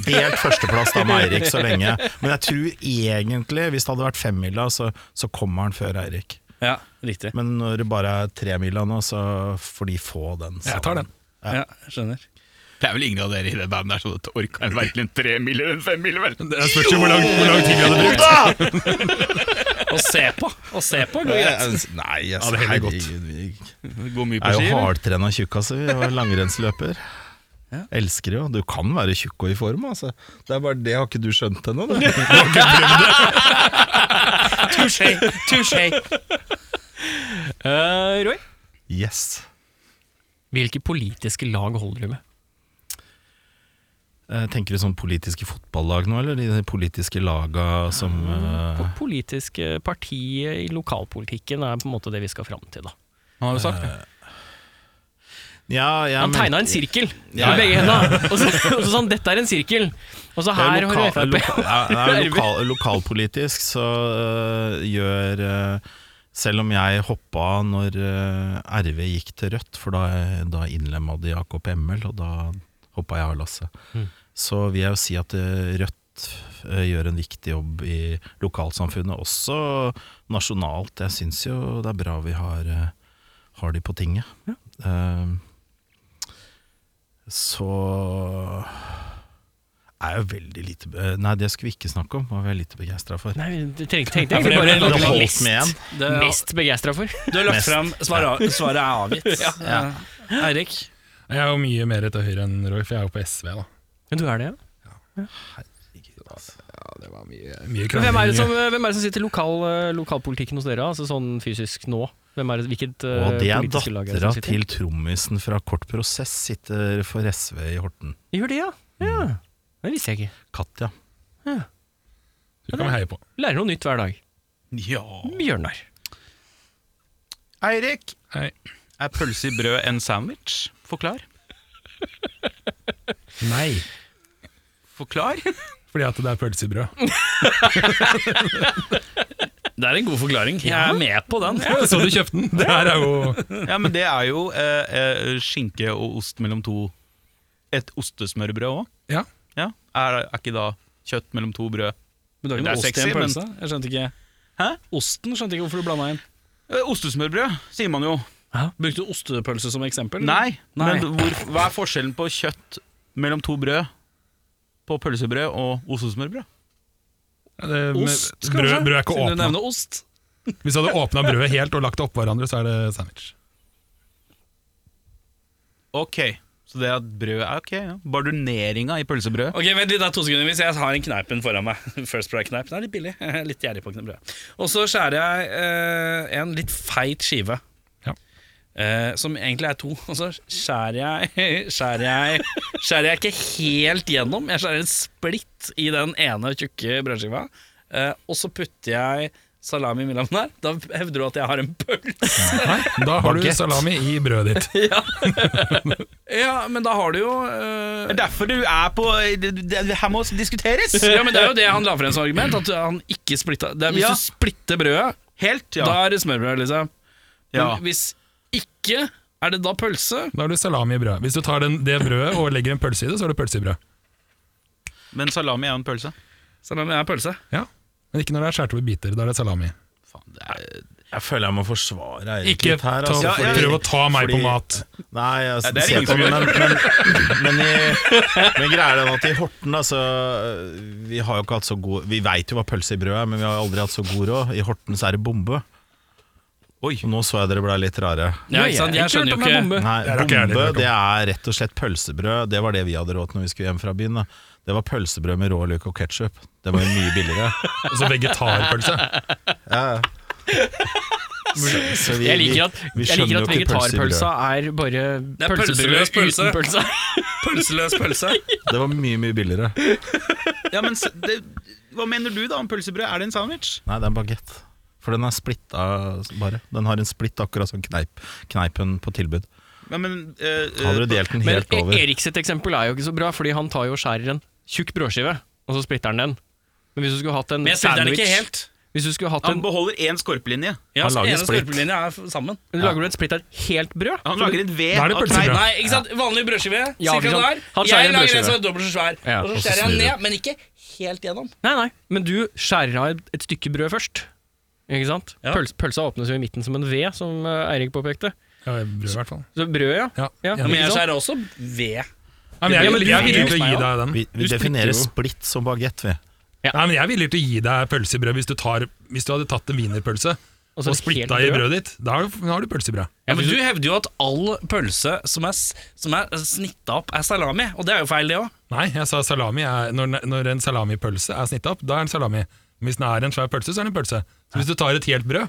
S6: delt førsteplass da med Eirik så lenge. Men jeg tror egentlig, hvis det hadde vært femmila, så, så kommer han før Eirik.
S1: ja, riktig.
S6: Men når det bare er tremila nå, så får de få den.
S8: Jeg tar den.
S1: Ja, jeg skjønner.
S7: Det er vel ingen av dere i det bandet her som orker en verken tre mil eller en fem mil, vel?
S8: Det spørs jo hvor lang, hvor lang tid vi hadde brukt.
S1: Å se på! Å se på går greit.
S6: sammen. Nei, jeg,
S8: det er heller godt.
S6: herregud, vi
S7: Gå mye på
S6: er
S7: ski.
S6: jo
S7: eller?
S6: hardtrena tjukkaser, vi og langrennsløper.
S1: Ja.
S6: Elsker jo. Du kan være tjukk og i form, altså. Det er bare det har ikke du skjønt ennå. det.
S1: Touché! Touché!
S2: Eh, Roy,
S6: Yes.
S2: hvilke politiske lag holder du med?
S6: Eh, Tenker du sånn politiske fotballag nå, eller de politiske laga som eh,
S2: Det politiske partiet i lokalpolitikken er på en måte det vi skal fram til, da.
S7: Han har jo sagt det.
S6: Ja, jeg
S2: Han
S6: men-
S2: tegna en sirkel
S6: Ja, ja.
S2: med begge henda, og så og så sa han 'dette er en sirkel', og så Altså,
S6: Det er
S2: her har du
S6: loka-
S2: Frp.
S6: loka- ja, det er lokal, lokalpolitisk så eh, gjør eh, Selv om jeg hoppa når eh, RV gikk til Rødt, for da, da innlemma de Jakob Emmel, og da hoppa jeg av lasset.
S2: Mm.
S6: Så vil jeg jo si at eh, Rødt eh, gjør en viktig jobb i lokalsamfunnet, også nasjonalt. Jeg syns jo det er bra vi har, eh, har de på tinget. Eh, så er jo veldig lite Nei, det skulle vi ikke snakke om, var vi litt begeistra for.
S2: Nei, du trengte, tenkte
S1: for
S2: egentlig
S1: det
S2: bare
S1: ble
S2: å
S1: litt langt.
S2: lage den
S6: holdt
S2: mest,
S6: med en.
S1: Det,
S2: mest begeistra for.
S1: du har lagt fram svaret, svaret er avgitt. Ja. Eirik?
S8: Jeg er jo mye mer til høyre enn Roy, for jeg er jo på SV, da.
S2: Men du er det, ja.
S8: Mye
S2: Men hvem, er det
S8: krangling.
S2: som, hvem er det som sitter i lokal, eh, lokalpolitikken hos dere, altså sånn fysisk nå? Hvem er det, hvilket eh,
S6: Og det er
S2: politiske lag er det
S6: dattera
S2: som sitter?
S6: til trommisen fra Kort Prosess, sitter for SV i Horten.
S2: Gjør det, ja. ja.
S6: Mm.
S2: Det visste jeg ikke.
S6: Katja.
S8: Du kan vi heie på.
S2: Lærer noe nytt hver dag.
S7: Eh, Ja.
S2: Bjørnar.
S7: Eirik,
S8: Hei.
S7: er pølse i brød en sandwich? Forklar.
S8: Nei.
S7: Forklar.
S8: Fordi at det er pølsebrød.
S1: Det er en god forklaring. Jeg er med på den.
S8: Så du kjøpte den? Det her er jo
S7: Ja, men det er jo eh, eh, skinke og ost mellom to Et ostesmørbrød òg.
S8: Ja.
S7: Ja. Er, er ikke da kjøtt mellom to brød
S1: Men det er
S7: Det er
S1: ikke noe ost i
S7: sexy,
S1: en
S7: men-
S1: pølse. Jeg skjønte ikke
S7: Hæ?
S1: Osten skjønte ikke hvorfor du blanda inn.
S7: Eh, Ostesmørbrød, sier man jo.
S1: Brukte du ostepølse som eksempel?
S7: Nei,
S1: Mm. Nei.
S7: men hvor, hva er forskjellen på kjøtt mellom to brød? På pølsebrød og ostesmørbrød?
S8: det- men
S1: Ost,
S8: brød, brød er ikke
S1: Siden du
S8: åpna.
S1: nevner ost.
S8: Hvis du hadde åpna brødet helt og lagt det oppå hverandre, så er det sandwich.
S7: Ok, så det at brød er ok, ja. Barduneringa i pølsebrødet.
S1: Ok, vent litt, det er to sekunder Hvis jeg har en kneipen foran meg First Pride-kneip Den er litt billig Jeg er Litt gjerrig på kneippbrød Og så skjærer jeg eh, en litt feit skive
S8: Ja.
S1: eh, Som egentlig er to Og så skjærer jeg Skjærer jeg Skjærer jeg ikke helt gjennom Jeg skjærer en splitt i den ene tjukke brødskiva eh, Og så putter jeg salami mellom der Da hevder du at jeg har en pølse
S8: Nei, da har du
S6: Baguette.
S8: salami i brødet ditt.
S1: Ja, men da har du jo eh,
S7: Det er derfor du er på Det, det, det her må diskuteres!
S1: ja, men Det er jo det han la frem som argument. At han ikke splitta det er, Hvis
S7: Ja.
S1: du splitter brødet,
S7: Helt, ja.
S1: Da er det smørbrød, liksom. Men
S7: ja.
S1: hvis ikke, er det da pølse?
S8: Da har du salami i brødet. Hvis du tar den, det brødet og legger en pølse i det, så har du pølse i brød.
S7: Men salami er jo en pølse.
S1: Salami er pølse.
S8: Ja. Men ikke når det er skåret over biter. Da er det salami.
S7: Faen, det er,
S6: Jeg føler jeg må forsvare Eirik
S8: Ikke
S6: litt her.
S8: ta,
S6: altså,
S7: ja,
S8: prøv å ta meg på
S6: fordi-
S8: mat.
S6: Nei, jeg
S7: det er
S6: ser
S7: ingen
S6: på
S7: som
S6: det,
S7: gjør.
S6: men, men, men, i, men greia er den at i Horten altså, Vi har jo ikke hatt så god Vi veit jo hva pølse i brød er, men vi har aldri hatt så god råd. I Horten så er det bombe. Oi. Nå så jeg dere ble litt rare.
S1: Ja, ikke sant? Jeg skjønner jo ikke
S6: Nei,
S8: Det er ikke jeg
S6: bombe
S8: heller,
S6: det er rett og slett pølsebrød. Det var det vi hadde råd til når vi skulle hjem fra byen. Da. Det var pølsebrød med rå løk og ketsjup. Det var jo mye billigere.
S8: Altså vegetarpølse.
S6: Ja, ja. Så- så vi-
S2: Jeg
S6: vi-
S2: liker at,
S6: vi
S2: jeg liker
S6: skjønner
S2: at
S6: jo ikke pølse i brød.
S2: vegetarpølsa er bare
S1: Det er
S2: pølsebrød
S1: pølseløs pølse.
S2: uten pølse.
S1: Pølseløs pølse.
S6: Det var mye, mye billigere.
S7: ja, men s- det, hva mener du da om pølsebrød? Er det en sandwich?
S6: Nei, det er en bagett. For den er splitta bare. Den har en splitt akkurat som kneip, kneipen på tilbud.
S7: Ja, men, eh,
S6: Hadde du delt den
S2: Men E-
S6: helt over
S2: Erik sitt eksempel er jo ikke så bra, fordi han tar jo og skjærer en tjukk brødskive, og så splitter han den. Men hvis du skulle hatt en
S1: Men jeg spiller den
S2: sandwich
S1: ikke helt.
S2: Hvis du skulle hatt
S7: Han
S2: en
S7: beholder én skorpelinje.
S1: Ja,
S6: Han lager
S1: ene
S6: splitt.
S1: skorpelinja er f- sammen.
S2: Lager du et splitter helt brød?
S7: Han lager et ved
S8: Da er det
S7: av
S8: pølsebrød.
S7: kneip.
S1: Nei, ikke sant? Vanlig brødskive.
S2: Ja,
S1: cirka
S2: ikke sant?
S1: der.
S2: Han skjærer
S1: Jeg
S2: en
S1: lager
S2: brødskive.
S1: en som er dobbelt så svær,
S2: Ja,
S1: og
S6: og
S1: så
S6: så
S1: skjærer jeg
S6: snur du.
S1: ned, men ikke helt gjennom.
S2: Nei, nei. Men du skjærer av et- et stykke brød først. Ikke sant?
S1: Ja.
S2: Pøls, pølsa åpnes jo i midten som en V, som eh, Eirik påpekte.
S8: Ja, brød i hvert fall.
S2: Så brødet, ja.
S8: Ja.
S2: Ja,
S8: Ja,
S1: Men
S2: ikke
S1: jeg
S2: sant?
S1: skjærer også ved.
S8: Nei, men
S1: Ja,
S8: jeg,
S1: men
S8: er vill-
S1: du
S8: jeg er
S1: gir
S8: villig
S1: hos
S8: til å
S1: meg
S8: gi
S1: også.
S8: deg den.
S6: Vi, vi definerer splitt som bagett, vi.
S8: Nei, men jeg er villig til å gi deg pølse i brød hvis du, tar, hvis du hadde tatt en
S2: Og så er
S8: wienerpølse
S2: det
S8: og
S2: helt
S8: splitta i
S2: brød.
S8: brødet ditt. Da har du, da har du pølse i brød.
S1: Ja, men Du hevder jo at all pølse som er, s- som er snitta opp, er salami. Og det er jo feil, det òg.
S8: Nei, jeg sa salami er, når, når en salamipølse er snitta opp, da er den salami. Men Hvis den er en svær pølse, så er den en pølse. Så hvis du tar et helt brød,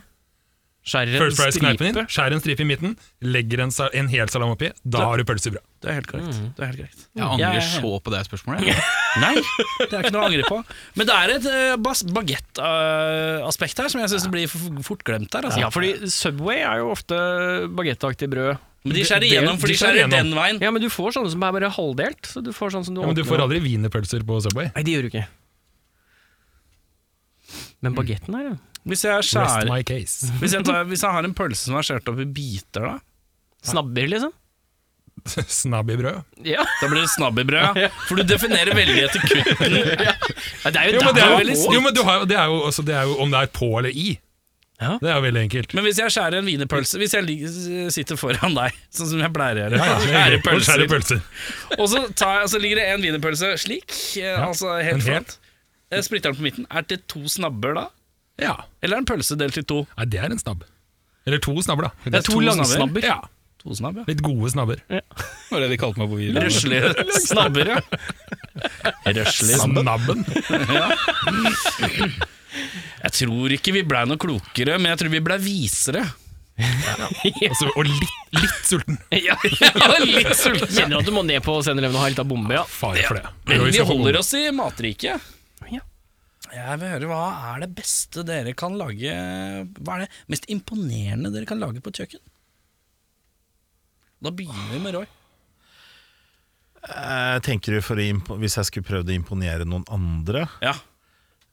S2: Skjærer en
S8: First Price-kneipen din,
S2: stripe.
S8: skjærer en stripe i midten, legger en, sa- en hel salam oppi, da har du pølse i brød.
S1: Det er helt korrekt. Det er helt korrekt.
S7: Jeg
S1: Ja, ja,
S7: angrer
S1: ja.
S7: så på det spørsmålet. jeg.
S1: Nei, det er ikke noe å angre på. Men det er et eh, bas- baguette-aspekt her som jeg syns blir for- fort glemt her. Altså.
S2: Ja, fordi Subway er jo ofte bagettaktig brød.
S1: Men de skjærer
S8: det-
S1: igjennom, for de
S8: de skjærer
S1: skjærer
S8: igjennom.
S1: den veien.
S2: Ja, men du får sånne som er bare halvdelt. Så du får sånn som du
S8: Ja, men du
S2: åpner
S8: får
S2: opp.
S8: aldri wienerpølser på Subway.
S2: Nei, det gjør du ikke. Men bagetten her, ja.
S1: Hvis jeg,
S8: Rest
S1: skjærer,
S8: my case.
S1: hvis, jeg tar, hvis jeg har en pølse som er skåret opp i biter, da
S2: Snabber, liksom.
S8: Snabb i brød.
S2: Ja.
S1: Da blir det snabbebrød. ja. For du definerer veldig etter kutten.
S2: Det er jo,
S8: Jo, men det
S2: det
S8: er
S2: veldig
S8: jo, jo, men du har, jo- det er jo, også, det er jo om det er på eller i.
S2: Ja.
S8: Det er jo veldig enkelt.
S1: Men hvis jeg skjærer en wienerpølse Hvis jeg ligger- sitter foran deg, sånn som jeg pleier å gjøre
S8: Ja, ja,
S1: Skjære
S8: det er
S1: pølser.
S8: skjære pølser.
S1: Og så, tar jeg, så ligger det en wienerpølse slik, eh,
S8: Ja,
S1: altså
S8: en
S1: helt
S8: helt.
S1: flat. Jeg Splitter den på midten. Er det to snabber da?
S8: Ja.
S1: Eller er en pølse delt i to?
S8: Nei, det er en snabb. Eller to snabber, da.
S1: Det er to langsnabber.
S8: Ja,
S1: To snabb, ja.
S8: Litt gode snabber.
S7: Det var det de kalte meg på videoen.
S1: Røslige snabber, ja. Røslige snabber.
S8: Snabben.
S1: Jeg tror ikke vi blei noe klokere, men jeg tror vi blei visere.
S8: Altså, og litt, litt sulten.
S2: Ja, ja, litt sulten. Kjenner at du må ned på 7-Eleven og ha litt av bombe, ja.
S8: Fare for det.
S1: Men vi holder
S8: oss
S1: oss i matriket.
S2: Ja.
S1: Jeg vil høre, Hva er det beste dere kan lage Hva er det mest imponerende dere kan lage på et kjøkken? Da begynner vi med Roy.
S6: Eh, tenker du for å impo Hvis jeg skulle prøvd å imponere noen andre
S1: Ja,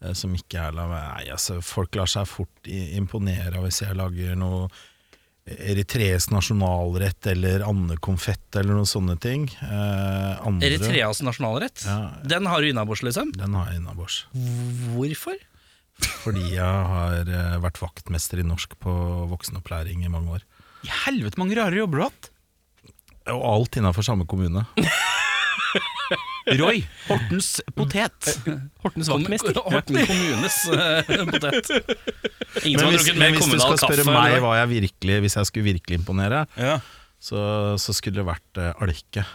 S6: eh, som ikke er la meg Nei, altså, folk lar seg fort i- imponere hvis jeg lager noe Eritreas nasjonalrett eller andekonfett eller noen sånne ting. Eh, andre,
S1: Eritreas nasjonalrett,
S6: Ja.
S1: den har du innabords, liksom.
S6: Den har jeg innabords.
S1: Hvorfor?
S6: Fordi jeg har eh, vært vaktmester i norsk på voksenopplæring i mange år.
S7: I helvete mange rare jobber du har hatt!
S6: Og alt innafor samme kommune.
S7: Roy Hortens potet.
S2: Hortens vaktmester.
S1: Horten kommunes eh, potet. Ingen som
S6: Men
S1: har
S6: hvis,
S1: drukket
S6: men
S1: mer
S6: hvis du skal
S1: kommunal
S6: spørre
S1: kaffe.
S6: meg
S1: eller hva?
S6: hva jeg virkelig, hvis jeg skulle virkelig imponere,
S7: Ja.
S6: så, så skulle det vært eh, alke.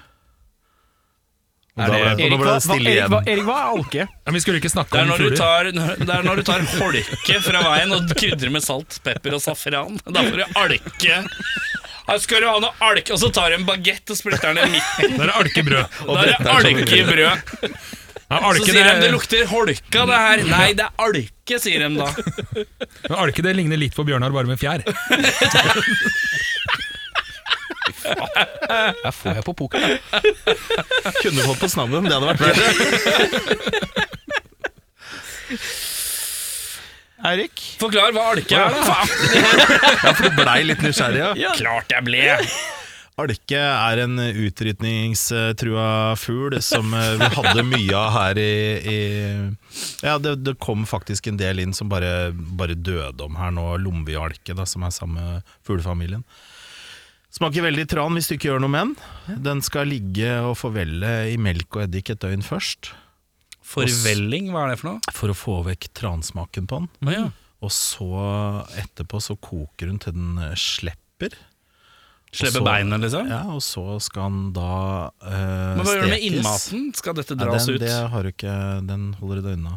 S6: Og
S1: Er
S6: da,
S1: det-
S6: ble, og da ble det stille
S2: Erik, hva,
S6: igjen.
S2: Erik, hva er alke?
S8: Men vi skulle ikke snakke
S1: Det er,
S8: om
S1: når du
S8: fugler.
S1: tar, det er når du tar holke fra veien og krydrer med salt, pepper og safran. Da får du alke. Her skal du ha noe alke, og så tar du en bagett og splitter den i midten.
S8: Det er alkebrød.
S1: Da er det
S6: sånn-
S1: alke i brød.
S8: Ja,
S1: Så
S8: alke,
S1: sier de det
S8: det,
S1: lukter holka, det her. Nei, det er alke, sier de da.
S8: men alke det ligner litt på Bjørnar, bare med fjær.
S2: Her får jeg på poker. da.
S6: Kunne fått på snabben, det hadde vært bedre. Eirik?
S1: Forklar hva alke er, da. Faen.
S6: Ja, for du blei litt nysgjerrig, ja.
S1: Klart jeg ble.
S6: Alke er en utrydningstrua fugl som eh, vi hadde mye av her i, i Ja, det, det kom faktisk en del inn som bare, bare døde om her nå. Lomvi-alke, da, som er samme fuglefamilien. Smaker veldig tran hvis du ikke gjør noe med den. Den skal ligge og forvelle i melk og eddik et døgn først.
S1: Forvelling, hva er det for noe?
S6: For å få vekk transmaken på den.
S1: Å ja.
S6: Og så etterpå så koker hun til den eh, slipper.
S1: Slepe
S6: Og så-
S1: beinet, liksom?
S6: Ja, og så skal den da uh,
S1: Men hva gjør du med innmaten? Skal dette
S6: Ja,
S1: dras
S6: den,
S1: ut?
S6: Det har du ikke, den holder du deg unna.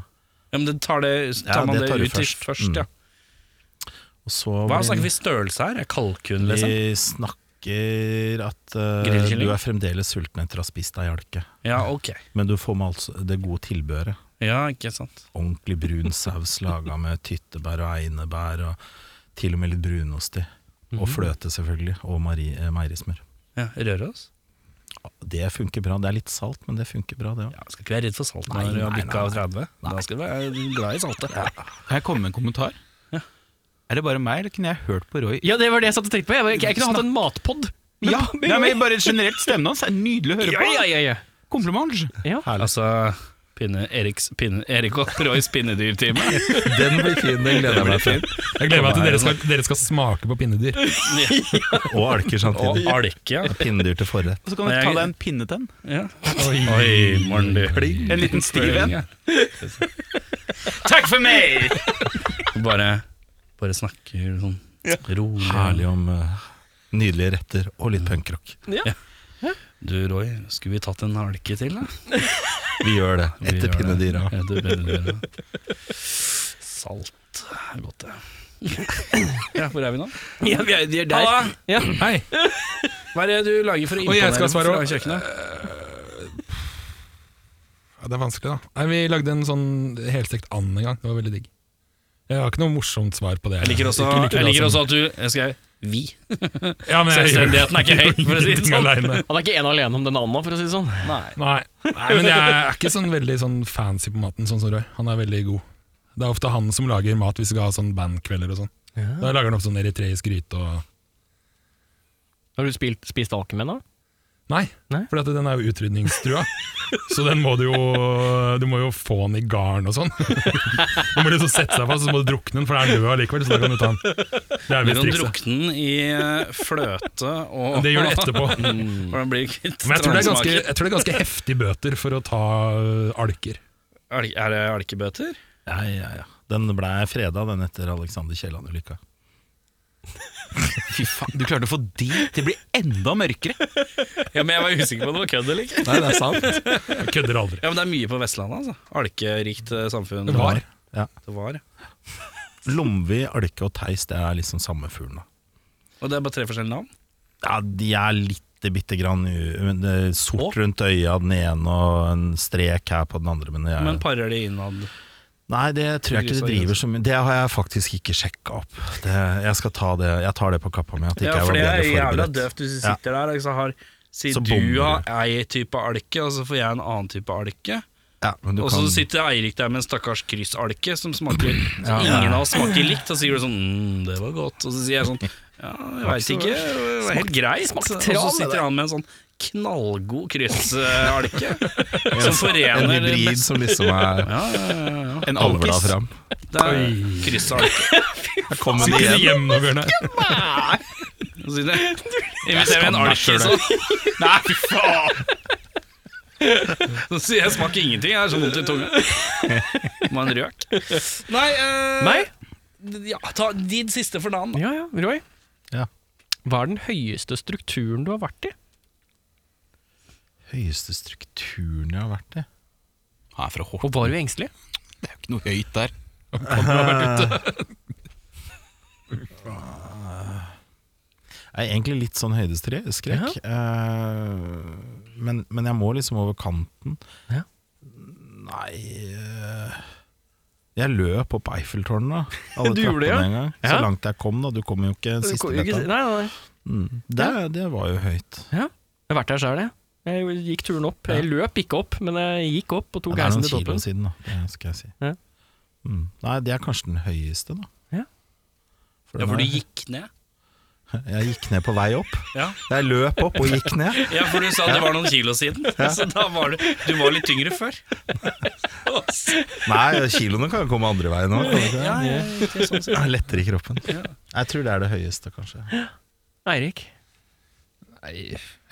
S1: Ja, men det tar, det, tar
S6: Ja,
S1: man
S6: det
S1: det,
S6: tar du
S1: ut først,
S6: først. Mm.
S1: først ja.
S6: Og så
S1: Hva
S6: blir-
S1: snakker vi størrelse her? Er kalkun,
S6: Vi
S1: liksom?
S6: snakker at eh,
S1: Grillkylling?
S6: du er fremdeles sulten etter å ha spist deg hjelke.
S1: Ja, ok.
S6: Men du får med altså det gode tilbehøret.
S1: Ja, ikke sant.
S6: Ordentlig brun saus laga med tyttebær og einebær, og til og med litt brunost i.
S1: Mhm.
S6: Og fløte, selvfølgelig. Og mari, eh, meierismør.
S1: Ja, Røros?
S6: Det funker bra. Det er litt salt, men det funker bra, det òg.
S1: Ja, skal ikke være redd for salt
S6: Nei,
S1: når du har
S6: nei,
S1: bikka
S6: nei,
S1: 30. Da skal du være glad i saltet.
S7: Kan jeg komme med en kommentar? Er det bare meg, eller kunne jeg hørt på Roy?
S2: Ja, det var det jeg satt og tenkte på. Jeg, var- jeg kunne hatt en matpod.
S7: Ja, men, bare generelt stemmen hans er nydelig å høre
S2: ja,
S7: på.
S2: ja, ja, ja.
S7: Kompliment.
S1: Altså pinne, Eriks, pinne, Erik og Roys pinnedyrtime.
S6: Den blir fin, den gleder jeg meg til.
S8: Jeg gleder meg til dere skal, dere skal smake på pinnedyr.
S6: Og alker
S1: Og
S6: samtidig.
S1: alke. ja.
S6: Pinnedyr til forrett.
S7: Og så kan du ta deg en pinnetenn.
S1: Ja. Oi, morgen, du.
S7: En liten stiv en.
S1: Ja.
S7: Takk for meg!
S1: Bare, bare snakker sånn rolig.
S6: Herlig om eh, nydelige retter og litt punkrock.
S1: Du, Roy, skulle vi tatt en alke til, da?
S6: Vi gjør det
S1: Vi
S6: etter
S1: gjør det.
S6: pinnedyra.
S1: Etter pinnedyra. Salt er godt, det. Ja, hvor er vi nå?
S2: ja vi er, de er der.
S1: Halla!
S2: Ja.
S8: Hei.
S1: Hva er det du lager for å
S8: Og jeg
S1: imponere
S8: skal svare
S1: fra
S8: også.
S1: kjøkkenet?
S8: Ja, det er vanskelig, da. Nei, vi lagde en sånn helstekt and en gang. Det var veldig digg. Jeg har ikke noe morsomt svar på det.
S1: Jeg liker også,
S8: Ikke like bra
S1: jeg liker
S8: som-
S1: også at du jeg skrev 'vi'.
S8: ja, men jeg,
S1: Selvstendigheten er ikke høy, for å si det
S8: Ingenting
S1: sånn.
S8: alene.
S2: Han er ikke ene alene om den anda, for å si det sånn.
S8: Nei. Nei, men jeg er ikke sånn veldig sånn fancy på maten, sånn som Roy. Han er veldig god. Det er ofte han som lager mat hvis vi skal ha sånn bandkvelder og sånn. Da lager han ofte sånn eritreisk gryte og
S2: Har du spilt, spist alke med den, da?
S8: Nei,
S2: Nei?
S8: for at den er jo utrydningstrua. så den må du jo Du må jo få den i garn og sånn. Du må liksom sette seg fast, så må du drukne den, for den er død allikevel. Så da kan du ta den. Det er
S1: Du
S8: visst
S1: kan
S8: trikset.
S1: drukne den i eh, fløte og
S8: Det gjør du etterpå.
S1: For den blir kvitt
S8: Men jeg tror, det er ganske,
S1: transmaken.
S8: jeg tror det er ganske heftige bøter for å ta øh, alker.
S1: Al- Er det alkebøter?
S6: Ja, ja, ja. Den ble freda, den etter Alexander Kielland-ulykka.
S7: Fy faen, du klarte å få de til å bli enda mørkere.
S1: Ja, men jeg var usikker på om det var kødd eller ikke.
S6: Nei, det er sant.
S8: Jeg kødder aldri.
S1: Ja, men det er mye på Vestlandet, altså. Alkerikt eh, samfunn.
S8: Det var.
S1: Det var.
S6: Lomvi, alke og teis, det er liksom samme fuglen, da.
S1: Og det er bare tre forskjellige navn?
S6: Ja, de er lite bitte grann u- men det er sort rundt øya den ene og en strek her på den andre, men det er
S1: Men parer de innad?
S6: Nei, det tror jeg ikke de driver så mye Det har jeg faktisk ikke sjekka opp. Det, jeg skal ta det Jeg tar det på kappa mi. At ikke
S1: Ja, for
S6: jeg
S1: det er
S6: var bedre
S1: jævla
S6: forberedt.
S1: døvt hvis du sitter der og så har Si
S6: Så
S1: du
S6: bommer
S1: har ei type alke, og så får jeg en annen type alke.
S6: Men du
S1: Og så
S6: kan-
S1: sitter Eirik der med en stakkars kryssalke som smaker som Ingen av oss smaker likt. Og så sier du sånn mm, 'Det var godt', og så sier jeg sånn 'Ja, jeg veit ikke. Det var helt greit'. Og så sitter han med en sånn knallgod kryssalke som
S6: En
S1: forener det
S6: hybrid
S1: beste
S6: som liksom
S1: ja,
S6: er
S1: ja, ja, ja.
S7: En
S6: alvla
S7: alkis.
S6: fram.
S1: Det er kryssalke.
S6: Her kommer de
S8: Sitter
S6: igjen.
S8: gjennomgående.
S1: Så sier jeg, Inviterer en alkis og
S7: Nei, fy faen!
S1: så sier jeg 'smaker ingenting', jeg har så vondt i tunga. Må ha en røk. Nei, eh,
S2: Nei?
S1: Ja, ta din siste for dagen. da.
S2: Ja, ja, Roy.
S6: Ja.
S2: Hva er den høyeste strukturen du har vært i?
S6: Høyeste strukturen jeg har vært i.
S7: Han er fra Horten.
S2: Og var du engstelig?
S7: Ikke noe høyt der.
S6: Jeg er egentlig litt sånn høydeskrekk. eh, men, men jeg må liksom over kanten.
S2: Ja.
S6: Nei eh, Jeg løp opp Eiffeltårnet. da. Alle
S2: Du gjorde det, ja?
S6: trappene en gang. Så
S2: Ja.
S6: langt jeg kom, da. Du kom jo ikke
S2: Du
S6: siste
S2: kan jo ikke si-
S6: letta.
S2: Nei, nei, nei.
S6: Mm. Det, det var jo høyt.
S2: Ja. Jeg har vært der sjøl, jeg. Jeg gikk turen opp. Jeg løp ikke opp, men jeg gikk opp og
S6: Ja,
S2: tok
S6: det er
S2: heisen
S6: noen
S2: til
S6: kilo
S2: toppen.
S6: siden, da. Det skal jeg si.
S2: Ja.
S6: Mm. Nei, det er kanskje den høyeste, da.
S2: Ja.
S6: For
S1: Ja,
S6: den
S1: hvor du
S6: er-
S1: gikk ned?
S6: Jeg gikk ned på vei opp.
S1: Ja.
S6: Jeg løp opp og gikk ned.
S1: Ja, for du sa det var noen kilo siden. Så da var du, du var litt tyngre før.
S6: Nei, kiloene kan jo komme andre veien òg. Ja, Lettere i kroppen. Jeg tror det er det høyeste, kanskje.
S2: Eirik,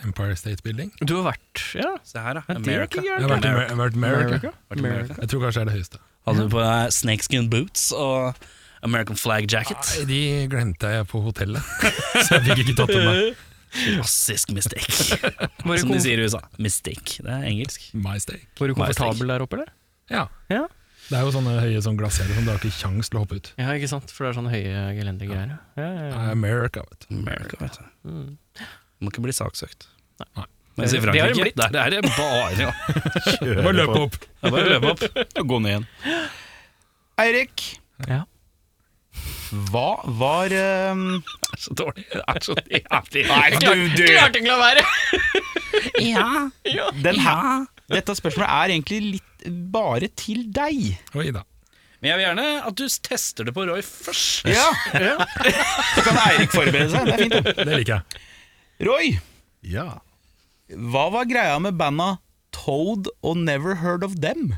S8: Empire State Building.
S2: du har vært Ja,
S1: Se her, da.
S2: det er
S1: America.
S2: ikke
S8: Jeg har vært i
S2: gærent.
S8: Amer- jeg har vært i America.
S2: America.
S8: Jeg tror kanskje det er det høyeste.
S1: Hadde du på deg snakeskin boots og American flag jacket?
S8: Nei, de glemte jeg på hotellet, så jeg fikk ikke tatt dem med.
S1: Klassisk mistake.
S2: Var du
S1: Som de
S2: kom-
S1: sier i USA. Mistake. Det er engelsk.
S8: My stay.
S2: var du komfortabel der oppe, eller?
S8: Ja.
S2: Ja.
S8: Det er jo sånne høye sånn glassgjerder som du har ikke kjangs til å hoppe ut.
S2: Ja, ikke sant? For det er sånne høye gelendergreier. Ja, ja, ja.
S8: America, vet du.
S1: America, vet du. Må ikke bli saksøkt.
S8: Nei.
S1: Mens i
S2: Det- det har hun
S1: Frankrike, der er det bare ja.
S8: Bare løp opp.
S1: Det er Bare å løpe opp.
S7: Gå ned igjen. Eirik,
S2: Ja.
S7: hva var ehm,
S1: Det er så dårlig. Det er så jævlig.
S7: Nei, du, du.
S2: Klarte ikke å la være!
S1: Ja.
S7: Den her, dette spørsmålet er egentlig litt bare til deg.
S8: Oi da.
S1: Men jeg vil gjerne at du tester det på Roy først.
S7: Ja, Så kan Eirik forberede seg. Det er fint. det.
S8: Det liker jeg.
S7: Roy,
S6: Ja.
S7: hva var greia med banda Toad og Never Heard of Them?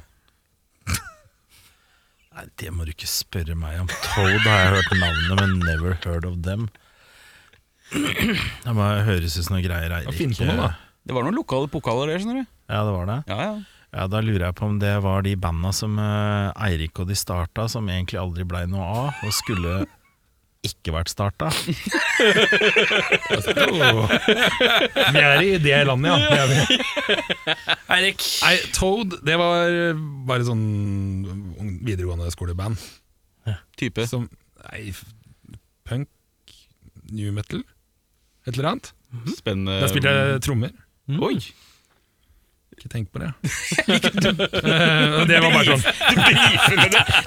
S6: Nei, det må du ikke spørre meg om. Toad har jeg hørt navnet, men never heard of them. Det må høres ut som noe greier Eirik eh,
S8: Finn på noe, da.
S7: Det var noen lokale pokaler der, skjønner du.
S6: Ja, det var det.
S7: Ja, ja.
S6: Ja, Da lurer jeg på om det var de banda som eh, Eirik og de starta, som egentlig aldri blei noe av, og skulle ikke vært starta.
S8: Vi er i det landet, ja. Det er vi.
S1: Eirik.
S8: Nei, Toad det var bare sånn ung- videregående skoleband.
S7: Type.
S8: Som Nei, f- punk, new metal, et eller annet.
S7: Spennende.
S8: Da spilte jeg trommer.
S2: Mm.
S7: Oi!
S8: Ikke tenk på det. Eh, og det var bare sånn.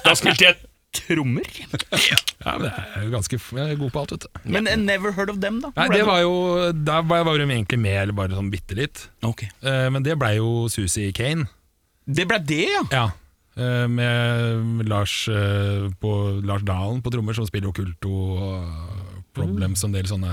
S7: Da spilte jeg trommer.
S8: Ja, men jeg er jo ganske f- jeg er god på alt, vet du.
S7: Men en Never Heard of Them, da?
S8: Nei, det var jo, Der var var de egentlig med, eller bare sånn bitte litt.
S7: Ok.
S8: Eh, men det blei jo Susi Kane.
S7: Det ble det, ja!
S8: Ja. eh, Med Lars, eh, på, Lars Dalen på trommer, som spiller Okkulto og Problems og en del sånne.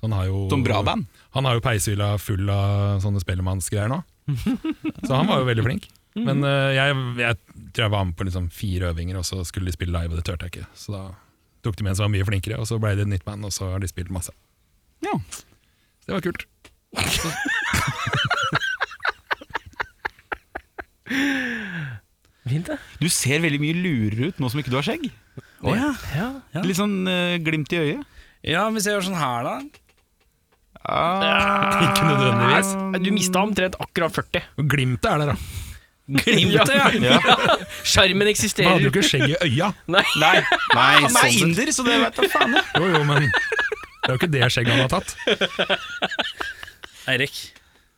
S8: Så Han har jo,
S7: Som bra band.
S8: Han har jo peishylla full av sånne spellemannsgreier nå. Så han var jo veldig flink. Men eh, jeg, jeg tror jeg var med på liksom fire øvinger, og så skulle de spille live, og det turte jeg ikke. Så da tok de med en som var mye flinkere, og så ble det et nytt band, og så har de spilt masse.
S7: Ja.
S8: Så det var kult.
S2: Fint, det.
S7: Du ser veldig mye lurere ut nå som ikke du har skjegg.
S1: ja.
S2: Ja.
S7: Litt sånn eh, glimt i øyet.
S1: ja, hvis jeg gjør sånn her, da.
S7: Ah,
S8: Ikke nødvendigvis.
S2: Nei, Du mista omtrent akkurat 40.
S8: Og Glimtet er der, da.
S1: Glimtet, ja.
S2: Skjermen
S8: Jeg hadde
S2: eksisterer.
S8: jo ikke skjegg i øya.
S7: Nei, sånn
S6: Nei,
S7: han er inder, så det vet jeg faen. jeg.
S8: Jo, jo, men det er jo ikke det skjegget han har tatt.
S1: Eirik,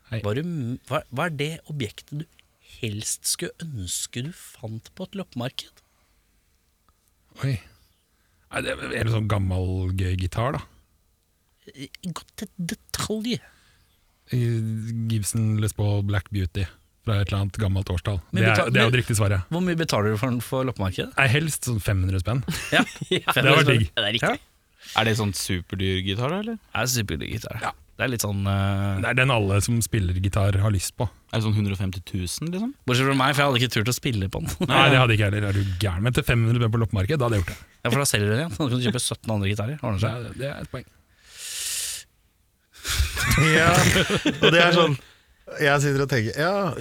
S8: Hei.
S1: var du m- hva, hva er det objektet du helst skulle ønske du fant på et loppemarked?
S8: Oi. Nei, det er en sånn gammel, gøy gitar, da.
S1: I- Gått til detalj.
S8: Gibson Les Paul Black Beauty fra et eller annet gammelt årstall.
S1: Men
S8: Det er,
S1: betal-
S8: det er jo
S1: men-
S8: det riktige svaret.
S1: Hvor mye betaler du for den for loppemarkedet?
S8: Nei, helst sånn 500 spenn.
S1: Ja,
S8: Det var
S1: sånn,
S8: digg.
S2: Det er riktig.
S7: Er det sånn superdyr gitar, da? Eller?
S1: Det er superdigg gitar. Det er litt sånn eh,
S8: Det er den alle som spiller gitar, har lyst på.
S7: Er det sånn 150 000, liksom?
S1: Bortsett fra meg, for jeg hadde ikke turt å spille på den.
S8: Nei, det hadde jeg ikke heller. Er du gæren? Men til 500 spenn på loppemarked, da hadde jeg gjort det.
S1: Ja, for da selger du den igjen. Så Da kan du kjøpe 17 andre gitarer. Ordner
S8: Det
S1: seg.
S8: er, det er et poeng.
S6: Ja, og det er sånn Jeg sitter og tenker Ja,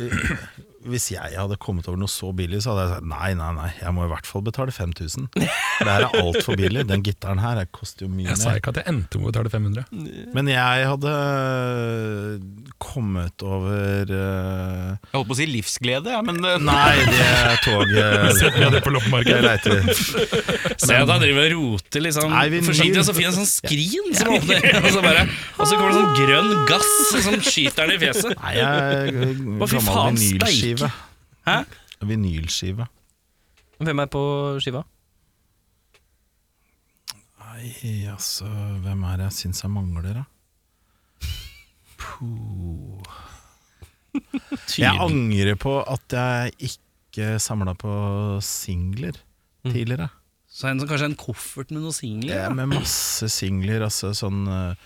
S6: hvis jeg hadde kommet over noe så billig Så hadde jeg sagt nei, nei, nei Jeg må i hvert fall betale 5000 Det her er alt for billig Den gitteren her jeg koster jo mye
S8: Jeg sa
S6: mer
S8: ikke at jeg endte med å betale 500.
S6: Men jeg hadde øh, kommet over eh,
S7: Jeg holdt på å si livsglede, ja, men eh,
S6: Nei, det er toget
S8: Ja, det er på loppemarked.
S6: Jeg leter
S1: Se at han driver og roter liksom
S6: Nei, vi-
S1: forsiktig, og så finner han en sånn skrin som åpner, og så bare Og så kommer det sånn grønn gass som skyter han i fjeset.
S6: Nei, jeg er
S1: Hva fy
S6: gammel
S1: faen,
S6: vinylskive
S1: Hæ?
S6: Vinylskive
S2: Hvem er på skiva?
S6: Nei, altså Hvem er det jeg syns jeg mangler, da? Puh. Jeg angrer på at jeg ikke samla på singler tidligere.
S1: Så en, sånn- kanskje en koffert med noen singler?
S6: Mm. Ja,
S1: Ja.
S6: med masse singler. Altså sånn eh,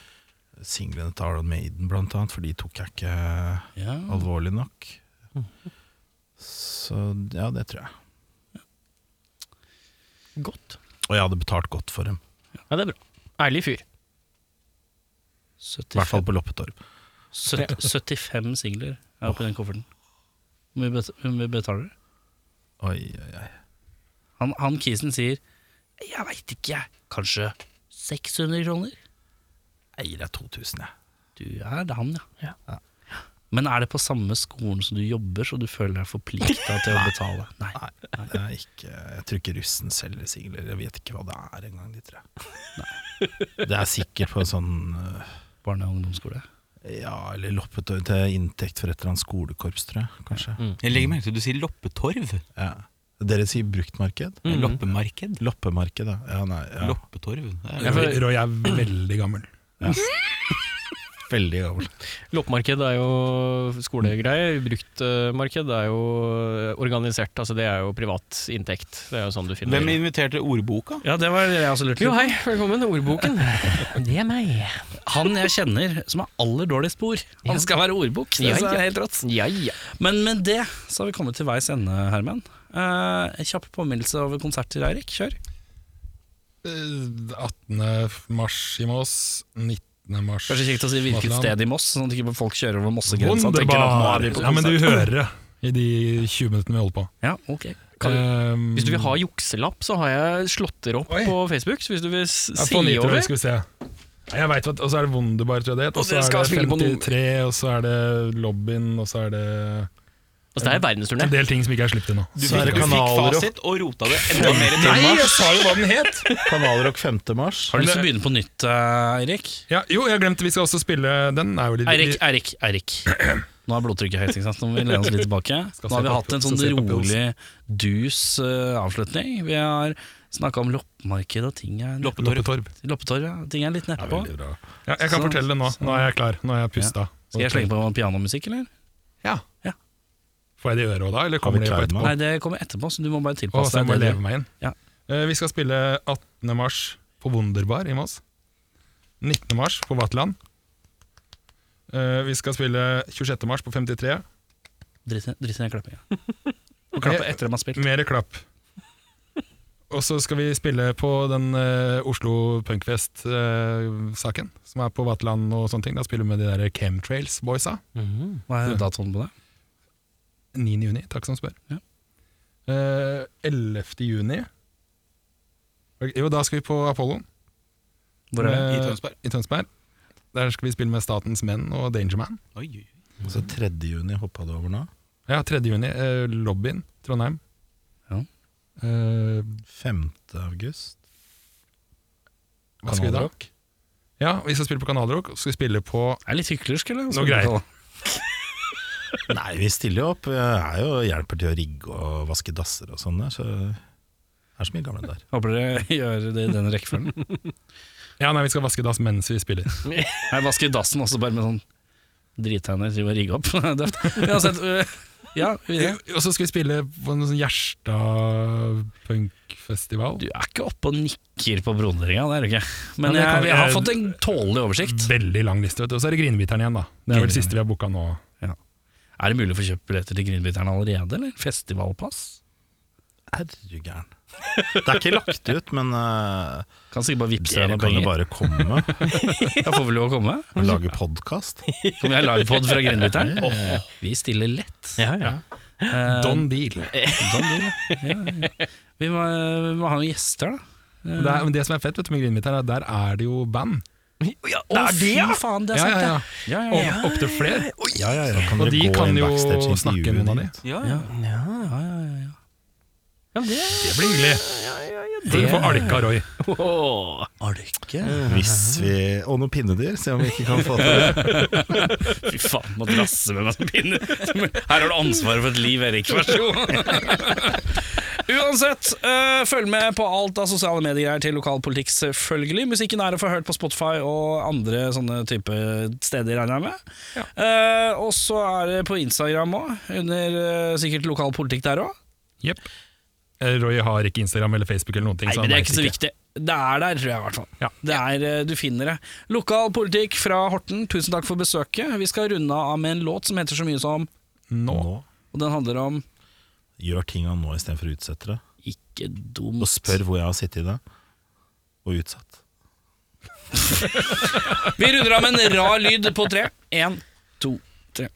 S6: Singlene til Arlon Maiden, blant annet, for de tok jeg ikke
S1: Ja.
S6: alvorlig nok. Mm. Så ja, det tror jeg.
S2: Godt.
S6: Og jeg hadde betalt godt for dem.
S2: Ja, det er bra. Ærlig fyr.
S1: 75,
S6: I hvert fall på Loppetorp.
S1: 70, 75 singler er oppi den kofferten. Hvor mye bet- hvor mye betaler du?
S6: Oi, oi, oi.
S1: Han, han kisen sier Jeg veit ikke, jeg. Kanskje 600 kroner?
S6: Jeg gir deg 2000, jeg.
S1: Du er det han, ja. Men er det på samme skolen som du jobber, så du føler deg forplikta til å betale? Nei.
S6: Nei, det er ikke, jeg tror ikke russen selger singler. Jeg vet ikke hva det er engang, de tre. Det er sikkert på en sånn øh,
S1: Barne- og ungdomsskole.
S6: Ja, eller loppetøy til inntekt for et eller annet skolekorps, tror jeg. Kanskje.
S7: Jeg legger merke til at du sier loppetorv.
S6: Ja. Dere sier bruktmarked?
S7: Mhm.
S3: Mm.
S7: Loppemarked.
S6: Loppemarked, ja. ja, nei, ja.
S7: Loppetorv. Det er-
S8: Roy Roy er veldig gammel.
S6: Veldig gammel.
S2: Loppemarked er jo skolegreier. Bruktmarked er jo organisert, altså det er jo privat inntekt. Det er jo sånn du finner
S7: Hvem inviterte ordboka?
S1: Ja, det var det jeg også lurte
S2: Jo,
S1: på.
S2: hei, velkommen. Ordboken. Det er meg.
S1: Han jeg kjenner som har aller dårligst spor, han skal være ordbok. Det
S2: Ja,
S1: synes jeg
S2: ja.
S1: er helt rått.
S2: Ja, ja.
S1: Men med det så har vi kommet til veis ende, Herman. Eh, en kjapp påminnelse over konsert til Eirik. Kjør.
S8: Eh, 18. mars i Mås, 19. mars
S1: Kanskje kjekt å si hvilket
S8: Madland.
S1: sted i Moss, sånn at ikke folk kjører over Mossegrensa. og tenker at nå
S8: Wunderbar!
S1: er vi på
S8: Ja, men du
S1: konsert.
S8: hører det i de 20 minuttene vi holder på.
S1: Ja, ok.
S8: Ehm,
S2: Hvis du vil ha jukselapp, så har jeg slåtter opp
S8: Oi.
S2: på Facebook. Så hvis du vil s-
S8: ja,
S2: si
S8: på Nitro,
S2: over
S8: skal vi se. Nei, Jeg vet hva, Og så er det Wunderbar, tror jeg det het. Og så
S2: dere skal
S8: er
S2: spille på
S8: det
S2: noen-
S8: 53, og så er det Lobbyen, og så er det
S2: Altså, det er verdensturné.
S8: en del ting som ikke er sluppet ennå.
S7: Du
S6: Så er
S7: fikk,
S6: det
S7: du fikk
S6: kanalrock.
S7: fasit og rota det enda mer i
S8: Nei,
S7: temaet.
S8: jeg sa jo hva den het!
S6: Kanalrock 5. mars.
S1: Har du lyst til å begynne på nytt, eh, Eirik?
S8: Ja, jo, jeg glemte vi skal også spille Den er jo litt
S1: Eirik, Eirik, Eirik. Nå er blodtrykket høyt, ikke sant? Nå må vi lene oss litt tilbake. Nå har
S8: se
S1: vi
S8: på-
S1: hatt en
S8: skal
S1: sånn
S8: se på Pils.
S1: rolig, dus eh, avslutning. Vi har snakka om loppemarked, og ting er
S7: Loppetorv.
S8: Loppetorp.
S1: Loppetorv, ja. Ting er litt nedpå.
S8: Ja, jeg kan
S1: Så-
S8: fortelle det nå. Nå er jeg klar. Nå er jeg pusta.
S1: Sånn. Skal jeg slenge på pianomusikk, eller? Ja.
S8: Ja. Får jeg det i øret òg, da? Eller
S6: Har vi
S8: kommer det på
S6: timer?
S8: etterpå?
S1: Nei, det kommer etterpå, så du må bare
S8: Å,
S1: tilpasse
S8: så jeg må
S1: deg. det
S8: leve
S1: du-
S8: meg inn.
S1: Ja.
S8: Eh, vi skal spille 18. mars på Wunderbar i Moss. 19. mars på Vaterland. Eh, vi skal spille 26. mars på 53.
S1: Drit i- drit i den klappinga. Og klappe etter at man har spilt.
S8: Mer klapp. Og så skal vi spille på den eh, Oslo Punkfest-saken, som er på Vaterland og sånne ting. Da spiller vi med de der Chemtrails-boysa. Mm.
S1: Hva er datoen på det?
S8: 9. juni, takk som spør.
S1: Ja.
S8: Eh, 11. juni Jo, da skal vi på Apolloen.
S1: Hvor er det?
S8: Med-
S7: I Tønsberg?
S8: I Tønsberg. Der skal vi spille med Statens Menn og Dangerman.
S7: Oi, oi, oi.
S6: Så 3. juni hoppa du over nå.
S8: Ja, 3. juni. eh, Lobbyen, Trondheim.
S1: Ja.
S8: Eh,
S6: 5. august.
S8: hva skal vi da?
S6: Kanalrock.
S8: Ja, vi skal spille på Kanalrock. og Så skal vi spille på
S1: Er det litt hyklersk, eller?
S8: Noe greier.
S6: Nei, vi stiller jo opp. Jeg er jo hjelper til å rigge og vaske dasser og sånn der, så det er så mye gamle der.
S1: Håper dere gjør det i den rekkefølgen.
S8: Ja, nei, vi skal vaske dass mens vi spiller.
S1: Jeg vasker dassen også, bare med sånn drithender driver og rigger opp. Døft. Uansett, øh, ja, videre.
S8: Og så skal vi spille på en sånn Gjerstad-punkfestival.
S1: Du er ikke oppe og nikker på Broneringa, det er du ikke. Men
S8: Nei, det
S1: jeg,
S8: kan
S1: jeg,
S8: vi-
S1: har fått en tålelig oversikt.
S8: Veldig lang liste, vet du. Og så er det Grinebiteren igjen, da. Det er vel
S1: Grinebiteren.
S8: siste vi har booka nå.
S1: Er det mulig å få kjøpt billetter til Grinbiterne allerede, eller? Festivalpass?
S6: Herregæren. Det er ikke lagt ut, men eh,
S1: Kan sikkert bare vippse deg
S6: dere
S1: noen
S6: kan jo
S1: penger.
S6: bare komme
S1: Jeg får vel lov å komme?
S6: og lage podkast.
S1: Kommer jeg livepod fra Grinbiteren? Åh, vi stiller lett. Eh,
S8: Don Deal.
S1: Don Deal, ja. ja, ja. Vi, må, vi må ha noen gjester, da.
S8: Det, er, men det som er fett vet du, med Grinebiteren, er at der er det jo band.
S1: Å, fy faen, det er sant, det!
S8: Ja, ja,
S1: Ja,
S8: ja.
S1: ja, ja.
S8: Og opptil flere.
S6: Ja, ja, ja. Kan
S8: Og
S6: dere
S8: de
S6: gå
S8: kan
S6: inn
S8: jo
S6: backstage og intervjue
S8: snakke med noen av de.
S6: dit?
S8: Det blir hyggelig. For å få alka Roy.
S6: Hvis vi Og noen pinnedyr, se om vi ikke kan få til det.
S1: Fy faen, må drasse med meg som pinne. Her har du ansvaret for et liv, Erik. Vær så god. Uansett, øh, følg med på alt av sosiale medier her til lokalpolitikk, selvfølgelig. Musikken er å få hørt på Spotify og andre sånne type steder, regner jeg med. Eh, og så er det på Instagram òg, under øh, sikkert lokalpolitikk der òg.
S8: Jepp. Eh, Roy har ikke Instagram eller Facebook eller noen ting.
S1: Nei,
S8: så
S1: men det
S8: han
S1: er ikke så
S8: vet
S1: viktig. Det er der, tror jeg i hvert fall.
S8: Altså, Ja.
S1: Det er, eh, du finner det. Lokal politikk fra Horten, tusen takk for besøket. Vi skal runde av med en låt som heter så mye som
S8: Nå.
S6: Nå.
S1: Og den handler om
S6: Gjør tinga nå istedenfor å utsette det.
S1: Ikke dumt.
S6: Og spør hvor jeg har sittet i det, og utsatt.
S1: Vi runder av med en rar lyd på tre. Én, to, tre.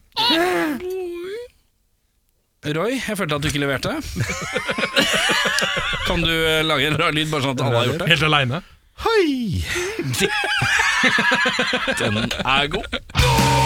S1: Roy, jeg følte at du ikke leverte. Kan du eh, lage en rar lyd, bare sånn at alle har gjort det?
S8: Helt aleine.
S6: Hei!
S1: Den er god.
S11: Nå